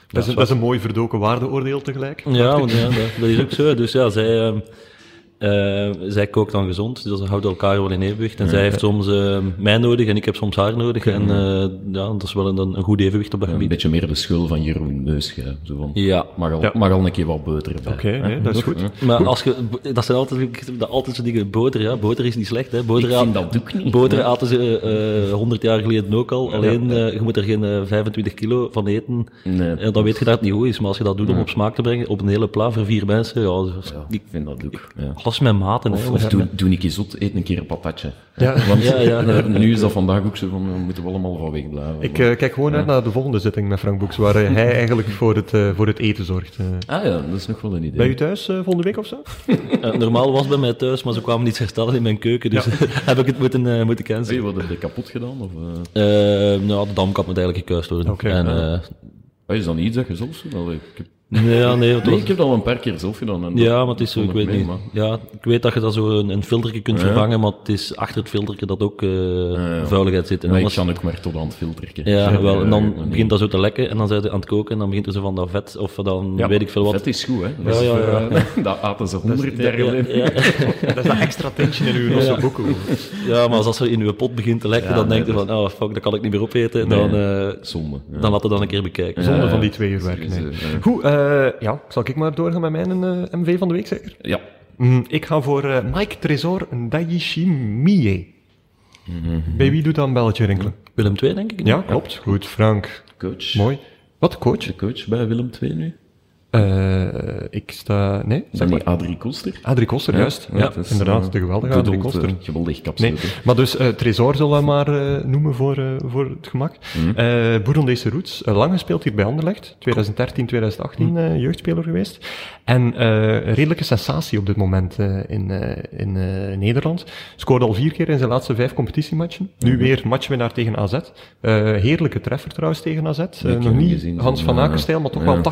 Speaker 1: dat, is een, dat is een mooi verdoken waardeoordeel tegelijk.
Speaker 3: Ja, want, ja dat, dat is ook zo. Dus ja, zij, ehm, eh, zij kookt dan gezond, dus ze houden elkaar wel in evenwicht. En zij heeft soms ehm, mij nodig en ik heb soms haar nodig. En eh, ja, dat is wel een, een goed evenwicht op dat
Speaker 2: Een
Speaker 3: gebied.
Speaker 2: beetje meer de schuld van Jeroen Neusche. Zo van,
Speaker 3: Ja.
Speaker 2: mag, al,
Speaker 1: Ja.
Speaker 2: mag al een keer wat boter bij.
Speaker 1: Oké, nee, dat is goed.
Speaker 3: Maar als je, dat zijn altijd, dat altijd zo'n dingen, boter, ja, boter is niet slecht, hè. Boter
Speaker 2: Ik vind
Speaker 3: aten-
Speaker 2: dat ook niet.
Speaker 3: Boter aten ze eh, eh, 100 jaar geleden ook al, alleen eh, je moet er geen eh, 25 kilo van eten.
Speaker 2: Nee.
Speaker 3: En dan weet je dat het niet goed is, maar als je dat doet om op smaak te brengen, op een hele plaat voor vier mensen, ja, dat is-
Speaker 2: Ja, ik vind dat ook. Ja.
Speaker 3: alles met maten, hè.
Speaker 2: Of doe, doe ik eens zot, eet een keer een patatje.
Speaker 1: Ja.
Speaker 2: Want
Speaker 3: Ja, ja,
Speaker 2: eh, nu is dat vandaag ook zo van, we moeten wel allemaal van weg blijven.
Speaker 1: Ik eh, kijk gewoon uit naar de volgende zitting met Frank Boeks, waar eh, hij eigenlijk voor het, eh, voor het eten zorgt. eh.
Speaker 2: Ah ja, dat is nog wel een idee.
Speaker 1: Bij u thuis eh, volgende week of zo?
Speaker 3: Eh, normaal was het bij mij thuis, maar ze kwamen niet herstellen in mijn keuken, dus heb ik het moeten, eh, moeten
Speaker 2: Hey,
Speaker 3: cancelen.
Speaker 2: wat heb je kapot gedaan? Of, eh?
Speaker 3: Eh, nou, de damkap moet eigenlijk gekuist worden.
Speaker 1: Oké,
Speaker 3: en,
Speaker 1: ja.
Speaker 3: eh,
Speaker 2: Ah, is dat niet iets dat je zelf doet? Allee, ik, heb,
Speaker 3: nee, ja, nee, het
Speaker 2: nee,
Speaker 3: was,
Speaker 2: ik heb dat al een paar keer zelf gedaan. En
Speaker 3: Ja, maar het is zo,
Speaker 2: vond
Speaker 3: ik weet
Speaker 2: mee,
Speaker 3: niet.
Speaker 2: maar-
Speaker 3: Ja, ik weet dat je dat zo een, een filterje kunt vervangen, maar het is achter het filterje dat ook eh, vuiligheid zit. En
Speaker 2: Maar ik
Speaker 3: anders-
Speaker 2: kan ook maar tot aan het filteren.
Speaker 3: ja, wel, en dan
Speaker 2: eh, maar
Speaker 3: begint dat zo te lekken en dan zijn ze aan het koken en dan begint er zo van dat vet of dan
Speaker 2: Ja,
Speaker 3: weet ik veel wat.
Speaker 2: Vet is goed, hè.
Speaker 3: Ja, ja, ja.
Speaker 2: eh, dat aten ze honderd jaar
Speaker 3: ja,
Speaker 2: geleden.
Speaker 3: ja,
Speaker 1: Dat is dat extra tintje in uw losse boeken.
Speaker 3: ja, maar als dat zo in uw pot begint te lekken,
Speaker 2: Ja,
Speaker 3: dan
Speaker 2: nee,
Speaker 3: denk je van, oh fuck, dat kan ik niet meer opeten. Dan, eh,
Speaker 2: Zonde. ja.
Speaker 3: dan laat het dan een keer bekijken.
Speaker 1: Zonder van die twee uur werk.
Speaker 2: Dus,
Speaker 1: Nee.
Speaker 2: eh, eh,
Speaker 1: Goed, eh, ja, zal ik maar doorgaan met mijn eh, MV van de week zeker?
Speaker 2: Ja.
Speaker 1: Mm, ik ga voor eh, Mike Tresor Daishimiye. Bij wie doet dat een belletje rinkelen?
Speaker 3: Willem II, denk ik.
Speaker 1: Ja, klopt. Goed, Frank.
Speaker 2: Coach.
Speaker 1: Mooi. Wat coach?
Speaker 2: De coach bij Willem II nu?
Speaker 1: Eh, ik sta... Nee, zeg maar.
Speaker 2: die Adrie Koster?
Speaker 1: Adrie Koster, juist. Ja,
Speaker 2: het is,
Speaker 1: inderdaad,
Speaker 2: eh,
Speaker 1: de geweldige
Speaker 2: de
Speaker 1: Adrie
Speaker 2: dood,
Speaker 1: Koster.
Speaker 2: eh, Geweldig kapsel.
Speaker 1: Nee, maar dus eh Tresor zullen we maar eh, noemen voor, eh, voor het gemak.
Speaker 2: Mhm.
Speaker 1: Eh Boerondese Roots, eh, lang gespeeld hier bij Anderlecht. 2013, 2018
Speaker 2: Mhm.
Speaker 1: eh, jeugdspeler geweest. En eh, redelijke sensatie op dit moment eh, in, eh, in eh, Nederland. Scoorde al vier keer in zijn laatste vijf competitiematchen.
Speaker 2: Mhm.
Speaker 1: Nu weer matchwinnaar tegen AZ. Eh, heerlijke treffer trouwens tegen AZ. Eh,
Speaker 2: heb
Speaker 1: nog
Speaker 2: hem
Speaker 1: niet
Speaker 2: gezien,
Speaker 1: Hans
Speaker 2: ja.
Speaker 1: van Akenstijl, maar toch
Speaker 2: Ja. Dus
Speaker 1: wel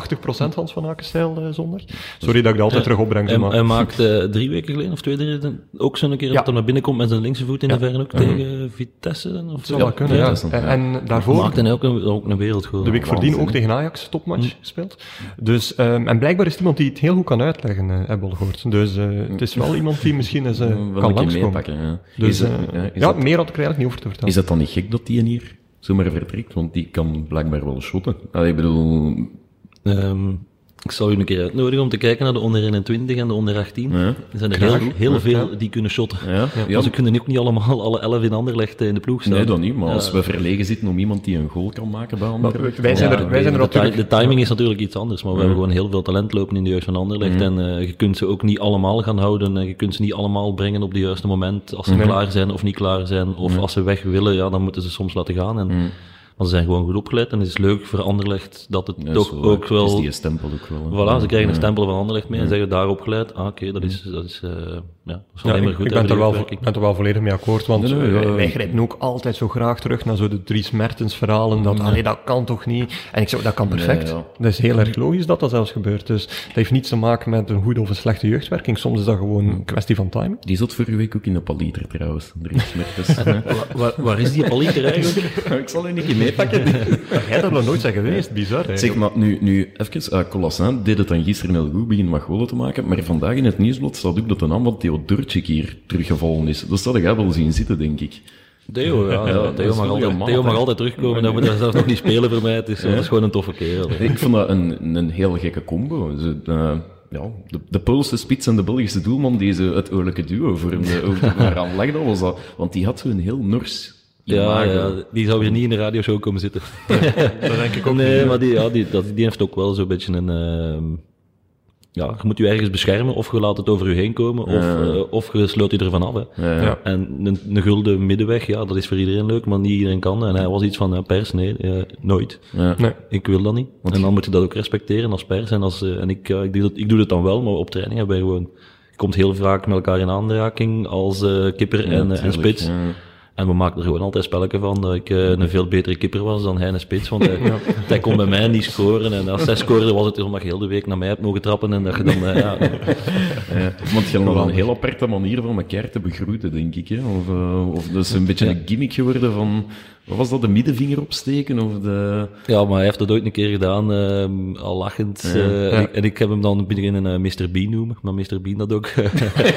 Speaker 1: 80% Hans van Akenstijl eh, zondag. Sorry dat ik dat altijd terug opbreng.
Speaker 3: Hij,
Speaker 1: maar-
Speaker 3: hij maakte drie weken geleden of twee drie, ook zo'n keer
Speaker 1: Ja.
Speaker 3: dat hij naar binnen komt met zijn linkse voet in de
Speaker 1: Ja.
Speaker 3: verne ook tegen Vitesse. dan, Of
Speaker 1: zou wel kunnen,
Speaker 2: ja,
Speaker 1: ja.
Speaker 2: dat is dan-
Speaker 1: En-
Speaker 2: ja.
Speaker 1: En daarvoor...
Speaker 3: Maakte hij ook een, ook een wereldgoal.
Speaker 1: De week voordien ook
Speaker 2: Waanzin, Mm.
Speaker 1: tegen Ajax topmatch gespeeld. Dus, ehm, en blijkbaar is het iemand die het heel goed kan uitleggen, eh, hebben we al gehoord. Dus eh, het is wel iemand die misschien eens eh,
Speaker 2: Mm. Wel
Speaker 1: kan
Speaker 2: een keer
Speaker 1: langskomen.
Speaker 2: meepakken. ja.
Speaker 1: Dus,
Speaker 2: is, dat,
Speaker 1: eh,
Speaker 2: ja, is,
Speaker 1: ja,
Speaker 2: dat,
Speaker 1: meer had ik er eigenlijk niet over te vertellen.
Speaker 2: is dat dan niet gek dat die een hier zomaar vertrekt? Want die kan blijkbaar wel shotten. Allee, ik bedoel...
Speaker 3: Ehm, ik zal u een keer uitnodigen om te kijken naar de onder 21 en de onder 18.
Speaker 2: Ja.
Speaker 3: Er zijn er heel, heel veel die kunnen shotten.
Speaker 2: Ja, ja.
Speaker 3: Maar ze kunnen ook niet allemaal alle 11 in Anderlecht eh, in de ploeg staan.
Speaker 2: Nee, dan niet. Maar als we verlegen zitten om iemand die een goal kan maken bij Anderlecht...
Speaker 1: wij zijn
Speaker 2: dan-
Speaker 1: er- wij zijn er
Speaker 3: de,
Speaker 1: natuurlijk-
Speaker 3: de timing is natuurlijk iets anders, maar we hebben gewoon heel veel talent lopen in de jeugd van Anderlecht. En eh, je kunt ze ook niet allemaal gaan houden. En je kunt ze niet allemaal brengen op het juiste moment.
Speaker 2: Mhm.
Speaker 3: Als ze klaar zijn of niet klaar zijn. Of als ze weg willen, ja, dan moeten ze soms laten gaan.
Speaker 2: Mhm.
Speaker 3: En, Maar ze zijn gewoon goed opgeleid. En het is leuk voor Anderlecht dat het
Speaker 2: Ja,
Speaker 3: toch
Speaker 2: zo,
Speaker 3: ook
Speaker 2: is
Speaker 3: wel...
Speaker 2: die stempel ook wel. hè.
Speaker 3: Voilà, ze krijgen een stempel van Anderlecht mee en zeggen daarop geleid. Ah, oké, dat is, dat is, eh, ja, dat is alleen
Speaker 1: Ja,
Speaker 3: maar
Speaker 1: ik,
Speaker 3: goed.
Speaker 1: ik
Speaker 3: hè,
Speaker 1: ben
Speaker 3: voor
Speaker 1: er
Speaker 3: de
Speaker 1: wel,
Speaker 3: uitwerking.
Speaker 1: ben er wel volledig mee akkoord, want
Speaker 2: Nee, nee,
Speaker 1: eh,
Speaker 2: ja, ja.
Speaker 1: wij grijpen ook altijd zo graag terug naar zo de Dries Mertens verhalen, dat allee, dat kan toch niet? En ik zeg, dat kan perfect.
Speaker 2: Mm. ja.
Speaker 1: Dat is heel erg logisch dat dat zelfs gebeurt. Dus dat heeft niets te maken met een goede of een slechte jeugdwerking. Soms is dat
Speaker 2: Mm.
Speaker 1: gewoon een kwestie van timing.
Speaker 2: Die zat vorige week ook in de palieter trouwens. Dries Mertens.
Speaker 3: Wa- Waar, waar is die palieter eigenlijk?
Speaker 2: ik zal u niet meepakken.
Speaker 1: Jij dat nog nooit zijn geweest, bizar.
Speaker 2: Zeg maar, nu, nu even, eh Colassin deed het dan gisteren heel goed, begin wat golen te maken, maar vandaag in het nieuwsblad staat ook dat de naam van Theodorczyk hier teruggevallen is. Dat zou jij wel zien zitten, denk ik.
Speaker 3: Theo, ja, ja,
Speaker 2: dat
Speaker 3: Theo,
Speaker 2: is
Speaker 3: mag
Speaker 2: wel
Speaker 3: altijd,
Speaker 2: gemaakt,
Speaker 3: Theo mag
Speaker 2: hè.
Speaker 3: altijd terugkomen. Dat moet hij zelfs nog niet spelen voor mij. Het is, dat is gewoon een toffe kerel. hè.
Speaker 2: Ik vond dat een, een heel gekke combo. Ze, eh, ja, de, de Poolse spits en de Belgische doelman, die ze het oorlijke duo vormden. Ook waaraan lag dat was dat? Want die had zo'n heel Nors
Speaker 3: Ja,
Speaker 2: imago.
Speaker 3: ja, die zou weer niet in de radioshow komen zitten.
Speaker 1: dat denk ik
Speaker 3: nee, maar die, ja, die, dat, die heeft ook wel zo'n beetje een... ehm, ja, je moet je ergens beschermen, of je laat het over je heen komen, of, eh, of je sloot je ervan af. Hè.
Speaker 2: Ja.
Speaker 1: Ja.
Speaker 3: En een, een gulden middenweg, ja, dat is voor iedereen leuk, maar niet iedereen kan. En hij was iets van, eh, pers, nee, eh, nooit.
Speaker 2: Ja.
Speaker 1: Nee.
Speaker 3: Ik wil dat niet. En dan moet je dat ook respecteren als pers. En, als, eh, en ik, eh, ik, doe dat, ik doe dat dan wel, maar op training hebben wij gewoon... Je komt heel vaak met elkaar in aanraking als eh, kipper en, eh, en
Speaker 2: tuurlijk,
Speaker 3: spits.
Speaker 2: ja.
Speaker 3: En we maken er gewoon altijd spelletje van dat ik eh, een veel betere kipper was dan hij een spits. Want hij, hij kon bij mij niet scoren. En als hij scoorde was het dus omdat je heel de week naar mij hebt mogen trappen. En dat je dan... eh, ja,
Speaker 2: Ja, Want je had wel een heel aparte manier van elkaar te begroeten, denk ik. Hè? Of, eh, of dat is een beetje een gimmick geworden van... Wat was dat, de middenvinger opsteken? Of de...
Speaker 3: Ja, maar hij heeft dat ooit een keer gedaan, ehm, al lachend. eh, En, ik, en ik heb hem dan beginnen een Mr. Bean noemen, maar Mr. Bean dat ook.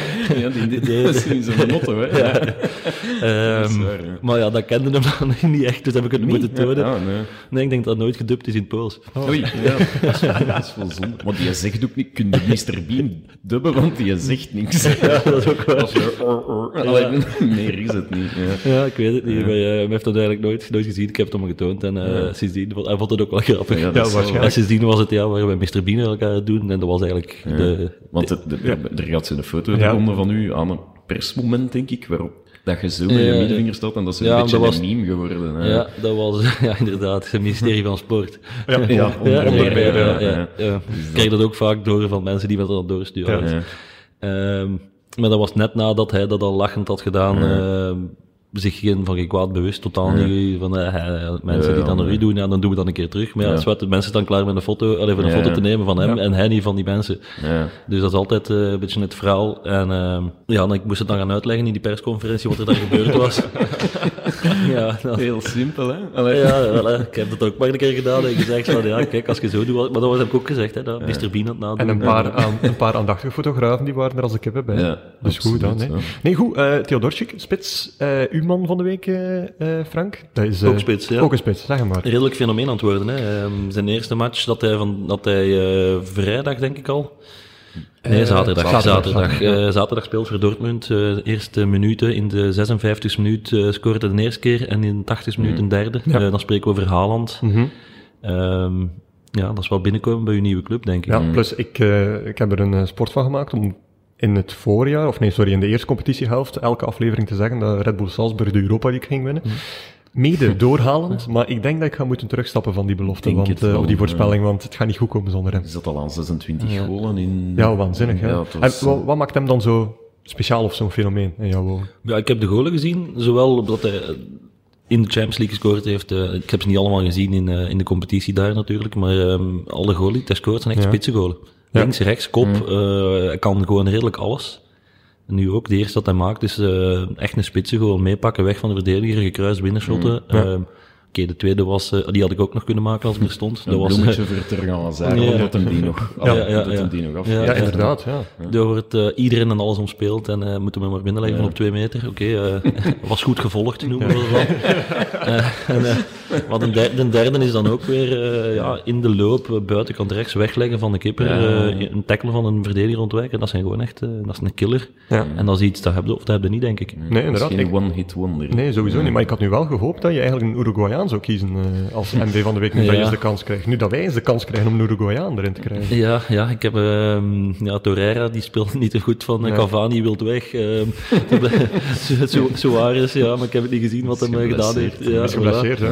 Speaker 2: Ja, die, die, dat is in zijn motto, hè? Ja.
Speaker 3: Ehm,
Speaker 2: is waar, ja.
Speaker 3: Maar ja, dat kende hem dan niet echt, dus heb ik het moeten tonen.
Speaker 2: Ja, Oh. nee.
Speaker 3: Nee, ik denk dat het nooit gedubt is in het Pools.
Speaker 2: Oei, ja, dat, is, dat is wel zonde. Want je zegt ook niet, kun je Mr. Bean dubben, want je zegt niks. Ja, dat is ook wel. meer is het niet. Ja.
Speaker 3: Ja, ik weet het niet. Maar, eh, hij heeft dat eigenlijk nooit, nooit gezien. Ik heb het hem getoond en eh, sindsdien... vond- Hij vond het ook wel grappig.
Speaker 2: Ja, dat
Speaker 1: Ja,
Speaker 2: is wel-
Speaker 1: waarschijnlijk.
Speaker 3: En sindsdien was het ja, waar wij Mr. Bean elkaar het doen. En dat was eigenlijk de...
Speaker 2: Want het- de- er gaat zo'n foto
Speaker 1: Ja.
Speaker 2: gevonden van u aan een persmoment, denk ik, waarop dat je zo met je
Speaker 3: Ja.
Speaker 2: middenvinger staat en dat is een
Speaker 3: Ja,
Speaker 2: beetje
Speaker 3: dat was-
Speaker 2: een meme geworden. Hè.
Speaker 3: Ja, dat was ja, inderdaad het ministerie van Sport.
Speaker 1: Ja,
Speaker 2: Ja, onder andere,
Speaker 3: ja, ja,
Speaker 2: ja,
Speaker 3: ja,
Speaker 2: ja. Dus
Speaker 3: ja. Ik krijg dat ook vaak door van mensen die me dat dan doorsturen.
Speaker 1: Ja.
Speaker 3: Dus, ehm, maar dat was net nadat hij dat al lachend had gedaan. ehm, zich geen van geen kwaad bewust, totaal niet van eh, eh, mensen die
Speaker 2: ja,
Speaker 3: dan naar u
Speaker 2: nee.
Speaker 3: doen, ja, dan doen we dat een keer terug. Maar ja,
Speaker 2: Ja.
Speaker 3: zwart, de mensen staan klaar met een foto, allee, voor een
Speaker 2: Ja,
Speaker 3: foto
Speaker 2: ja.
Speaker 3: te nemen van hem en hij niet van die mensen.
Speaker 2: Ja.
Speaker 3: Dus dat is altijd eh, een beetje het verhaal. En ehm, ja, en ik moest het dan gaan uitleggen in die persconferentie wat er daar gebeurd was. ja, dan-
Speaker 2: Heel simpel, hè? Allee.
Speaker 3: ja, wel, hè. ik heb dat ook maar een keer gedaan. En gezegd van, ja, kijk, als je zo doet... wat- Maar dat heb ik ook gezegd, hè, dat Mr. Bean het nadoen.
Speaker 1: En een paar, aan, een paar aandachtige fotografen die waren er als ik kippen bij.
Speaker 2: Ja,
Speaker 1: dus goed dan.
Speaker 2: absoluut,
Speaker 1: hè. Nee, goed. eh Theodorczyk, spits. eh uw man van de week, eh, eh, Frank. Dat is, eh,
Speaker 3: Ook spits, ja.
Speaker 1: Ook een spits, zeg maar.
Speaker 3: Een redelijk fenomeen aan het worden. Hè. Ehm, zijn eerste match dat hij, van, dat hij eh, vrijdag, denk ik al... Nee, zaterdag.
Speaker 1: Eh, zaterdag,
Speaker 3: Zaterdag, zaterdag, Eh, zaterdag speelt voor Dortmund. eh, de eerste minuten. In de 56 minuut eh scoort
Speaker 1: Mm. Mhm.
Speaker 3: hij de eerste keer en in de 80 minuut een derde. Eh, dan spreken we over Haaland. Ehm, Ja, dat is wel binnenkomen bij uw nieuwe club, denk ik.
Speaker 1: Ja,
Speaker 2: Mm.
Speaker 1: plus ik, eh, ik heb er een eh, sport van gemaakt om in het voorjaar, of nee, sorry, in de eerste competitiehelft, elke aflevering te zeggen dat Red Bull Salzburg de Europa League ging
Speaker 2: Mm.
Speaker 1: winnen. Mede doorhalend, maar ik denk dat ik ga moeten terugstappen van die belofte,
Speaker 2: Denk
Speaker 1: want,
Speaker 2: het
Speaker 1: eh,
Speaker 2: wel,
Speaker 1: of die
Speaker 2: ja.
Speaker 1: voorspelling, want het gaat niet goed komen zonder hem.
Speaker 2: Is dat al aan 26 golen in...
Speaker 1: Ja, waanzinnig. Hè?
Speaker 2: Ja, het was, eh,
Speaker 1: en, wa- wat, maakt hem dan zo speciaal of zo'n fenomeen in jouw ogen?
Speaker 3: Ja, ik heb de golen gezien, zowel omdat hij eh, in de Champions League gescoord heeft. eh, ik heb ze niet allemaal gezien in, eh, in de competitie daar natuurlijk, maar ehm, alle golen die hij scoort zijn echt spitse golen. Links, rechts, kop, eh, hij kan gewoon redelijk alles. En Nu ook, de eerste dat hij maakt is eh, echt een spitse goal. Meepakken, weg van de verdediger, gekruist, binnenschotten. Ehm, Oké, de tweede was, eh, die had ik ook nog kunnen maken als het er stond.
Speaker 2: Een
Speaker 3: Dat was,
Speaker 2: bloemetje voor Terganazaar,
Speaker 3: Ja.
Speaker 2: dat hem die nog,
Speaker 3: Ja, ja,
Speaker 2: dat
Speaker 3: ja.
Speaker 2: hem die nog af.
Speaker 3: Ja,
Speaker 1: Ja, inderdaad. Ja.
Speaker 3: Daar wordt eh, iedereen en alles om speelt en eh, moeten we maar binnenleggen van op twee meter. Oké, eh, was goed gevolgd, noemen we dat wel. Eh, en, eh, maar de, der- de derde is dan ook weer eh, ja, in de loop, eh, buitenkant rechts, wegleggen van de kipper, eh, een tackle van een verdediger ontwijken. Dat zijn gewoon echt, eh, dat is een killer. En dat is iets, dat heb je of dat heb je niet, denk ik.
Speaker 1: Nee, inderdaad.
Speaker 2: Geen
Speaker 1: Ik,
Speaker 2: one-hit wonder.
Speaker 1: nee, sowieso niet. Maar ik had nu wel gehoopt dat je eigenlijk een Uruguayaan zou kiezen eh, als MB van de Week, nu dat je
Speaker 3: Ja.
Speaker 1: eens de kans krijgt. Nu dat wij eens de kans krijgen om een Uruguayaan erin te krijgen.
Speaker 3: Ja, ja, ik heb ehm ja, Torreira, die speelt niet zo goed van eh, Cavani wilt weg. ehm, Su- Su- Suarez, ja, maar ik heb het niet gezien wat hij gedaan heeft. Ja,
Speaker 1: Is
Speaker 3: voilà.
Speaker 1: geblesseerd, hè?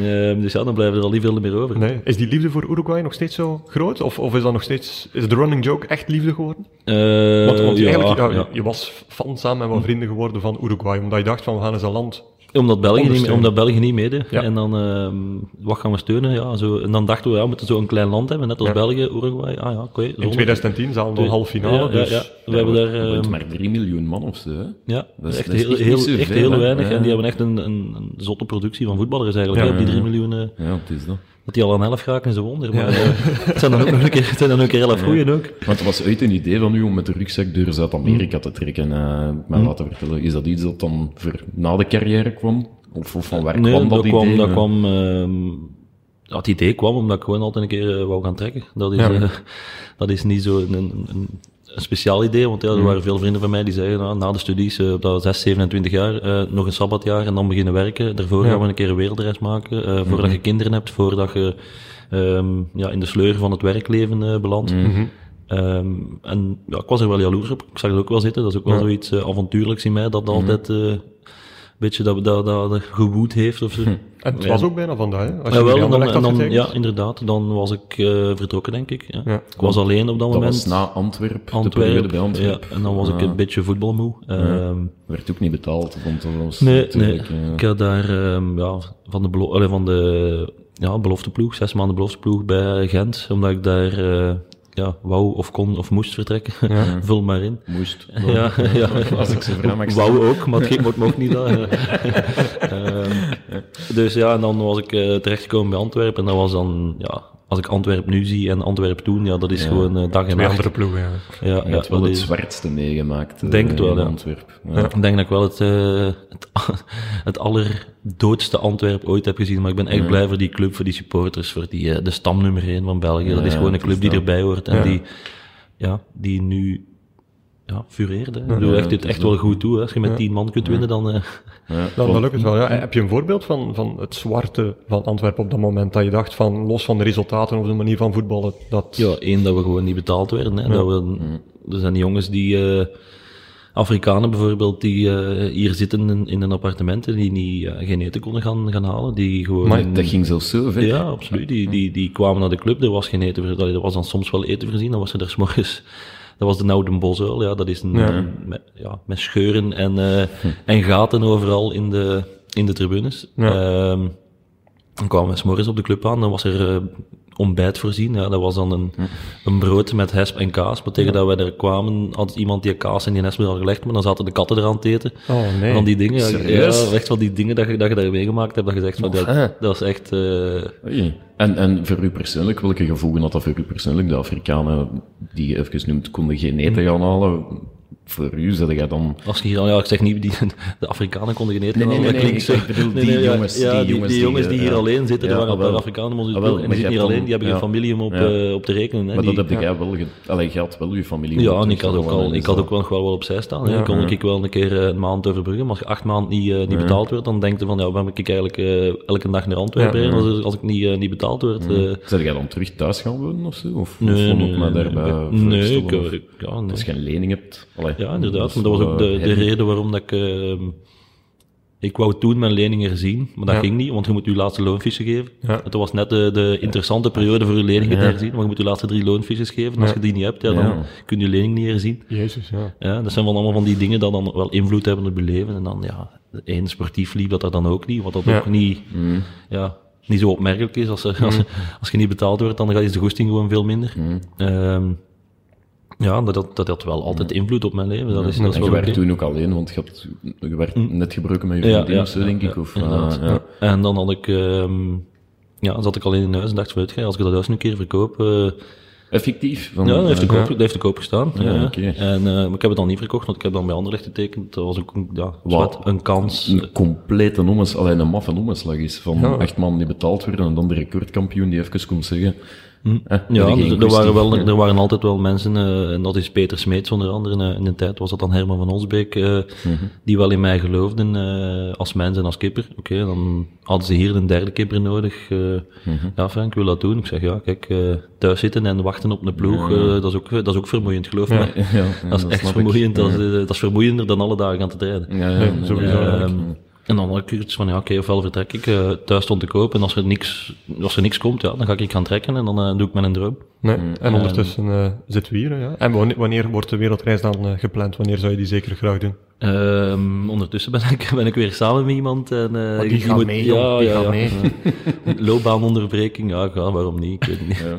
Speaker 3: Ehm, dus ja, dan blijven er al niet veel meer over.
Speaker 1: Nee. Is die liefde voor Uruguay nog steeds zo groot? Of, of is dat nog steeds, is de running joke echt liefde geworden?
Speaker 3: Eh,
Speaker 1: Want, want
Speaker 3: ja,
Speaker 1: eigenlijk, ja,
Speaker 3: ja. Hm.
Speaker 1: je was fan samen en wel vrienden geworden van Uruguay, omdat je dacht van, we gaan eens een land.
Speaker 3: Omdat, België niet,
Speaker 1: ondersteunen.
Speaker 3: omdat België niet meedeed.
Speaker 1: Ja.
Speaker 3: En dan, ehm, wat gaan we steunen? Ja, zo, en dan dachten we, ja, we moeten zo'n klein land hebben, net als
Speaker 1: Ja.
Speaker 3: België, Uruguay. Ah ja, oké.
Speaker 1: In 2010 zaten we al half finale,
Speaker 3: Ja, ja,
Speaker 1: dus...
Speaker 3: ja. We hebben daar...
Speaker 2: Er woont
Speaker 3: ehm,
Speaker 2: maar 3 miljoen man of zo, hè.
Speaker 3: ja,
Speaker 2: dat is-
Speaker 3: echt
Speaker 2: dat is
Speaker 3: heel,
Speaker 2: niet-
Speaker 3: heel,
Speaker 2: niet zoveel,
Speaker 3: echt heel
Speaker 2: hè.
Speaker 3: weinig.
Speaker 2: Ja.
Speaker 3: En die hebben echt een, een, een zotte productie van voetballers eigenlijk. hè, op die 3 miljoen... eh,
Speaker 2: Ja, het is dat.
Speaker 3: Dat die al aan 11 raken is een wonder. Maar eh, het zijn dan ook nog een keer, het zijn dan ook een keer 11 goeien ook.
Speaker 2: Maar het was uit een idee van u om met de rugzak door Zuid-Amerika
Speaker 3: Mm.
Speaker 2: te trekken. eh maar laten vertellen, is dat iets dat dan voor na de carrière kwam? Of, of van waar kwam dat, idee?
Speaker 3: kwam, dat
Speaker 2: Eh,
Speaker 3: kwam ehm, ja, het idee kwam omdat ik gewoon altijd een keer eh, wou gaan trekken. Dat is, eh, dat is niet zo een, een, een een speciaal idee, want ja, er waren veel vrienden van mij die zeiden, nou, na de studies, eh, op dat 6, 27 jaar, eh, nog een sabbatjaar en dan beginnen werken. Daarvoor gaan we een keer een wereldreis maken, eh, voordat je kinderen hebt, voordat je ehm, ja, in de sleur van het werkleven eh, belandt.
Speaker 2: Mhm.
Speaker 3: Ehm, en ja, ik was er wel jaloers op. Ik zag het ook wel zitten. Dat is ook wel zoiets eh, avontuurlijks in mij, dat altijd eh, een beetje dat, dat, dat, dat gewoed heeft
Speaker 2: Hm.
Speaker 3: of zo.
Speaker 1: En het was ook bijna vandaag, hè? Als je
Speaker 3: Ja,
Speaker 1: die
Speaker 3: wel, en
Speaker 1: andere
Speaker 3: dan,
Speaker 1: legt
Speaker 3: en dan-
Speaker 1: afgetekend.
Speaker 3: ja, inderdaad. Dan was ik eh, vertrokken, denk ik. Ja.
Speaker 1: Ja.
Speaker 3: Ik was alleen op dat,
Speaker 2: dat
Speaker 3: moment.
Speaker 2: was na Antwerp, de periode bij Ah.
Speaker 3: Antwerpen.
Speaker 2: Antwerp.
Speaker 3: Ja, en dan was ik een beetje voetbalmoe. Ehm,
Speaker 2: Werd ook niet betaald, want dat was
Speaker 3: nee, nee.
Speaker 2: natuurlijk, eh,
Speaker 3: Ik had daar ehm, ja, van de, belo- allee, van de ja, belofteploeg, zes maanden belofteploeg bij Gent, omdat ik daar eh, ja, wou of kon of moest vertrekken. Vul maar in.
Speaker 2: moest.
Speaker 3: Ja, ja.
Speaker 2: Als ik ze vraag, mag ik
Speaker 3: Wou ook, maar het ging- mocht- mocht niet. Dat. Ehm, dus ja, en dan was ik eh, terechtgekomen bij Antwerpen. En dat was dan, ja, als ik Antwerpen nu zie en Antwerpen toen, ja, dat is gewoon eh, dag en
Speaker 1: Bij
Speaker 3: nacht.
Speaker 1: andere ploegen, ja.
Speaker 3: Ja,
Speaker 2: Je
Speaker 3: ja,
Speaker 2: hebt wel
Speaker 3: dat
Speaker 2: het
Speaker 3: is-
Speaker 2: zwartste meegemaakt eh,
Speaker 3: Denk het wel,
Speaker 2: in
Speaker 3: ja.
Speaker 2: Antwerp. Ja.
Speaker 3: Ik denk dat ik wel het, eh, het, het allerdoodste Antwerp ooit heb gezien. Maar ik ben echt blij voor die club, voor die supporters, voor die, eh, de stam nummer 1 van België. dat is gewoon een club die erbij hoort en die, ja, die nu ja, fureerde. Ik bedoel, echt, dit echt wel goed toe. Hè. Als je met 10 man kunt winnen, dan... eh,
Speaker 1: Dan, dan lukt het wel, ja. Heb je een voorbeeld van, van het zwarte van Antwerpen op dat moment, dat je dacht van, los van de resultaten of de manier van voetballen, dat...
Speaker 3: Ja, één, dat we gewoon niet betaald werden. Hè. Dat we, er zijn jongens die, eh, Afrikanen bijvoorbeeld, die eh, hier zitten in, in een appartement en die niet, eh, geen eten konden gaan, gaan halen. Die gewoon...
Speaker 2: Dat ging zelfs zo ver.
Speaker 3: Ja, absoluut. Die, die, die kwamen naar de club, er was geen eten voor- Er was dan soms wel eten voorzien, dan was er daar s'morgens... Dat was de Noude Bosuil, ja. Dat is een... een- met, ja, met scheuren en, eh, en gaten overal in de, in de tribunes. Ehm, dan kwamen we 's morgens op de club aan, dan was er eh, ontbijt voorzien. Ja, dat was dan een, een brood met hesp en kaas. Maar tegen dat wij er kwamen, had iemand die kaas en die hesp al gelegd, maar dan zaten de katten eraan te eten.
Speaker 1: Oh, nee.
Speaker 3: Van die dingen, ja,
Speaker 2: Serieus?
Speaker 3: ja, echt van die dingen dat je, dat je daar meegemaakt hebt, dat je zegt van, dat,
Speaker 2: hè?
Speaker 3: dat is echt... eh,
Speaker 2: Oei. En, en voor u persoonlijk, welke
Speaker 3: Hmm.
Speaker 2: gevolgen had dat voor u persoonlijk? De Afrikanen, die je even noemt, konden geen eten gaan halen. voor u zet jij dan...
Speaker 3: Als je hier al, ja, ik zeg niet, die, de Afrikanen konden geen eten
Speaker 2: Nee, nee,
Speaker 3: halen,
Speaker 2: nee,
Speaker 3: dat
Speaker 2: nee,
Speaker 3: klinkt
Speaker 2: ik bedoel die
Speaker 3: ja,
Speaker 2: jongens,
Speaker 3: ja,
Speaker 2: die
Speaker 3: die,
Speaker 2: jongens die,
Speaker 3: jongens die hier
Speaker 2: ja.
Speaker 3: alleen zitten,
Speaker 2: Ja,
Speaker 3: er waren een paar
Speaker 2: wel.
Speaker 3: Afrikanen om ons
Speaker 2: Ah, wel,
Speaker 3: en
Speaker 2: maar
Speaker 3: die
Speaker 2: je
Speaker 3: zitten hier
Speaker 2: hebt dan-
Speaker 3: alleen, die hebben geen
Speaker 2: ja.
Speaker 3: familie om op,
Speaker 2: Ja.
Speaker 3: eh, op te rekenen. Hè,
Speaker 2: Maar
Speaker 3: die,
Speaker 2: dat heb jij wel... Ge... Allee, je had wel je familie...
Speaker 3: ja,
Speaker 2: moeten
Speaker 3: en ik had ook,
Speaker 2: terugvallen,
Speaker 3: al, ik
Speaker 2: dus
Speaker 3: had
Speaker 2: dat-
Speaker 3: ook wel gewoon wel opzij staan. hè.
Speaker 1: Ja,
Speaker 3: dan kon
Speaker 1: ja.
Speaker 3: ik wel een keer eh, een maand overbruggen. Maar als je acht maanden niet, eh, niet betaald wordt, dan denk je van, ja, waarom heb ik eigenlijk eh, elke dag naar Antwerpen
Speaker 1: Ja,
Speaker 3: rijden als, als ik niet, eh, niet betaald word? eh.
Speaker 2: Zet jij dan terug thuis gaan wonen of zo? Of
Speaker 3: nee,
Speaker 2: vond
Speaker 3: nee,
Speaker 2: ik mij
Speaker 3: nee,
Speaker 2: daarbij
Speaker 3: nee.
Speaker 2: voorstellen?
Speaker 3: Nee, ik, eh,
Speaker 2: Of-
Speaker 3: ik- ja, nee.
Speaker 2: Als je geen lening hebt. Allee,
Speaker 3: Ja, inderdaad. Maar
Speaker 2: is
Speaker 3: dat was
Speaker 2: Mm, wel,
Speaker 3: ook de,
Speaker 2: eh,
Speaker 3: de reden waarom dat ik... ehm, ik wou toen mijn leningen herzien, maar dat
Speaker 1: Ja.
Speaker 3: ging niet, want je moet je laatste loonfiche geven.
Speaker 1: Ja.
Speaker 3: Het was net de, de interessante periode voor je leningen te herzien, maar je moet je laatste drie loonfiches geven. Als je die niet hebt, ja, dan
Speaker 2: Ja.
Speaker 3: kun je je lening niet herzien.
Speaker 1: Jezus, ja.
Speaker 3: Ja, dat zijn wel allemaal van die dingen die dan wel invloed hebben op je leven. En dan, ja, de ene sportief liep dat er dan ook niet, wat dat
Speaker 1: Ja.
Speaker 3: ook niet,
Speaker 2: Mm.
Speaker 3: ja, niet zo opmerkelijk is. Als, er- als, als je niet betaald wordt, dan gaat is de goesting gewoon veel minder.
Speaker 2: Mm.
Speaker 3: Ehm, ja, dat, dat, dat had wel
Speaker 2: Mm.
Speaker 3: altijd invloed op mijn leven. Dat is, dat is
Speaker 2: En je
Speaker 3: wel
Speaker 2: werd
Speaker 3: oké.
Speaker 2: toen ook alleen, want je, had, je werd net gebroken met je
Speaker 3: Ja,
Speaker 2: vriendin
Speaker 3: ja,
Speaker 2: of zo,
Speaker 3: ja,
Speaker 2: denk
Speaker 3: ja,
Speaker 2: ik. Of,
Speaker 3: inderdaad.
Speaker 2: eh, ja.
Speaker 3: En dan had ik, ehm, ja, zat ik alleen in huis en dacht, weet je, als ik dat huis nu een keer verkoop, eh,
Speaker 2: Mm, Effectief. Van,
Speaker 3: Ja, dat heeft de
Speaker 2: eh,
Speaker 3: koop, dat heeft de koop gestaan. Ja,
Speaker 2: oké.
Speaker 3: en, eh, maar ik heb het dan niet verkocht, want ik heb dan bij Anderlecht getekend. Dat was ook een- ja, zwart, een kans.
Speaker 2: een complete nommes, alleen een maffe nommeslag is. Van echt man die betaald werden en dan de recordkampioen die even komt zeggen.
Speaker 1: Hm.
Speaker 2: eh,
Speaker 3: Ja,
Speaker 2: dat
Speaker 3: er,
Speaker 2: geen
Speaker 3: er
Speaker 2: goesting.
Speaker 3: waren wel, er waren altijd wel mensen, eh, en dat is Peter Smeets onder andere, eh, in de tijd was dat dan Herman van Osbeek, eh,
Speaker 2: Mhm.
Speaker 3: die wel in mij geloofden eh, als mens en als kipper. Oké, dan hadden ze hier een derde kipper nodig. eh,
Speaker 2: Mhm.
Speaker 3: Ja, Frank, ik wil dat doen. Ik zeg, ja, kijk, eh, thuis zitten en wachten op een ploeg, eh, dat, is ook, dat is ook vermoeiend, geloof me.
Speaker 2: ja,
Speaker 3: dat is
Speaker 2: dat
Speaker 3: echt
Speaker 2: snap ik.
Speaker 3: vermoeiend. Dat, is, eh, dat is vermoeiender dan alle dagen aan te rijden.
Speaker 2: Ja, ja, ja.
Speaker 1: Sowieso.
Speaker 3: Ehm, en dan had ik iets van, ja, oké, ofwel vertrek ik eh, thuis stond te koop en als er niks, als er niks komt, ja, dan ga ik gaan trekken en dan eh, doe ik mijn droom.
Speaker 1: Nee.
Speaker 2: Mm, ehm,
Speaker 1: En ondertussen eh, zitten we hier. hè, Ja. En wanneer, wanneer wordt de wereldreis dan eh, gepland? Wanneer zou je die zeker graag doen?
Speaker 3: Ehm, ondertussen ben ik, ben ik weer samen met iemand. En, eh,
Speaker 1: die gaat mee, jong.
Speaker 3: ja,
Speaker 1: Die
Speaker 3: ja,
Speaker 1: gaat
Speaker 3: ja.
Speaker 1: mee.
Speaker 3: Loopbaanonderbreking, ja, ja, waarom niet? Ik weet het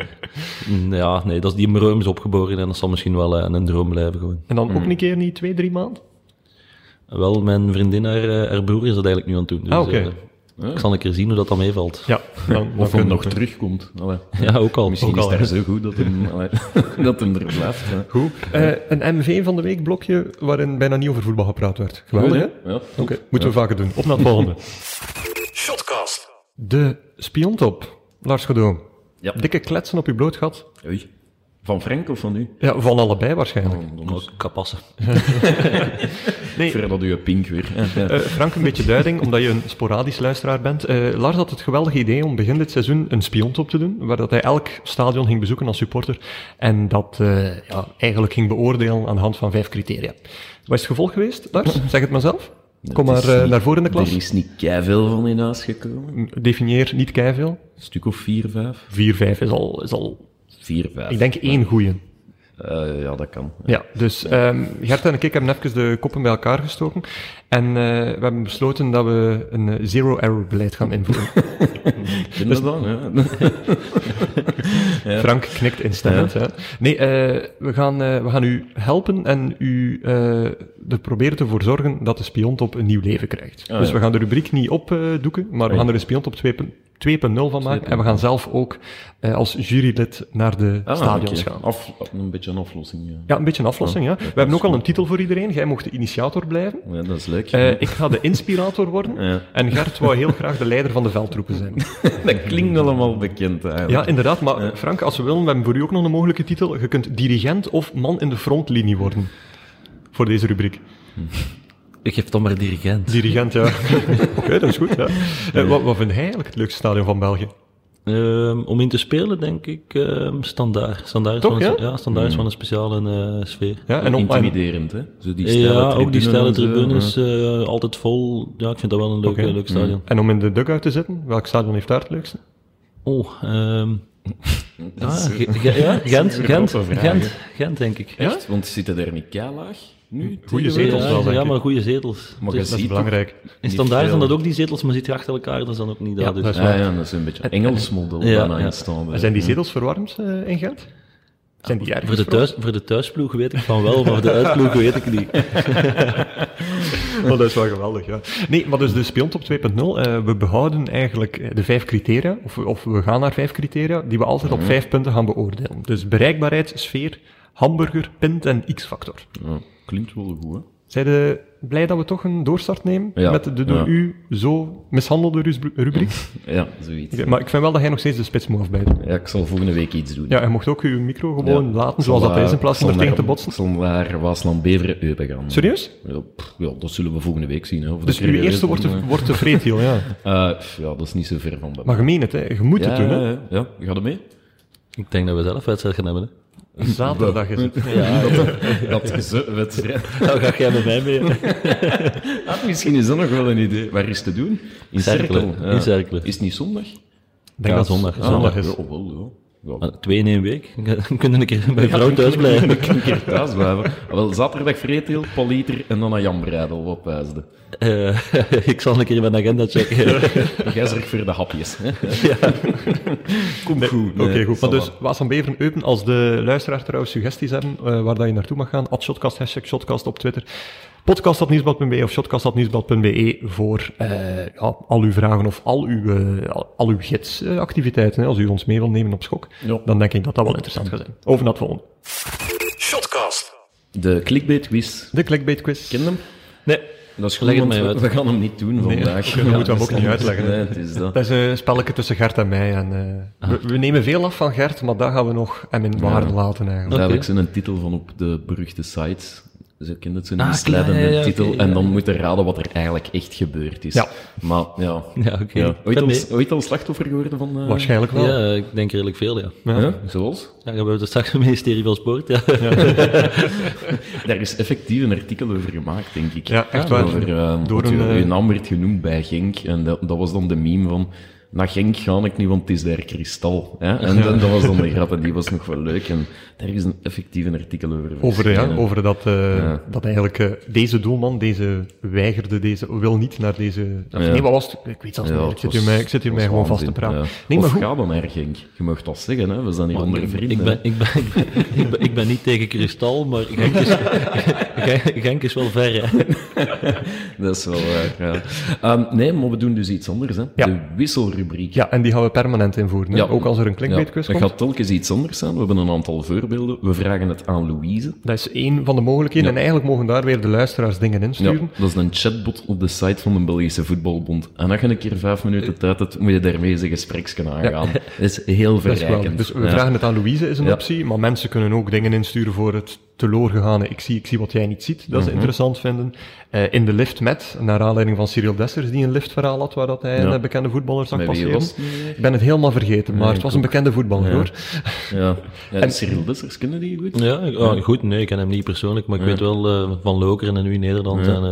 Speaker 3: niet. Ja. nee, dat is, die droom is opgeboren en dat zal misschien wel eh, een droom blijven gewoon.
Speaker 1: En dan
Speaker 2: Mm.
Speaker 1: ook een keer niet twee, drie maanden?
Speaker 3: Wel, mijn vriendin, haar, eh, haar broer is dat eigenlijk nu aan het doen. Dus,
Speaker 1: Ah, oké.
Speaker 3: eh, Ik zal een keer zien hoe dat dan meevalt.
Speaker 1: Ja. Dan, dan
Speaker 2: Of
Speaker 1: kunnen
Speaker 2: hem
Speaker 1: we-
Speaker 2: nog terugkomt. Allee.
Speaker 3: Ja, ook al.
Speaker 2: Misschien
Speaker 1: Ook
Speaker 2: is
Speaker 1: al,
Speaker 2: het
Speaker 1: hè.
Speaker 2: daar zo goed dat hem, allee, dat hem er blijft. hè.
Speaker 1: Goed. Eh, een MV van de week blokje waarin bijna niet over voetbal gepraat werd. Geweldig, hè?
Speaker 2: Ja.
Speaker 1: Oké, moeten we vaker doen. Op naar het volgende.
Speaker 4: Shotcast.
Speaker 1: De spiontop. Lars Godoom.
Speaker 2: Ja.
Speaker 1: Dikke kletsen op je blootgat.
Speaker 2: Oei. Van Frank of van u? Oh,
Speaker 1: Ja, van allebei waarschijnlijk.
Speaker 3: Ook kapassen.
Speaker 1: Nee,
Speaker 2: Ver dat u een pink weer. Ja, ja.
Speaker 1: eh, Frank, een beetje duiding, omdat je een sporadisch luisteraar bent. Eh, Lars had het geweldige idee om begin dit seizoen een spiontop te doen, waar dat hij elk stadion ging bezoeken als supporter en dat eh, ja, eigenlijk ging beoordelen aan de hand van vijf criteria. Wat is het gevolg geweest, Lars? Zeg het maar zelf. Kom
Speaker 2: Het
Speaker 1: maar
Speaker 2: is
Speaker 1: eh,
Speaker 2: niet-
Speaker 1: naar voren in de
Speaker 2: Er
Speaker 1: klas.
Speaker 2: is niet keiveel van in huis gekomen.
Speaker 1: Definieer niet keiveel.
Speaker 2: Een stuk of vier, vijf?
Speaker 1: 4-5 is al, is al,
Speaker 2: Vier, vijf.
Speaker 1: ik denk, één goeie.
Speaker 2: Eh, ja, dat kan.
Speaker 1: Ja, dus ehm Gert en ik hebben even de koppen bij elkaar gestoken. En eh, we hebben besloten dat we een eh, zero-error beleid gaan invoeren. Dus-
Speaker 2: Ken je dat? Ja.
Speaker 1: Frank knikt instemmend. Hè? Nee, eh, we, gaan, eh, we gaan u helpen en u eh, er proberen te voor zorgen dat de spiontop een nieuw leven krijgt.
Speaker 2: Ah,
Speaker 1: dus
Speaker 2: ja. Ah,
Speaker 1: we gaan de rubriek niet opdoeken, doeken, maar we gaan er een spiontop 2.0 van maken. En we gaan zelf ook eh, als jurylid naar de
Speaker 2: Ah,
Speaker 1: stadions
Speaker 2: oké.
Speaker 1: gaan.
Speaker 2: Af, een beetje een aflossing. Ja.
Speaker 1: Ja, een beetje een aflossing, ja. We hebben ook al een titel voor iedereen. Jij mocht de initiator blijven.
Speaker 2: Ja, dat is leuk.
Speaker 1: Eh, ik ga de inspirator worden.
Speaker 2: Ja.
Speaker 1: En Gert wou heel graag de leider van de veldtroepen zijn.
Speaker 2: dat klinkt allemaal bekend
Speaker 1: Ja,
Speaker 2: eigenlijk.
Speaker 1: inderdaad. Maar Frank, als we willen, we hebben voor u ook nog een mogelijke titel. Je kunt dirigent of man in de frontlinie worden. Voor deze rubriek.
Speaker 3: Ik geef dan maar dirigent.
Speaker 1: Dirigent, ja. Oké, dat is goed. Ja. Eh, wat, wat vind jij eigenlijk het leukste stadion van België?
Speaker 3: Ehm, om in te spelen, denk ik, ehm, standaard. Standaard,
Speaker 1: Toch,
Speaker 3: van, een,
Speaker 1: ja?
Speaker 3: ja, standaard is van een speciale eh, sfeer.
Speaker 1: Ja, en op-
Speaker 2: Intimiderend, hè? Zo die stijle
Speaker 3: Ja, ook die stijle
Speaker 2: en zo,
Speaker 3: tribunes,
Speaker 2: ja.
Speaker 3: eh, altijd vol. Ja, ik vind dat wel een leuk, eh,
Speaker 1: Oké.
Speaker 3: leuk stadion.
Speaker 1: En om in de dugout te zitten, welk stadion heeft daar het leukste?
Speaker 3: Oh, ehm ah, Ge- Ge- ja, Gent, Gent,
Speaker 2: grote
Speaker 3: Gent, Gent, denk ik.
Speaker 1: Ja?
Speaker 2: Echt? Want zitten daar niet keilaag nu?
Speaker 1: Goeie
Speaker 2: tegen-
Speaker 1: zetels
Speaker 3: ja,
Speaker 1: wel, denk
Speaker 3: ja,
Speaker 1: ik.
Speaker 3: maar goede zetels.
Speaker 2: Maar je
Speaker 3: Dus
Speaker 1: Dat is
Speaker 2: ziet
Speaker 1: belangrijk.
Speaker 3: in standaard zijn dat ook die zetels, maar zit je achter elkaar, dat is dan ook niet dat.
Speaker 1: dat
Speaker 3: dus.
Speaker 1: is
Speaker 2: toch- Ah, Ja, ja, dat is een beetje een Engels model
Speaker 3: Ja,
Speaker 2: bijna
Speaker 3: ja.
Speaker 2: in stand, hè.
Speaker 1: Zijn die zetels verwarmd eh, in Gent? Zijn die erg
Speaker 3: Voor de, thuis, voor de thuisploeg weet ik van wel, maar voor de uitploeg weet ik niet.
Speaker 1: Oh, dat is wel geweldig, ja. Nee, maar dus de Spiontop 2.0, eh, we behouden eigenlijk eh, de vijf criteria, of, we- of we gaan naar vijf criteria, die we altijd
Speaker 2: Mhm.
Speaker 1: op vijf punten gaan beoordelen. Dus bereikbaarheid, sfeer, hamburger, pint en x-factor.
Speaker 2: Ja. Klinkt wel goed, hè?
Speaker 1: Zijn de blij dat we toch een doorstart nemen
Speaker 2: Ja,
Speaker 1: met de door
Speaker 2: ja. Mhm.
Speaker 1: u zo mishandelde rus- rubriek?
Speaker 2: Ja, zoiets.
Speaker 1: Ja, maar ik vind wel dat hij nog steeds de spits moet afbijten.
Speaker 2: Ja, ik zal volgende week iets doen.
Speaker 1: Ja, hij mocht ook uw micro gewoon laten zoals dat hij is, in plaats van er tegen te botsen.
Speaker 2: Zondaar Waasland Beveren Eupen gaan.
Speaker 1: Serieus?
Speaker 2: Ja, pff, ja, dat zullen we volgende week zien. Hè. Of
Speaker 1: Dus
Speaker 2: dat er
Speaker 1: uw
Speaker 2: weer
Speaker 1: eerste
Speaker 2: is,
Speaker 1: wordt
Speaker 2: dan,
Speaker 1: de,
Speaker 2: eh,
Speaker 1: wordt de vreedheel, ja.
Speaker 2: eh, pff, ja, dat is niet zo ver van bij
Speaker 1: Maar je meent het, hè. je moet
Speaker 2: ja,
Speaker 1: het doen. Hè.
Speaker 2: ja, ja, ja. Ga er mee?
Speaker 3: Ik denk dat we zelf wedstrijd gaan hebben. Hè?
Speaker 1: Zaterdag is het.
Speaker 2: Dat is een wedstrijd.
Speaker 3: Nou, ga jij met mij mee?
Speaker 2: Ah, misschien is dat nog wel een idee. Waar is te doen? In
Speaker 3: Cerkelen,
Speaker 2: Cerkelen,
Speaker 3: in Cerkelen.
Speaker 2: Is het niet zondag?
Speaker 1: Ik denk dat zondag.
Speaker 2: Ah,
Speaker 1: zondag is. Ah.
Speaker 2: Ja, oh, wel, ja. ja.
Speaker 3: Maar Twee in één week. We kunnen een keer bij vrouw thuis
Speaker 2: Ik
Speaker 3: blijven.
Speaker 2: kan een keer thuis blijven. Ah, Wel, zaterdag Vreetheel, Politer en dan naar Jan Breidel op wijsde.
Speaker 3: Eh, ik zal een keer mijn agenda checken.
Speaker 2: Jij zorgt voor de hapjes. Hè? Komt goed.
Speaker 1: Oké, goed. Maar
Speaker 2: ça
Speaker 1: dus
Speaker 2: va.
Speaker 1: Waas van Beveren Eupen, als de luisteraar trouwens suggesties hebben eh, waar dat je naartoe mag gaan, at shotcast, hashtag shotcast op Twitter, podcast.nieuwsblad.be of shotcast.nieuwsblad.be E voor eh, ja, al uw vragen of al uw, eh, al- al uw gidsactiviteiten. hè. als u ons mee wilt nemen op schok,
Speaker 2: Ja.
Speaker 1: dan denk ik dat dat wel interessant gaat zijn. Over naar het volgende.
Speaker 4: Shotcast.
Speaker 2: De clickbait quiz.
Speaker 1: De clickbait quiz.
Speaker 2: Ken je hem?
Speaker 1: Nee,
Speaker 2: Dat is goed,
Speaker 3: Leg het
Speaker 2: want
Speaker 3: mij
Speaker 2: we,
Speaker 3: uit.
Speaker 2: we gaan hem niet doen vandaag.
Speaker 1: dat moeten we hem ook
Speaker 2: dus-
Speaker 1: niet uitleggen, hè.
Speaker 2: Nee, het is dat.
Speaker 1: dat is een spelletje tussen Gert en mij. En, eh, we, we nemen veel af van Gert, maar dat gaan we nog hem in waarde laten eigenlijk.
Speaker 2: Duidelijk zijn een titel van op de beruchte sites. Ze kennen het, zo'n
Speaker 3: Ah,
Speaker 2: misleidende
Speaker 3: ja, ja, ja, oké,
Speaker 2: titel.
Speaker 3: ja,
Speaker 2: En
Speaker 3: ja.
Speaker 2: dan moeten raden wat er eigenlijk echt gebeurd is.
Speaker 1: Ja.
Speaker 2: Maar ja.
Speaker 3: Ja, oké.
Speaker 2: Ooit,
Speaker 3: Ben
Speaker 2: al,
Speaker 3: mee.
Speaker 2: ooit al slachtoffer geworden van... eh,
Speaker 1: Waarschijnlijk wel.
Speaker 3: Ja, ik denk redelijk veel, ja.
Speaker 2: Ja. Hè? Zoals?
Speaker 3: Ja, we hebben het straks het ministerie van Sport. Ja.
Speaker 2: Daar is effectief een artikel over gemaakt, denk ik.
Speaker 1: Ja, echt waar.
Speaker 2: Over, eh,
Speaker 1: Door
Speaker 2: dat
Speaker 1: een,
Speaker 2: je-
Speaker 1: eh,
Speaker 2: je naam werd genoemd bij Genk. En dat, dat was dan de meme van... Naar Genk ga ik niet, want het is daar kristal. Hè? En dan- dat was dan de grap en die was nog wel leuk. En daar is een effectief een artikel over.
Speaker 1: Over, ja,
Speaker 2: verschenen.
Speaker 1: over dat, eh,
Speaker 2: Dus Ja.
Speaker 1: dat eigenlijk eh, deze doelman, deze weigerde, deze wil niet naar deze. of
Speaker 2: Ja.
Speaker 1: Nee, wat was het? Ik weet zelfs
Speaker 2: Ja,
Speaker 1: niet.
Speaker 2: het
Speaker 1: Ik zit
Speaker 2: was-
Speaker 1: hier, mij, ik zit hier
Speaker 2: was
Speaker 1: mij gewoon vast te
Speaker 2: waanzin,
Speaker 1: praten.
Speaker 2: ja.
Speaker 1: Nee, maar
Speaker 2: of
Speaker 1: goed.
Speaker 2: ga dan naar Genk. Je mag dat zeggen, hè. we zijn hier onder vrienden.
Speaker 3: Ik ben, ik, ben, ik, ben, ik, ben, ik ben niet tegen Kristal, maar Genk is, Genk- Genk is wel ver. Hè.
Speaker 2: Dat is wel waar, ja. Ehm, nee, maar we doen dus iets anders. Hè.
Speaker 1: Ja.
Speaker 2: De wisselrubriek.
Speaker 1: Ja, en die gaan we permanent invoeren. hè. Ook als er een clickbait quiz
Speaker 2: Ja.
Speaker 1: komt.
Speaker 2: Dat gaat telkens iets anders zijn. We hebben een aantal voorbeelden. We vragen het aan Louise.
Speaker 1: Dat is één van de mogelijkheden.
Speaker 2: Ja.
Speaker 1: En eigenlijk mogen daar weer de luisteraars dingen
Speaker 2: Ja,
Speaker 1: insturen.
Speaker 2: dat is een chatbot op de site van de Belgische Voetbalbond. En als je een keer vijf minuten tijd hebt, moet je daarmee eens een gespreksken aangaan. Dat is heel
Speaker 1: Dat is wel.
Speaker 2: verrijkend.
Speaker 1: Dus we
Speaker 2: Ja.
Speaker 1: vragen het aan Louise, is een
Speaker 2: Ja.
Speaker 1: optie. Maar mensen kunnen ook dingen insturen voor het teloorgegane. Ik zie, ik zie wat jij niet ziet, dat ze
Speaker 2: Mhm.
Speaker 1: interessant vinden. Eh, in de lift met, naar aanleiding van Cyril Dessers, die een liftverhaal had waar dat hij
Speaker 2: Ja.
Speaker 1: een bekende voetballer zag
Speaker 2: Met wie
Speaker 1: passeren.
Speaker 2: was het nu
Speaker 1: Ik ben het helemaal vergeten, maar het was een bekende voetballer hoor.
Speaker 2: Ja. Ja, Cyril Dessers, kennen die goed?
Speaker 3: Ja, ik- ah, goed, nee, ik ken hem niet persoonlijk, maar ik weet wel eh, van Lokeren en nu in Nederland en, eh,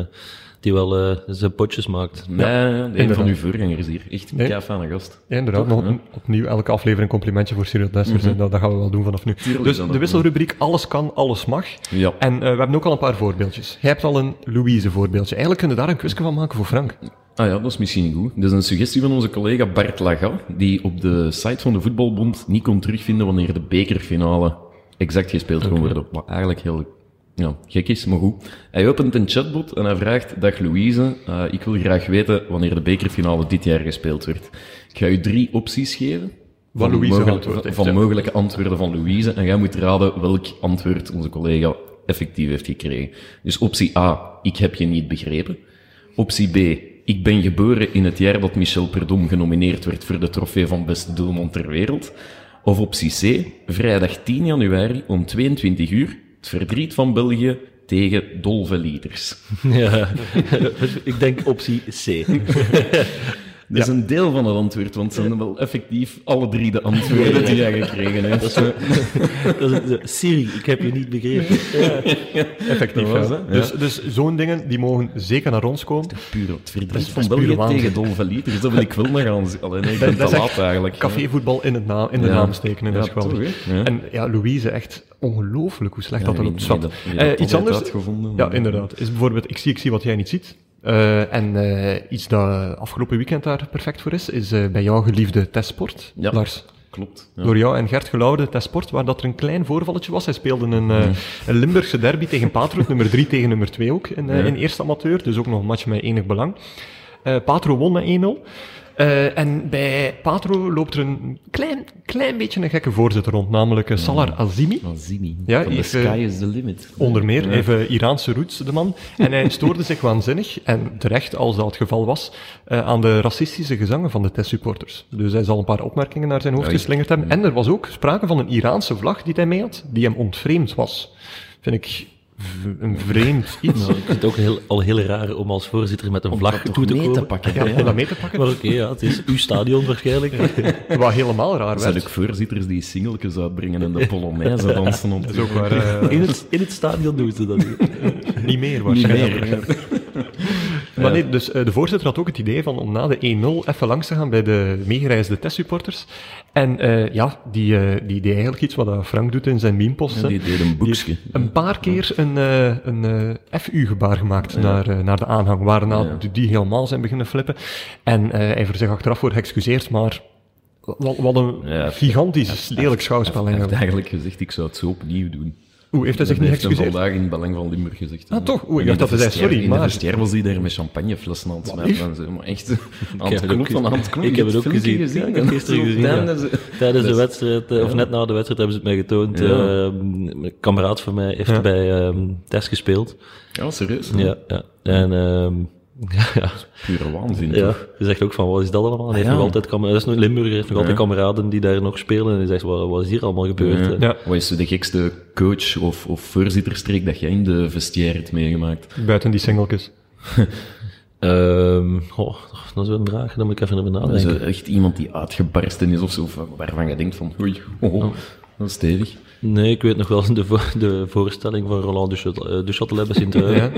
Speaker 3: die wel eh, zijn potjes maakt.
Speaker 2: Nee, een van
Speaker 1: inderdaad.
Speaker 2: uw voorgangers hier. Echt een
Speaker 1: Nee.
Speaker 2: kei fijne gast.
Speaker 1: Ja, inderdaad, nog op- opnieuw elke aflevering complimentje voor Cyril Dessers. En dat, dat gaan we wel doen vanaf nu.
Speaker 2: Mhm. Tuurlijk
Speaker 1: dus
Speaker 2: dan
Speaker 1: de
Speaker 2: ook,
Speaker 1: wisselrubriek Alles kan, alles mag.
Speaker 2: Ja.
Speaker 1: En eh, we hebben ook al een paar voorbeeldjes. Jij hebt al een Louise voorbeeldje. Eigenlijk kunnen we daar een quizje van maken voor Frank.
Speaker 2: Ah ja, dat is misschien goed. Dat is een suggestie van onze collega Bart Laga, die op de site van de Voetbalbond niet kon terugvinden wanneer de bekerfinale exact gespeeld kon worden. Wat eigenlijk heel ja, gek is, maar goed. Hij opent een chatbot en hij vraagt, dag Louise, eh, ik wil graag weten wanneer de bekerfinale dit jaar gespeeld werd. Ik ga u drie opties geven.
Speaker 1: Wat
Speaker 2: van
Speaker 1: Louise
Speaker 2: mogel-
Speaker 1: antwoord heeft,
Speaker 2: van
Speaker 1: ja.
Speaker 2: mogelijke antwoorden van Louise. En jij moet raden welk antwoord onze collega effectief heeft gekregen. Dus optie A, ik heb je niet begrepen. Optie B, ik ben geboren in het jaar dat Michel Perdom genomineerd werd voor de trofee van beste doelman ter wereld. Of optie C, vrijdag 10 januari om 22 uur, het verdriet van België tegen Dolve Lieders.
Speaker 3: Ja. ik denk optie C.
Speaker 2: Dat is een deel van het antwoord, want ze zijn wel effectief alle drie de antwoorden die jij gekregen hebt.
Speaker 3: Dat is, eh, Siri, ik heb je niet begrepen.
Speaker 1: Effectief,
Speaker 2: Dat was
Speaker 1: ja.
Speaker 2: het, ja.
Speaker 1: Dus, dus zo'n dingen, die mogen zeker naar ons komen.
Speaker 2: Puur het verdriet
Speaker 1: dat
Speaker 2: van
Speaker 1: is pure
Speaker 2: België
Speaker 1: waanzin.
Speaker 2: tegen Dolve Lieders, dat wil ik wel nog aan zien. Alleen ik
Speaker 1: dat
Speaker 2: ben te
Speaker 1: is echt
Speaker 2: laat eigenlijk.
Speaker 1: Cafévoetbal in, het naam, in de
Speaker 2: Ja.
Speaker 1: naam steken, en dat
Speaker 2: Ja,
Speaker 1: is geweldig.
Speaker 2: toch, hè? Ja.
Speaker 1: En ja, Louise, echt ongelooflijk hoe slecht
Speaker 2: Ja,
Speaker 1: dat er
Speaker 2: wie-
Speaker 1: loopt. Zwat.
Speaker 2: wie dat- wie
Speaker 1: Eh,
Speaker 2: dat
Speaker 1: iets
Speaker 2: had
Speaker 1: anders,
Speaker 2: uitgevonden.
Speaker 1: ja, inderdaad, is bijvoorbeeld ik zie, ik zie wat jij niet ziet. Eh, en eh, iets dat afgelopen weekend daar perfect voor is, is eh, bij jouw geliefde Testsport,
Speaker 2: Ja.
Speaker 1: Lars.
Speaker 2: Klopt. Ja.
Speaker 1: Door jou en Gert Geloude, Testsport, waar dat er een klein voorvalletje was. Hij speelde een, eh, een Limburgse derby tegen Patro, nummer 3 tegen nummer 2 ook, in, eh, in eerste amateur. Dus ook nog een match met enig belang. Eh Patro won met 1-0. Eh, Eh, en bij Patro loopt er een klein, klein beetje een gekke voorzitter rond, namelijk eh, Salar Azimi.
Speaker 2: Azimi.
Speaker 1: Ja,
Speaker 2: Van the
Speaker 1: is,
Speaker 2: sky
Speaker 1: eh,
Speaker 2: is the limit.
Speaker 1: Onder meer, even Iraanse roots, de man. En hij stoorde zich waanzinnig, en terecht als dat het geval was, eh, aan de racistische gezangen van de testsupporters. Dus hij zal een paar opmerkingen naar zijn hoofd
Speaker 2: Oei.
Speaker 1: geslingerd hebben. En er was ook sprake van een Iraanse vlag die hij mee had, die hem ontvreemd was. Vind ik v- een vreemd iets.
Speaker 3: Nou, ik vind het ook heel, al heel raar om als voorzitter met een vlag
Speaker 2: dat
Speaker 3: toe
Speaker 2: toch
Speaker 3: te
Speaker 2: mee
Speaker 3: komen.
Speaker 2: te pakken.
Speaker 1: Ja, om dat mee te pakken.
Speaker 3: Maar oké, ja, het is uw stadion waarschijnlijk.
Speaker 1: Wat helemaal raar
Speaker 2: Er zijn ook
Speaker 1: werd.
Speaker 2: voorzitters die singeltjes uitbrengen en de polonaise dansen op.
Speaker 1: Dat is ook waar, eh,
Speaker 3: In het, in het stadion doen ze dat niet.
Speaker 1: niet meer
Speaker 2: Niet
Speaker 1: waarschijnlijk.
Speaker 2: meer.
Speaker 1: Maar nee, dus eh, de voorzitter had ook het idee van om na de 1-0 even langs te gaan bij de meegereisde testsupporters. En eh, ja, die, eh, die deed eigenlijk iets wat eh, Frank doet in zijn memepost.
Speaker 2: Ja, die
Speaker 1: hè.
Speaker 2: deed een boekje.
Speaker 1: Die heeft Een paar keer een, eh, een eh, FU-gebaar gemaakt naar, eh, naar de aanhang, waarna
Speaker 2: Ja.
Speaker 1: die helemaal zijn beginnen flippen. En eh, hij heeft zich achteraf voor geëxcuseerd, maar wat, wat een
Speaker 2: Ja, heeft-
Speaker 1: gigantisch lelijk schouwspel
Speaker 2: Hij heeft
Speaker 1: eigenlijk.
Speaker 2: eigenlijk gezegd, ik zou het zo opnieuw doen.
Speaker 1: Hoe heeft hij zich
Speaker 2: Dat
Speaker 1: niet
Speaker 2: heeft hem
Speaker 1: geëxcuseerd?
Speaker 2: vandaag in het Belang van Limburg gezegd.
Speaker 1: Ah,
Speaker 2: hè.
Speaker 1: toch? Oei,
Speaker 2: En
Speaker 1: ik
Speaker 2: in
Speaker 1: dacht dat
Speaker 2: de
Speaker 1: hij zei,
Speaker 2: vestiaire-
Speaker 1: sorry,
Speaker 2: In
Speaker 1: maar-
Speaker 2: de vestiaire was hij daar met champagneflessen aan het smijten en zo. Maar echt aan
Speaker 3: heb
Speaker 2: het
Speaker 3: het ook
Speaker 2: knoppen, aan het
Speaker 3: gezien.
Speaker 2: knoppen.
Speaker 3: Ik heb het ook
Speaker 2: filmpje
Speaker 3: gezien. Ja, ik heb het gisteren
Speaker 2: Zo op het
Speaker 3: gezien, ja.
Speaker 2: einde zo-
Speaker 3: Tijdens de
Speaker 2: Dus-
Speaker 3: wedstrijd, eh, of net na de wedstrijd, hebben ze het mij getoond.
Speaker 2: Ja.
Speaker 3: Ehm, een kameraad van mij heeft
Speaker 1: Ja.
Speaker 3: bij ehm Test gespeeld.
Speaker 2: Ja, serieus.
Speaker 3: Ja, ja. En ehm, ja,
Speaker 2: Pure waanzin,
Speaker 3: ja,
Speaker 2: toch?
Speaker 3: je zegt ook van, wat is dat allemaal? Hij heeft
Speaker 2: Ah, Ja.
Speaker 3: nog altijd kameraden, dat is nog Limburg, hij heeft nog altijd kameraden die daar nog spelen. En hij zegt, wat, wat is hier allemaal gebeurd?
Speaker 2: Ja.
Speaker 3: Eh,
Speaker 1: Ja.
Speaker 2: Wat is de gekste coach of, of voorzitterstreek dat jij in de vestiaire hebt meegemaakt?
Speaker 1: Buiten die singeltjes.
Speaker 3: Ehm, goh, dat is wel een vraag, daar moet ik even over
Speaker 2: Dus
Speaker 3: nadenken.
Speaker 2: eh, echt iemand die uitgebarsten is of zo, van- waarvan je denkt van oei, oh, dat is stevig.
Speaker 3: Nee, ik weet nog wel de, vo- de voorstelling van Roland Duchatel- eh, Duchatelet bij sint
Speaker 1: Ja.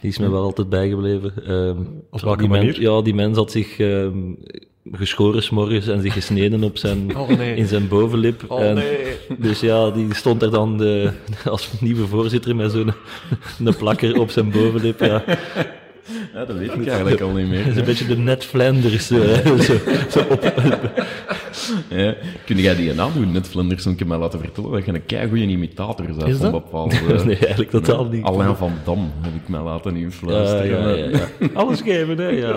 Speaker 3: Die is me wel altijd bijgebleven. Ehm,
Speaker 1: Op welke
Speaker 3: die
Speaker 1: manier?
Speaker 3: Mens, ja, die mens had zich ehm, geschoren s'morgens en zich gesneden op zijn,
Speaker 1: Oh, nee.
Speaker 3: in zijn bovenlip.
Speaker 1: Oh,
Speaker 3: en,
Speaker 1: nee.
Speaker 3: Dus ja, die stond er dan eh, als nieuwe voorzitter met zo'n een plakker op zijn bovenlip. Ja.
Speaker 2: Ja, dat weet ik eigenlijk al niet
Speaker 3: Dat is een
Speaker 2: meer.
Speaker 3: beetje de Ned Flanders. eh, zo.
Speaker 2: Ja. Kun jij die nadoen, net Vlinders, en ik heb mij laten vertellen dat je een keigoeie imitator bent
Speaker 1: Is
Speaker 2: van
Speaker 1: dat?
Speaker 2: bepaalde...
Speaker 3: Nee, eigenlijk totaal niet.
Speaker 2: eh,
Speaker 3: Ah,
Speaker 2: Alain van Dam heb ik mij laten
Speaker 3: Ja,
Speaker 2: influisteren.
Speaker 3: ja, ja, ja. Alles geven, hè? Ja.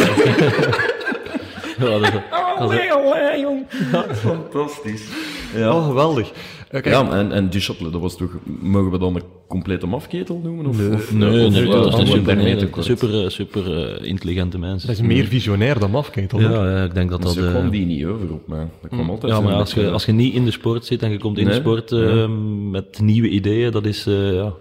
Speaker 3: Ja, dat-
Speaker 2: Allee, allee, jong. Fantastisch. Ja.
Speaker 1: Oh, geweldig. Eh, kijk,
Speaker 2: Ja, en, en Duchatel, dat was toch... Mogen we dan een complete mafketel noemen? Of, of-
Speaker 3: Nee,
Speaker 2: of-
Speaker 3: nee,
Speaker 2: of-
Speaker 3: dat is
Speaker 2: of-
Speaker 3: een
Speaker 2: of-
Speaker 3: super,
Speaker 2: daarmee te
Speaker 3: nee,
Speaker 2: kort?
Speaker 3: super, eh, super eh, intelligente mens.
Speaker 1: Dat is meer visionair dan maf, toch?
Speaker 3: Ja, ja, ik denk dat dat...
Speaker 2: Zo
Speaker 3: eh, Mm.
Speaker 2: kwam die niet over op mij. Dat kwam altijd
Speaker 3: ja,
Speaker 2: zo
Speaker 3: maar
Speaker 2: met,
Speaker 3: als je,
Speaker 2: eh,
Speaker 3: als je niet in de sport zit en je komt in de
Speaker 2: Nee,
Speaker 3: sport eh, met nieuwe ideeën, dat is... eh, ja.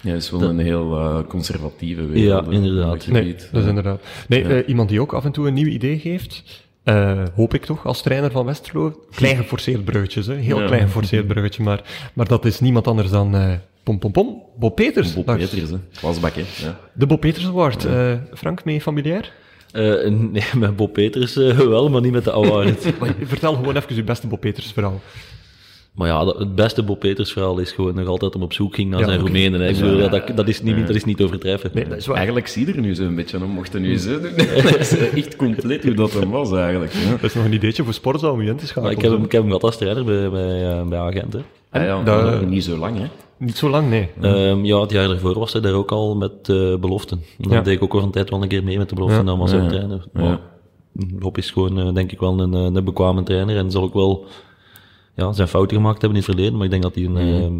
Speaker 2: Ja, dat is wel een heel eh, conservatieve
Speaker 3: Ja,
Speaker 2: wereld. hè,
Speaker 3: inderdaad.
Speaker 2: dat
Speaker 1: Nee,
Speaker 2: gebied.
Speaker 1: dat is inderdaad. Nee, eh, iemand die ook af en toe een nieuw idee geeft, eh, hoop ik toch, als trainer van Westerlo. Klein geforceerd bruggetje, hè. Heel
Speaker 2: Ja.
Speaker 1: klein geforceerd bruggetje, maar, maar dat is niemand anders dan eh, Pom Pom Pom, Bob Peters.
Speaker 2: Bob
Speaker 1: Lars.
Speaker 2: Peters, hè. Wasbak, hè. Ja.
Speaker 1: De Bob Peters Award. eh, Frank, mee familiair?
Speaker 3: Eh, nee, met Bob Peters eh, wel, maar niet met de award.
Speaker 1: Maar Vertel gewoon even je beste Bob Peters verhaal.
Speaker 3: maar ja, dat- het beste Bob Peters verhaal is gewoon nog altijd om op zoek ging naar
Speaker 1: Ja,
Speaker 3: zijn
Speaker 1: oké.
Speaker 3: Roemenen. hè. Ik bedoel, dat- dat, dat, is niet, dat is niet overtreffen.
Speaker 1: Dat is waar.
Speaker 2: Eigenlijk zie je er nu zo'n beetje om, mocht hij
Speaker 3: Mm.
Speaker 2: nu zo doen. Dat is eh, echt compleet hoe dat hem was, eigenlijk. Ja.
Speaker 1: Dat is nog een ideetje voor sportzaal om je in te
Speaker 3: Maar
Speaker 1: schakelen.
Speaker 3: ik heb hem, ik heb hem gehad als trainer bij, bij, eh, bij agenten.
Speaker 2: Ah ja,
Speaker 1: dat-
Speaker 2: maar niet zo lang, hè.
Speaker 1: Niet zo lang, nee.
Speaker 3: Ehm, ja, het jaar daarvoor was hij daar ook al met eh, beloften. Dat
Speaker 1: Ja.
Speaker 3: deed ik ook al een tijd wel een keer mee met de beloften, dan was hij
Speaker 2: ja.
Speaker 3: trainer. Maar Bob is gewoon, eh, denk ik, wel een, eh, een bekwame trainer en zal ook wel ja, zijn fouten gemaakt hebben in het verleden, maar ik denk dat hij een, ehm,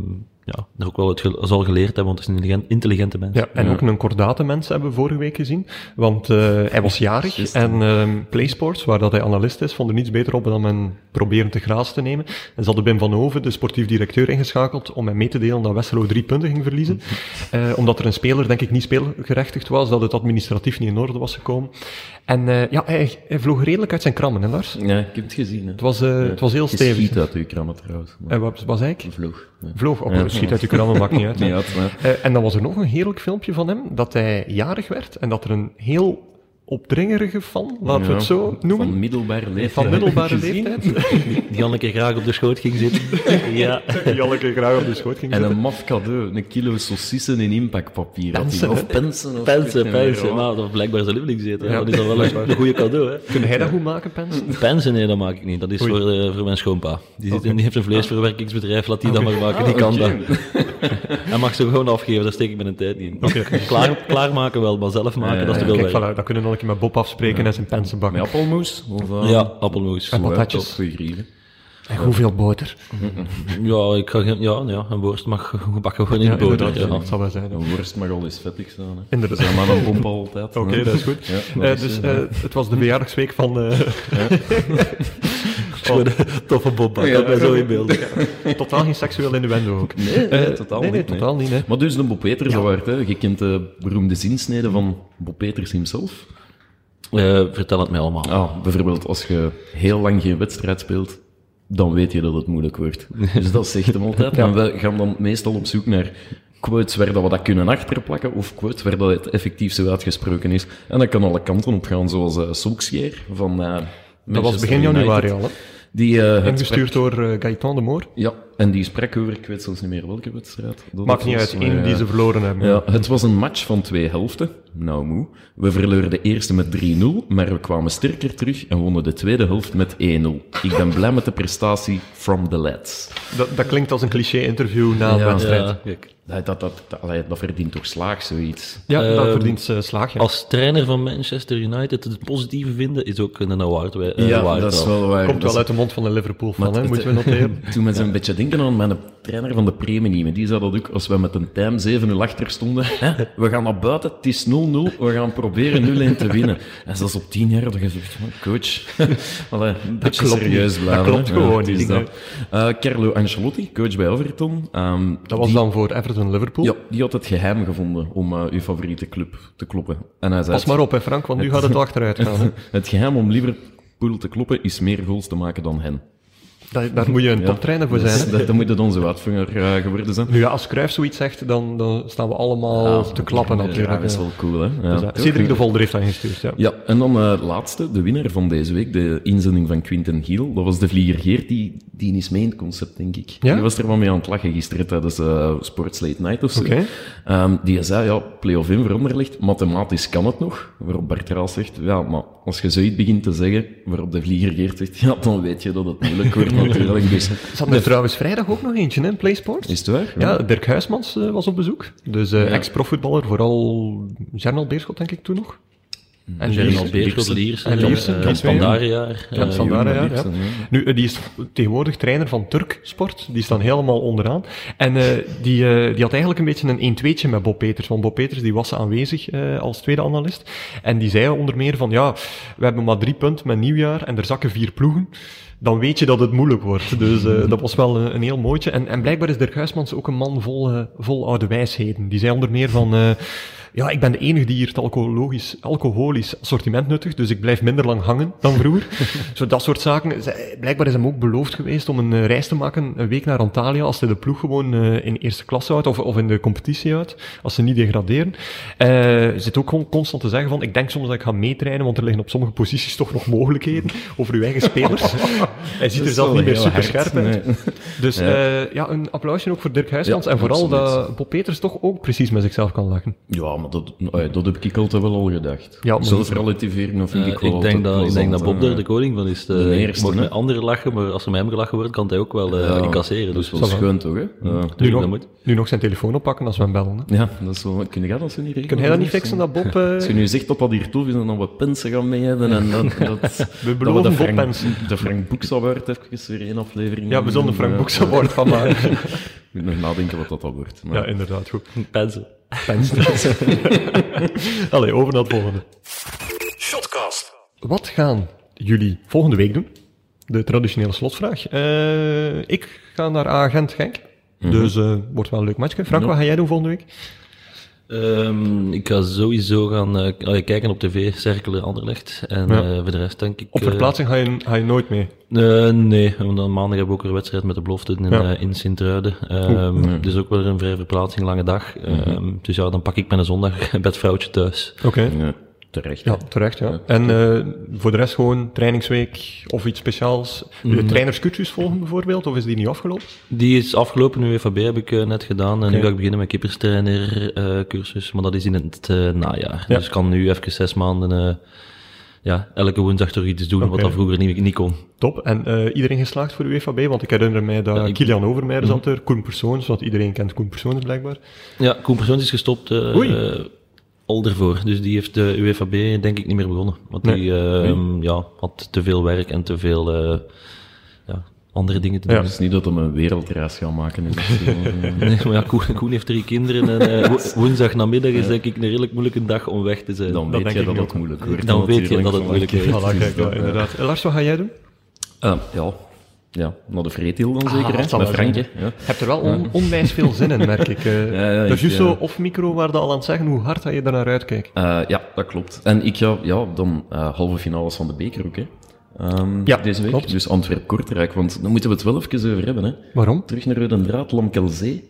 Speaker 3: ja, er ook wel het gel- zal geleerd hebben, want het is een intelligent, intelligente mens.
Speaker 1: Ja, en ook een kordate mens hebben we vorige week gezien. Want eh, hij was jarig en ehm, PlaySports, waar dat hij analist is, vond er niets beter op dan men proberen te graas te nemen. En ze hadden Wim van Hoven, de sportief directeur, ingeschakeld om hem mee te delen dat Westerlo drie punten ging verliezen. Eh, omdat er een speler, denk ik, niet speelgerechtigd was, dat het administratief niet in orde was gekomen. En eh, ja, hij, hij vloog redelijk uit zijn krammen, hè Lars? Het
Speaker 2: Ja, ik heb het gezien, hè.
Speaker 1: was, eh, het was heel
Speaker 2: Je
Speaker 1: stevig.
Speaker 2: schiet uit uw krammen, trouwens. Maar
Speaker 1: En wat was ik?
Speaker 2: Vloog. Ja.
Speaker 1: Vloog op, schiet uit je krammen, maakt niet uit. hè.
Speaker 2: Niet uit, maar...
Speaker 1: Eh, en dan was er nog een heerlijk filmpje van hem, dat hij jarig werd en dat er een heel opdringerige fan, laten we het
Speaker 2: Ja,
Speaker 1: zo noemen,
Speaker 2: Van
Speaker 1: van,
Speaker 2: middelbare leeftijd.
Speaker 1: middelbare
Speaker 2: Heb je gezien?
Speaker 1: leeftijd,
Speaker 3: Die Janneke graag op de schoot ging zitten. ja.
Speaker 1: die al een keer graag op de schoot ging
Speaker 2: En
Speaker 1: zitten.
Speaker 2: een maf cadeau, een kilo saucissen in impactpapier. had hij.
Speaker 1: Pensen,
Speaker 2: Of
Speaker 1: hè?
Speaker 2: pensen. Of
Speaker 3: Pensen, pensen.
Speaker 2: Ja.
Speaker 3: Nou, dat is blijkbaar zijn lievelingseten.
Speaker 1: Ja.
Speaker 3: Dat is dan wel een, een goede cadeau, hè.
Speaker 1: Kun jij dat goed maken, Pens?
Speaker 3: Pensen, nee, dat maak ik niet. Dat is voor, eh, voor mijn schoonpa. Die, zit, in- die heeft een vleesverwerkingsbedrijf, laat die dat maar maken. die kan dat. Hij mag ze gewoon afgeven, daar steek ik mijn tijd niet in. Klaar, klaarmaken wel, maar zelf maken,
Speaker 2: Ja,
Speaker 3: dat is te veel
Speaker 1: Kijk,
Speaker 3: werk.
Speaker 1: voilà, dat kunnen we een keer met Bob afspreken en zijn pensen bakken.
Speaker 2: Met appelmoes? Of, eh,
Speaker 3: Ja, appelmoes.
Speaker 2: zo, hè,
Speaker 1: patatjes.
Speaker 2: tot goeie grieven.
Speaker 1: En hoeveel boter?
Speaker 3: Ja, ik ga geen, ja, ja, een worst mag gebakken worden in
Speaker 1: Ja,
Speaker 3: boter.
Speaker 1: inderdaad,
Speaker 3: Ja.
Speaker 1: dat zal wel zijn.
Speaker 2: Een worst mag al eens vettig zijn. Hè.
Speaker 1: Inderdaad.
Speaker 2: Dat is maar een pomp altijd.
Speaker 1: Oké, dat is goed.
Speaker 2: Ja, dat
Speaker 1: Eh,
Speaker 2: is,
Speaker 1: dus
Speaker 2: eh,
Speaker 1: eh, het was de verjaardagsweek van... eh,
Speaker 3: Voor de Toffe Bob Bak, dat bij zo in beeld.
Speaker 1: totaal geen seksueel innuendo ook.
Speaker 2: Nee,
Speaker 1: Eh,
Speaker 2: totaal
Speaker 1: nee, nee,
Speaker 2: niet.
Speaker 1: totaal niet, hè.
Speaker 2: Maar dus de Bob Peters Award, hè. je kent de beroemde zinsneden van Bob Peters himself.
Speaker 3: Eh, vertel het mij allemaal.
Speaker 2: Ah, bijvoorbeeld als je heel lang geen wedstrijd speelt, dan weet je dat het moeilijk wordt. Dus dat zegt hem altijd. En we gaan dan meestal op zoek naar quotes waar dat we dat kunnen achterplakken, of quotes waar dat het effectief zo uitgesproken is. En dat kan alle kanten op gaan, zoals eh Solskjaer van eh,
Speaker 1: Dat was
Speaker 2: Manchester
Speaker 1: begin januari
Speaker 2: United.
Speaker 1: al, hè.
Speaker 2: Die, eh, het
Speaker 1: Ingestuurd door eh, Gaëtan de Moor.
Speaker 2: Ja, en die sprak over, ik weet zelfs niet meer welke wedstrijd. Dat
Speaker 1: Maakt niet
Speaker 2: was,
Speaker 1: uit, één
Speaker 2: maar,
Speaker 1: die
Speaker 2: eh,
Speaker 1: ze verloren hebben.
Speaker 2: Ja, het was een match van twee helften. Nou moe. We verleuren de eerste met 3-0, maar we kwamen sterker terug en wonnen de tweede helft met 1-0. Ik ben blij met de prestatie from the lads.
Speaker 1: Dat, dat klinkt als een cliché-interview na een
Speaker 2: Ja.
Speaker 1: wedstrijd.
Speaker 3: Ja, kijk.
Speaker 2: Dat, dat, dat, dat, allee, dat verdient toch slaag, zoiets.
Speaker 1: Ja, Eh, dat
Speaker 3: Ehm,
Speaker 1: verdient ze slaag, ja.
Speaker 3: Als trainer van Manchester United het positieve vinden is ook een award. wij- eh, waard wel.
Speaker 2: waar.
Speaker 1: Komt
Speaker 2: Dat
Speaker 1: wel
Speaker 2: is-
Speaker 1: uit de mond van een Liverpool fan, hè,
Speaker 2: het-
Speaker 1: moeten we noteren.
Speaker 2: Toen mensen een beetje denken aan mijn trainer van de Premium. Die zei dat ook als we met een time 7-0 achter stonden. Hè, we gaan naar buiten, het is 0-0, we gaan proberen 0-1 te winnen. En zelfs op 10 jaar dat je zegt, "Man, coach, allee, een beetje
Speaker 1: klopt
Speaker 2: serieus
Speaker 1: niet.
Speaker 2: blijven.
Speaker 1: Dat klopt
Speaker 2: hè.
Speaker 1: gewoon
Speaker 2: het is
Speaker 1: niet,
Speaker 2: dat. Eh, Carlo Ancelotti, coach bij Everton. ehm,
Speaker 1: Dat was
Speaker 2: die-
Speaker 1: dan voor Everton-Liverpool.
Speaker 2: Ja, die had het geheim gevonden om eh, uw favoriete club te kloppen. En hij zei,
Speaker 1: Pas maar op, hè, Frank, want nu gaat het achteruit gaan. hè.
Speaker 2: het geheim om Liverpool te kloppen is meer goals te maken dan hen.
Speaker 1: Daar, daar moet je een toptrainer voor
Speaker 2: Dat
Speaker 1: zijn.
Speaker 2: is-
Speaker 1: hè.
Speaker 2: Dat, dat moet het onze uitvinger eh, geworden zijn.
Speaker 1: Nu ja, als Cruijff zoiets zegt, dan, dan staan we allemaal te klappen
Speaker 2: Ja,
Speaker 1: natuurlijk.
Speaker 2: dat is
Speaker 1: hè.
Speaker 2: wel cool, hè? Ja.
Speaker 1: Dus, eh, Cedric de Volder heeft dat gestuurd, ja.
Speaker 2: Ja, en dan eh laatste, de winnaar van deze week, de inzending van Quinten Giel. Dat was de Vlieger Geert, die, die is mee in het concept, denk ik.
Speaker 1: Ja?
Speaker 2: Die was er wel mee aan het lachen gisteren tijdens eh, Sports Late Night of zo.
Speaker 1: Oké.
Speaker 2: Ehm, die zei, ja, play-off in voor Anderlecht, mathematisch kan het nog. Waarop Bart Raals zegt, ja, maar als je zoiets begint te zeggen, waarop de Vlieger Geert zegt, ja, dan weet je dat het moeilijk wordt natuurlijk. Dus,
Speaker 1: Zat er trouwens vrijdag ook nog eentje, hè, in PlaySports?
Speaker 2: is het waar?
Speaker 1: Ja, Dirk Huismans eh, was op bezoek. Dus eh ex-profvoetballer, vooral Gernal Beerschot, denk ik, toen nog. En
Speaker 3: Gerald
Speaker 1: Lierse.
Speaker 3: Beerschot, Liersen,
Speaker 1: En Liersen,
Speaker 3: eh,
Speaker 1: die
Speaker 3: Jan
Speaker 1: twee,
Speaker 3: van
Speaker 1: ja.
Speaker 3: Daarenjaar.
Speaker 1: Ja,
Speaker 3: eh,
Speaker 1: vandaar,
Speaker 2: Jeroen
Speaker 1: ja,
Speaker 2: Liebsen,
Speaker 1: ja.
Speaker 2: ja.
Speaker 1: Nu, eh, die is tegenwoordig trainer van Turk Sport. Die staan helemaal onderaan. En eh, die, eh, die had eigenlijk een beetje een 1-2'tje met Bob Peters. Want Bob Peters die was aanwezig eh, als tweede analist. En die zei onder meer van, ja, we hebben maar drie punten met nieuwjaar en er zakken vier ploegen. Dan weet je dat het moeilijk wordt. Dus eh, dat was wel een, een heel mooitje. En, en blijkbaar is Dirk Huismans ook een man vol, eh, vol oude wijsheden. Die zei onder meer van... eh, ja, ik ben de enige die hier het alcoholisch, alcoholisch assortiment nuttigt, dus ik blijf minder lang hangen dan vroeger. Zo dat soort zaken. Zij- Blijkbaar is hem ook beloofd geweest om een eh, reis te maken, een week naar Antalya, als hij de ploeg gewoon eh, in eerste klasse houdt, of, of in de competitie houdt, als ze niet degraderen. Eh zit ook gewoon constant te zeggen van, ik denk soms dat ik ga meetrainen, want er liggen op sommige posities toch nog mogelijkheden over uw eigen spelers. hij ziet
Speaker 2: Dat
Speaker 1: er
Speaker 2: is
Speaker 1: zelf
Speaker 2: wel
Speaker 1: niet meer
Speaker 2: heel
Speaker 1: super
Speaker 2: hard.
Speaker 1: scherp uit.
Speaker 2: Nee.
Speaker 1: Dus ja. ja, een applausje ook voor Dirk Huismans,
Speaker 2: Ja,
Speaker 1: en vooral
Speaker 2: absoluut.
Speaker 1: dat Bob Peters toch ook precies met zichzelf kan lachen.
Speaker 2: Ja, maar dat, eh, dat heb ik altijd wel al gedacht.
Speaker 1: Ja, maar-
Speaker 2: Zelfrelativering, of vind
Speaker 3: eh,
Speaker 2: ik wel
Speaker 3: ik, denk
Speaker 2: altijd
Speaker 3: dat, ik denk dat
Speaker 2: plezant,
Speaker 3: Bob daar
Speaker 2: eh.
Speaker 3: de koning van is. De,
Speaker 2: de eerste,
Speaker 3: ik mag met
Speaker 2: hè?
Speaker 3: anderen lachen, maar als er met hem gelachen wordt, kan hij ook wel eh, incasseren.
Speaker 2: Dat
Speaker 3: Dus
Speaker 2: is wel schoon, toch? Hè? Ja.
Speaker 1: Nu
Speaker 3: Tuurlijk,
Speaker 1: nog,
Speaker 3: Mm-hmm. dat
Speaker 1: nu nog zijn telefoon oppakken als we hem bellen. Hè.
Speaker 2: Ja, dat is wel... Kun jij dat zo niet regelen?
Speaker 1: Kun jij dat niet fixen, dat Bob... eh,
Speaker 2: Als je nu zegt dat dat hier tof is en dat we pensen gaan mee hebben en dat... dat we
Speaker 1: beloven
Speaker 2: de
Speaker 1: Bob
Speaker 2: Frank,
Speaker 1: pensen.
Speaker 2: De Frank Boeks Award even weer één aflevering.
Speaker 1: ja, we zullen een Frank
Speaker 2: eh,
Speaker 1: Boeks Award van maken.
Speaker 2: Ik moet nog nadenken wat dat dan wordt. maar-
Speaker 1: Ja, inderdaad, goed.
Speaker 3: Pensen.
Speaker 1: Allee, over naar het volgende.
Speaker 4: Shotcast.
Speaker 1: Wat gaan jullie volgende week doen? De traditionele slotvraag. Eh, ik ga naar Agent Genk.
Speaker 3: Mhm.
Speaker 1: Dus eh, wordt wel een leuk matchje. Frank, wat ga jij doen volgende week?
Speaker 3: Ehm, ik ga sowieso gaan eh, k- eh, kijken op tv, cirkelen Anderlecht. En
Speaker 1: Ja.
Speaker 3: eh, voor de rest denk ik...
Speaker 1: Op
Speaker 3: eh,
Speaker 1: verplaatsing ga je, ga je nooit mee.
Speaker 3: eh, nee, want dan maandag hebben we ook weer een wedstrijd met de belofte in,
Speaker 1: Ja.
Speaker 3: eh, in Sint-Truiden. Ehm, Dus ook weer een vrije verplaatsing, lange dag.
Speaker 1: Mhm.
Speaker 3: Ehm, Dus ja, dan pak ik mijn zondag bedvrouwtje thuis.
Speaker 1: Oké.
Speaker 2: Ja, eh, terecht.
Speaker 1: Ja, terecht, ja. En eh, voor de rest gewoon trainingsweek of iets speciaals.
Speaker 2: Mhm.
Speaker 1: De trainerscursus volgen bijvoorbeeld, of is die niet afgelopen?
Speaker 3: Die is afgelopen, UWVB heb ik eh, net gedaan. En nu ga ik beginnen met kipperstrainercursus, cursus maar dat is in het eh, najaar.
Speaker 1: Ja.
Speaker 3: Dus ik kan nu even zes maanden eh, ja, elke woensdag toch iets doen wat
Speaker 1: Oké.
Speaker 3: dat vroeger niet, niet kon.
Speaker 1: Top. En eh, iedereen geslaagd voor de UFAB? Want ik herinner mij dat
Speaker 3: ik-
Speaker 1: Kilian Overmeijer
Speaker 2: Mhm.
Speaker 1: zat er, Koen Persoons, want iedereen kent Koen Persoons blijkbaar.
Speaker 3: Ja, Koen Persoons is gestopt. eh,
Speaker 1: Oei.
Speaker 3: eh, al ervoor. Dus die heeft de UFAB denk ik niet meer begonnen. Want die eh, Ja, had te veel werk en te veel eh, ja, andere dingen te doen.
Speaker 2: Het is niet dat we een wereldreis gaan maken. In de film.
Speaker 3: Nee, maar ja, Koen, Koen heeft drie kinderen en eh, wo- woensdag namiddag is denk ik een redelijk moeilijke dag om weg te zijn.
Speaker 2: dan
Speaker 1: denk
Speaker 2: weet je
Speaker 1: ik
Speaker 2: dat
Speaker 1: ook.
Speaker 2: het moeilijk wordt.
Speaker 3: Dan weet je
Speaker 2: natuurlijk,
Speaker 3: dat het
Speaker 2: voilà.
Speaker 3: moeilijk wordt.
Speaker 1: Voilà, kijk, ja, inderdaad. Eh, Lars, wat ga jij doen?
Speaker 2: Eh, ja. ja, naar de vreetheel dan zeker,
Speaker 1: Ah, dat
Speaker 2: hè?
Speaker 1: zal
Speaker 2: Met
Speaker 1: wel zijn.
Speaker 2: Frankje. Ja.
Speaker 1: Je hebt er wel on- onwijs veel zin in, merk ik. eh.
Speaker 2: Ja, ja,
Speaker 1: dat is
Speaker 2: ik,
Speaker 1: juist
Speaker 2: eh,
Speaker 1: zo off-micro waar dat al aan het zeggen hoe hard dat je daar naar uitkijkt.
Speaker 2: Eh, ja, dat klopt. En ik ga ja, dan eh, halve finales van de beker ook, hè. Ehm,
Speaker 1: Ja,
Speaker 2: deze week.
Speaker 1: klopt.
Speaker 2: Dus Antwerp-Kortrijk, want daar moeten we het wel even over hebben. Hè.
Speaker 1: Waarom?
Speaker 2: Terug naar Rode Draad, Lamkelzee.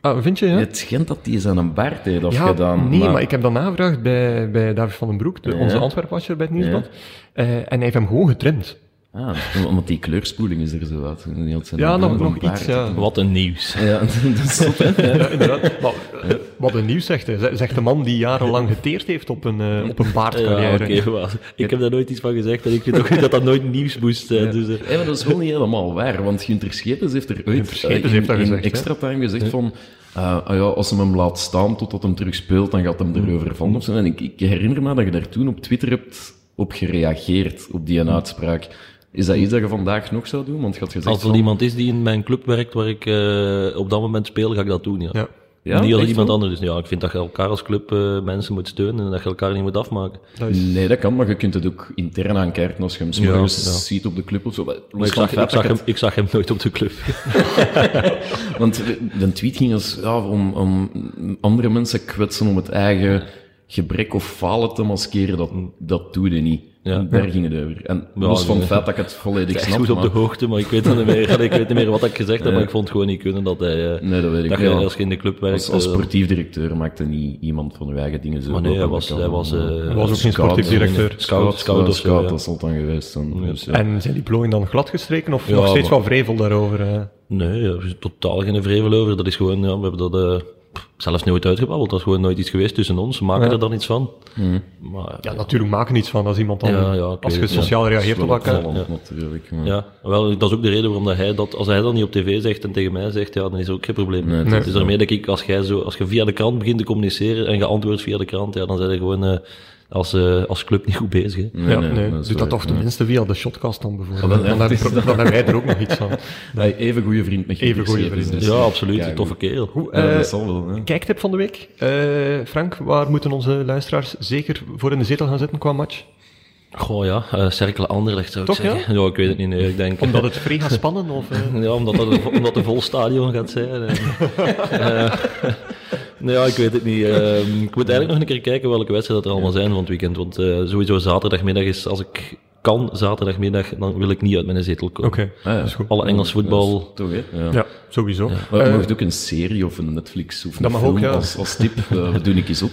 Speaker 1: Ah, vind je, ja?
Speaker 2: Het schijnt dat die zijn een baard heeft
Speaker 1: Ja,
Speaker 2: afgedaan.
Speaker 1: nee, maar... ik heb dan navraagd bij, bij David van den Broek, de, onze Antwerpwatcher bij het Nieuwsblad. Eh, en hij heeft hem gewoon getrimd.
Speaker 2: Ah, want die kleurspoeling is er zo uit. Heel het zijn
Speaker 1: Ja, nog,
Speaker 2: een
Speaker 1: nog
Speaker 2: baard.
Speaker 1: iets, ja.
Speaker 3: Wat een nieuws.
Speaker 2: Ja, dat is zot, hè.
Speaker 1: Ja, inderdaad. Maar, eh, wat een nieuws zegt, hè. Z- zegt de man die jarenlang geteerd heeft op een, eh, op een
Speaker 3: Ja,
Speaker 1: baardcarrière.
Speaker 3: oké, maar ik heb daar nooit iets van gezegd en ik vind ook niet dat dat nooit nieuws moest zijn. Dus, eh,
Speaker 2: Ja, maar dat is wel niet helemaal waar, want Gunter Schepens heeft er ooit
Speaker 1: Gunter Schepens
Speaker 2: eh, in,
Speaker 1: heeft dat
Speaker 2: in
Speaker 1: gezegd, hè?
Speaker 2: extra time gezegd van... eh, ah ja, als ze hem laat staan totdat hem terug speelt, dan gaat hem erover van. of zo. En ik, ik herinner me dat je daar toen op Twitter hebt op gereageerd, op die uitspraak. Is dat iets dat je vandaag nog zou doen? Want je had gezegd
Speaker 3: als er
Speaker 2: van-
Speaker 3: iemand is die in mijn club werkt waar ik eh, op dat moment speel, ga ik dat doen. Ja.
Speaker 1: Ja.
Speaker 2: Ja,
Speaker 3: niet als
Speaker 2: echt
Speaker 3: iemand
Speaker 2: wel?
Speaker 3: anders. Dus Ja, ik vind dat je elkaar als club eh, mensen moet steunen en dat je elkaar niet moet afmaken.
Speaker 1: Dat is-
Speaker 2: Nee, dat kan, maar je kunt het ook intern aankijken als je hem s'morgens
Speaker 3: Ja, ja.
Speaker 2: ziet op de club of zo. Maar
Speaker 3: Maar
Speaker 2: los
Speaker 3: ik
Speaker 2: van het feit
Speaker 3: zag, ik,
Speaker 2: dat
Speaker 3: zag
Speaker 2: je
Speaker 3: hem, ik zag hem nooit op de club.
Speaker 2: Want de tweet ging als ja, om, om andere mensen kwetsen om het eigen gebrek of falen te maskeren. Dat, dat doe je niet.
Speaker 3: Ja.
Speaker 2: Daar ging het over. En los
Speaker 3: ja.
Speaker 2: van het feit dat ik het volledig
Speaker 3: Ik
Speaker 2: snap.
Speaker 3: goed op de
Speaker 2: maar-
Speaker 3: hoogte, maar ik weet dan niet meer, ik weet niet meer wat ik gezegd heb, maar ik vond het gewoon niet kunnen dat hij... eh,
Speaker 2: Nee, dat weet ik
Speaker 3: dat je,
Speaker 2: wel.
Speaker 3: als je in de club werkt...
Speaker 2: Als, als
Speaker 3: eh,
Speaker 2: sportief directeur maakte niet iemand van uw eigen dingen zo.
Speaker 3: maar nee, hij
Speaker 2: openlijk
Speaker 3: was...
Speaker 2: aan.
Speaker 3: Hij was, eh,
Speaker 1: Hij was ook geen sportief directeur.
Speaker 3: Scout, scout of zo, ja.
Speaker 2: dat zal het dan geweest zijn. Dus, ja.
Speaker 1: En zijn die plooien dan gladgestreken of
Speaker 3: Ja,
Speaker 1: nog steeds
Speaker 3: maar-
Speaker 1: wel vrevel daarover? eh?
Speaker 3: Nee, er is totaal geen vrevel over. Dat is gewoon, ja, we hebben dat eh, pff, zelfs nooit uitgebabbeld. Dat is gewoon nooit iets geweest tussen ons. We maken er dan iets van.
Speaker 2: Mm.
Speaker 3: Maar,
Speaker 1: Ja, natuurlijk maak er iets van als iemand dan...
Speaker 3: Ja, ja, ik
Speaker 1: als je
Speaker 3: weet het,
Speaker 1: sociaal reageert op elkaar.
Speaker 2: Opvallend, natuurlijk. maar-
Speaker 3: ja, wel, dat is ook de reden waarom dat hij dat, als hij dat niet op tv zegt en tegen mij zegt, ja, dan is er ook geen probleem.
Speaker 2: Nee,
Speaker 3: het is daarmee dat ik, als, jij zo, als je via de krant begint te communiceren en je antwoordt via de krant, ja, dan zijn je gewoon eh, als, eh, als club niet goed bezig. hè.
Speaker 1: Ja, nee,
Speaker 2: dat is
Speaker 1: doe dat
Speaker 2: waar.
Speaker 1: toch tenminste via de shotcast dan bijvoorbeeld.
Speaker 2: Ah, wel, ja,
Speaker 1: dan,
Speaker 2: het is
Speaker 1: hebben, dan hebben wij er ook nog iets van.
Speaker 2: Nee, even goede vriend met dus. je.
Speaker 1: Even goede vriend.
Speaker 3: Ja, absoluut.
Speaker 2: Ja,
Speaker 3: een toffe
Speaker 2: goed.
Speaker 3: kerel.
Speaker 1: Hoe,
Speaker 2: Ja,
Speaker 1: eh,
Speaker 2: dat zal wel. hè.
Speaker 1: kijktip van de week. Eh, Frank, waar moeten onze luisteraars zeker voor in de zetel gaan zitten qua match?
Speaker 3: Goh ja, eh Cerkel Anderlecht zou ik
Speaker 1: Toch, ja?
Speaker 3: zeggen. Ja? ik weet het niet. Nee, ik denk,
Speaker 1: Omdat het vrij gaat spannen? Of, eh?
Speaker 3: Ja, omdat dat een, omdat een vol stadion gaat zijn. en, eh, nou ja, ik weet het niet. Ehm, ik moet eigenlijk nog een keer kijken welke wedstrijden dat er allemaal zijn van het weekend. Want eh, sowieso zaterdagmiddag is, als ik kan, zaterdagmiddag, dan wil ik niet uit mijn zetel komen.
Speaker 1: Oké,
Speaker 2: Ah, ja.
Speaker 1: dat is goed.
Speaker 3: Alle Engels
Speaker 2: Dat is
Speaker 3: voetbal.
Speaker 2: Toch, hè? Ja.
Speaker 1: Ja, sowieso.
Speaker 2: Maar
Speaker 1: Eh,
Speaker 2: je mag ook een serie of een Netflix of een
Speaker 1: Dat mag
Speaker 2: film
Speaker 1: ook, ja.
Speaker 2: als, als tip. eh, we doen ik eens op.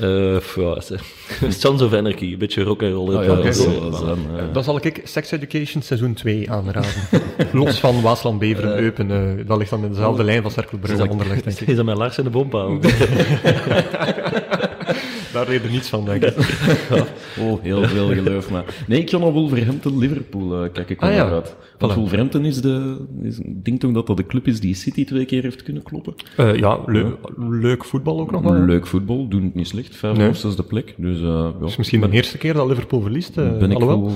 Speaker 2: eh.
Speaker 3: eh, f- ja, ze- Sons of Anarchy, een beetje rock and roll. eh,
Speaker 2: Ah, ja,
Speaker 1: oké.
Speaker 2: dat zal wel zijn, ja.
Speaker 1: Dan zal ik Sex Education seizoen 2 aanraden. Los van Waasland, Beveren, Eupen. eh, dat ligt dan in dezelfde lijn van Cerkelbrugge en Anderlecht, denk ik.
Speaker 3: Is dat mijn Lars in de bompa?
Speaker 1: Daar reden niets van, denk ik.
Speaker 2: Oh, heel veel geloof maar. Nee, ik ga naar Wolverhampton-Liverpool eh, kijk ik wel
Speaker 1: Ah, ja.
Speaker 2: naar uit. Want
Speaker 1: Voilà.
Speaker 2: Wolverhampton is de... Is, ik denk toch dat dat de club is die City twee keer heeft kunnen kloppen.
Speaker 1: Eh, ja, leu- leuk voetbal ook nog wel. hè.
Speaker 2: Leuk voetbal, doen het niet slecht. Vijf
Speaker 1: Ah, Nee.
Speaker 2: of zesde plek. Dus eh, ja.
Speaker 1: is misschien de eerste keer dat Liverpool verliest. eh,
Speaker 2: ben ik
Speaker 1: alhoewel.
Speaker 2: wel...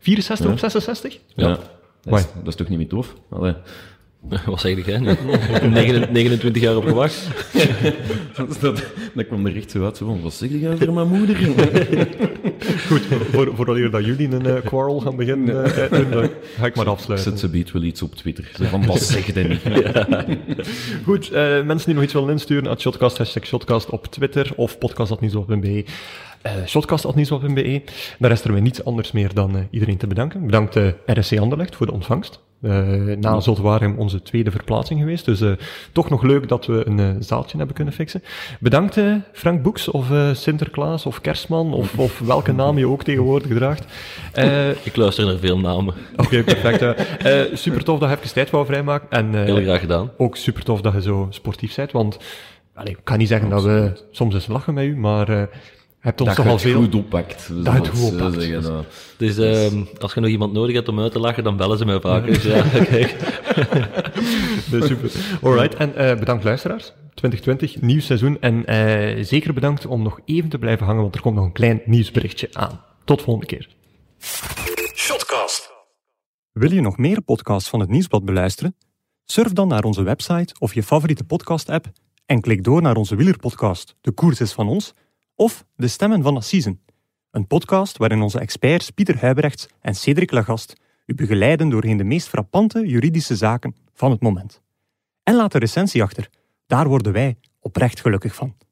Speaker 1: 64 op 66?
Speaker 2: Ja. Dat, is,
Speaker 1: Why?
Speaker 2: dat is toch niet meer tof? Allee.
Speaker 3: Wat zeg jij nu? 29 29 jaar op gewacht.
Speaker 2: Dat, dat, dat kwam er echt zo uit. Zo van, wat zeg je over mijn moeder?
Speaker 1: Goed, voor, vooraleer dat jullie een eh, quarrel gaan beginnen, eh, eh, doen, dan ga ik maar afsluiten.
Speaker 2: Zet ze biedt wel iets op Twitter. Zo van, wat zeg je niet?
Speaker 1: Goed, eh, mensen die nog iets willen insturen, at shotcast, hashtag shotcast op Twitter of podcast.nieuwsblad.be. eh shotcast.nieuwsblad.be. E. Daar is er weer niets anders meer dan eh, iedereen te bedanken. Bedankt eh, RSC Anderlecht voor de ontvangst. Eh na Zotwarum onze tweede verplaatsing geweest, dus eh, toch nog leuk dat we een eh, zaaltje hebben kunnen fixen. Bedankt eh, Frank Boeks of eh, Sinterklaas of Kerstman of, of welke naam je ook tegenwoordig draagt. Eh,
Speaker 3: Ik luister naar veel namen.
Speaker 1: Oké, perfect. eh. Eh, super tof dat je even tijd wou vrijmaken. En, eh,
Speaker 3: Heel graag gedaan.
Speaker 1: ook super tof dat je zo sportief bent. Want allee, ik kan niet zeggen dat we soms eens lachen met u, maar eh, je hebt ons toch
Speaker 2: dat je
Speaker 1: al
Speaker 2: het
Speaker 1: veel...
Speaker 2: goed oppakt.
Speaker 1: Dat het goed
Speaker 2: Zo
Speaker 1: oppakt.
Speaker 2: zeggen, eh.
Speaker 3: Dus ehm, als je nog iemand nodig hebt om uit te lachen, dan bellen ze mij vaak. Dus ja, kijk.
Speaker 1: Dus super. Alright, en eh, bedankt luisteraars. 2020, nieuw seizoen. En eh, zeker bedankt om nog even te blijven hangen, want er komt nog een klein nieuwsberichtje aan. Tot volgende keer.
Speaker 4: Shotcast.
Speaker 5: Wil je nog meer podcasts van het Nieuwsblad beluisteren? Surf dan naar onze website of je favoriete podcast-app en klik door naar onze wielerpodcast De Koers is van ons of De Stemmen van Assisen. Een podcast waarin onze experts Pieter Huibrechts en Cedric Lagast u begeleiden doorheen de meest frappante juridische zaken van het moment. En laat een recensie achter. Daar worden wij oprecht gelukkig van.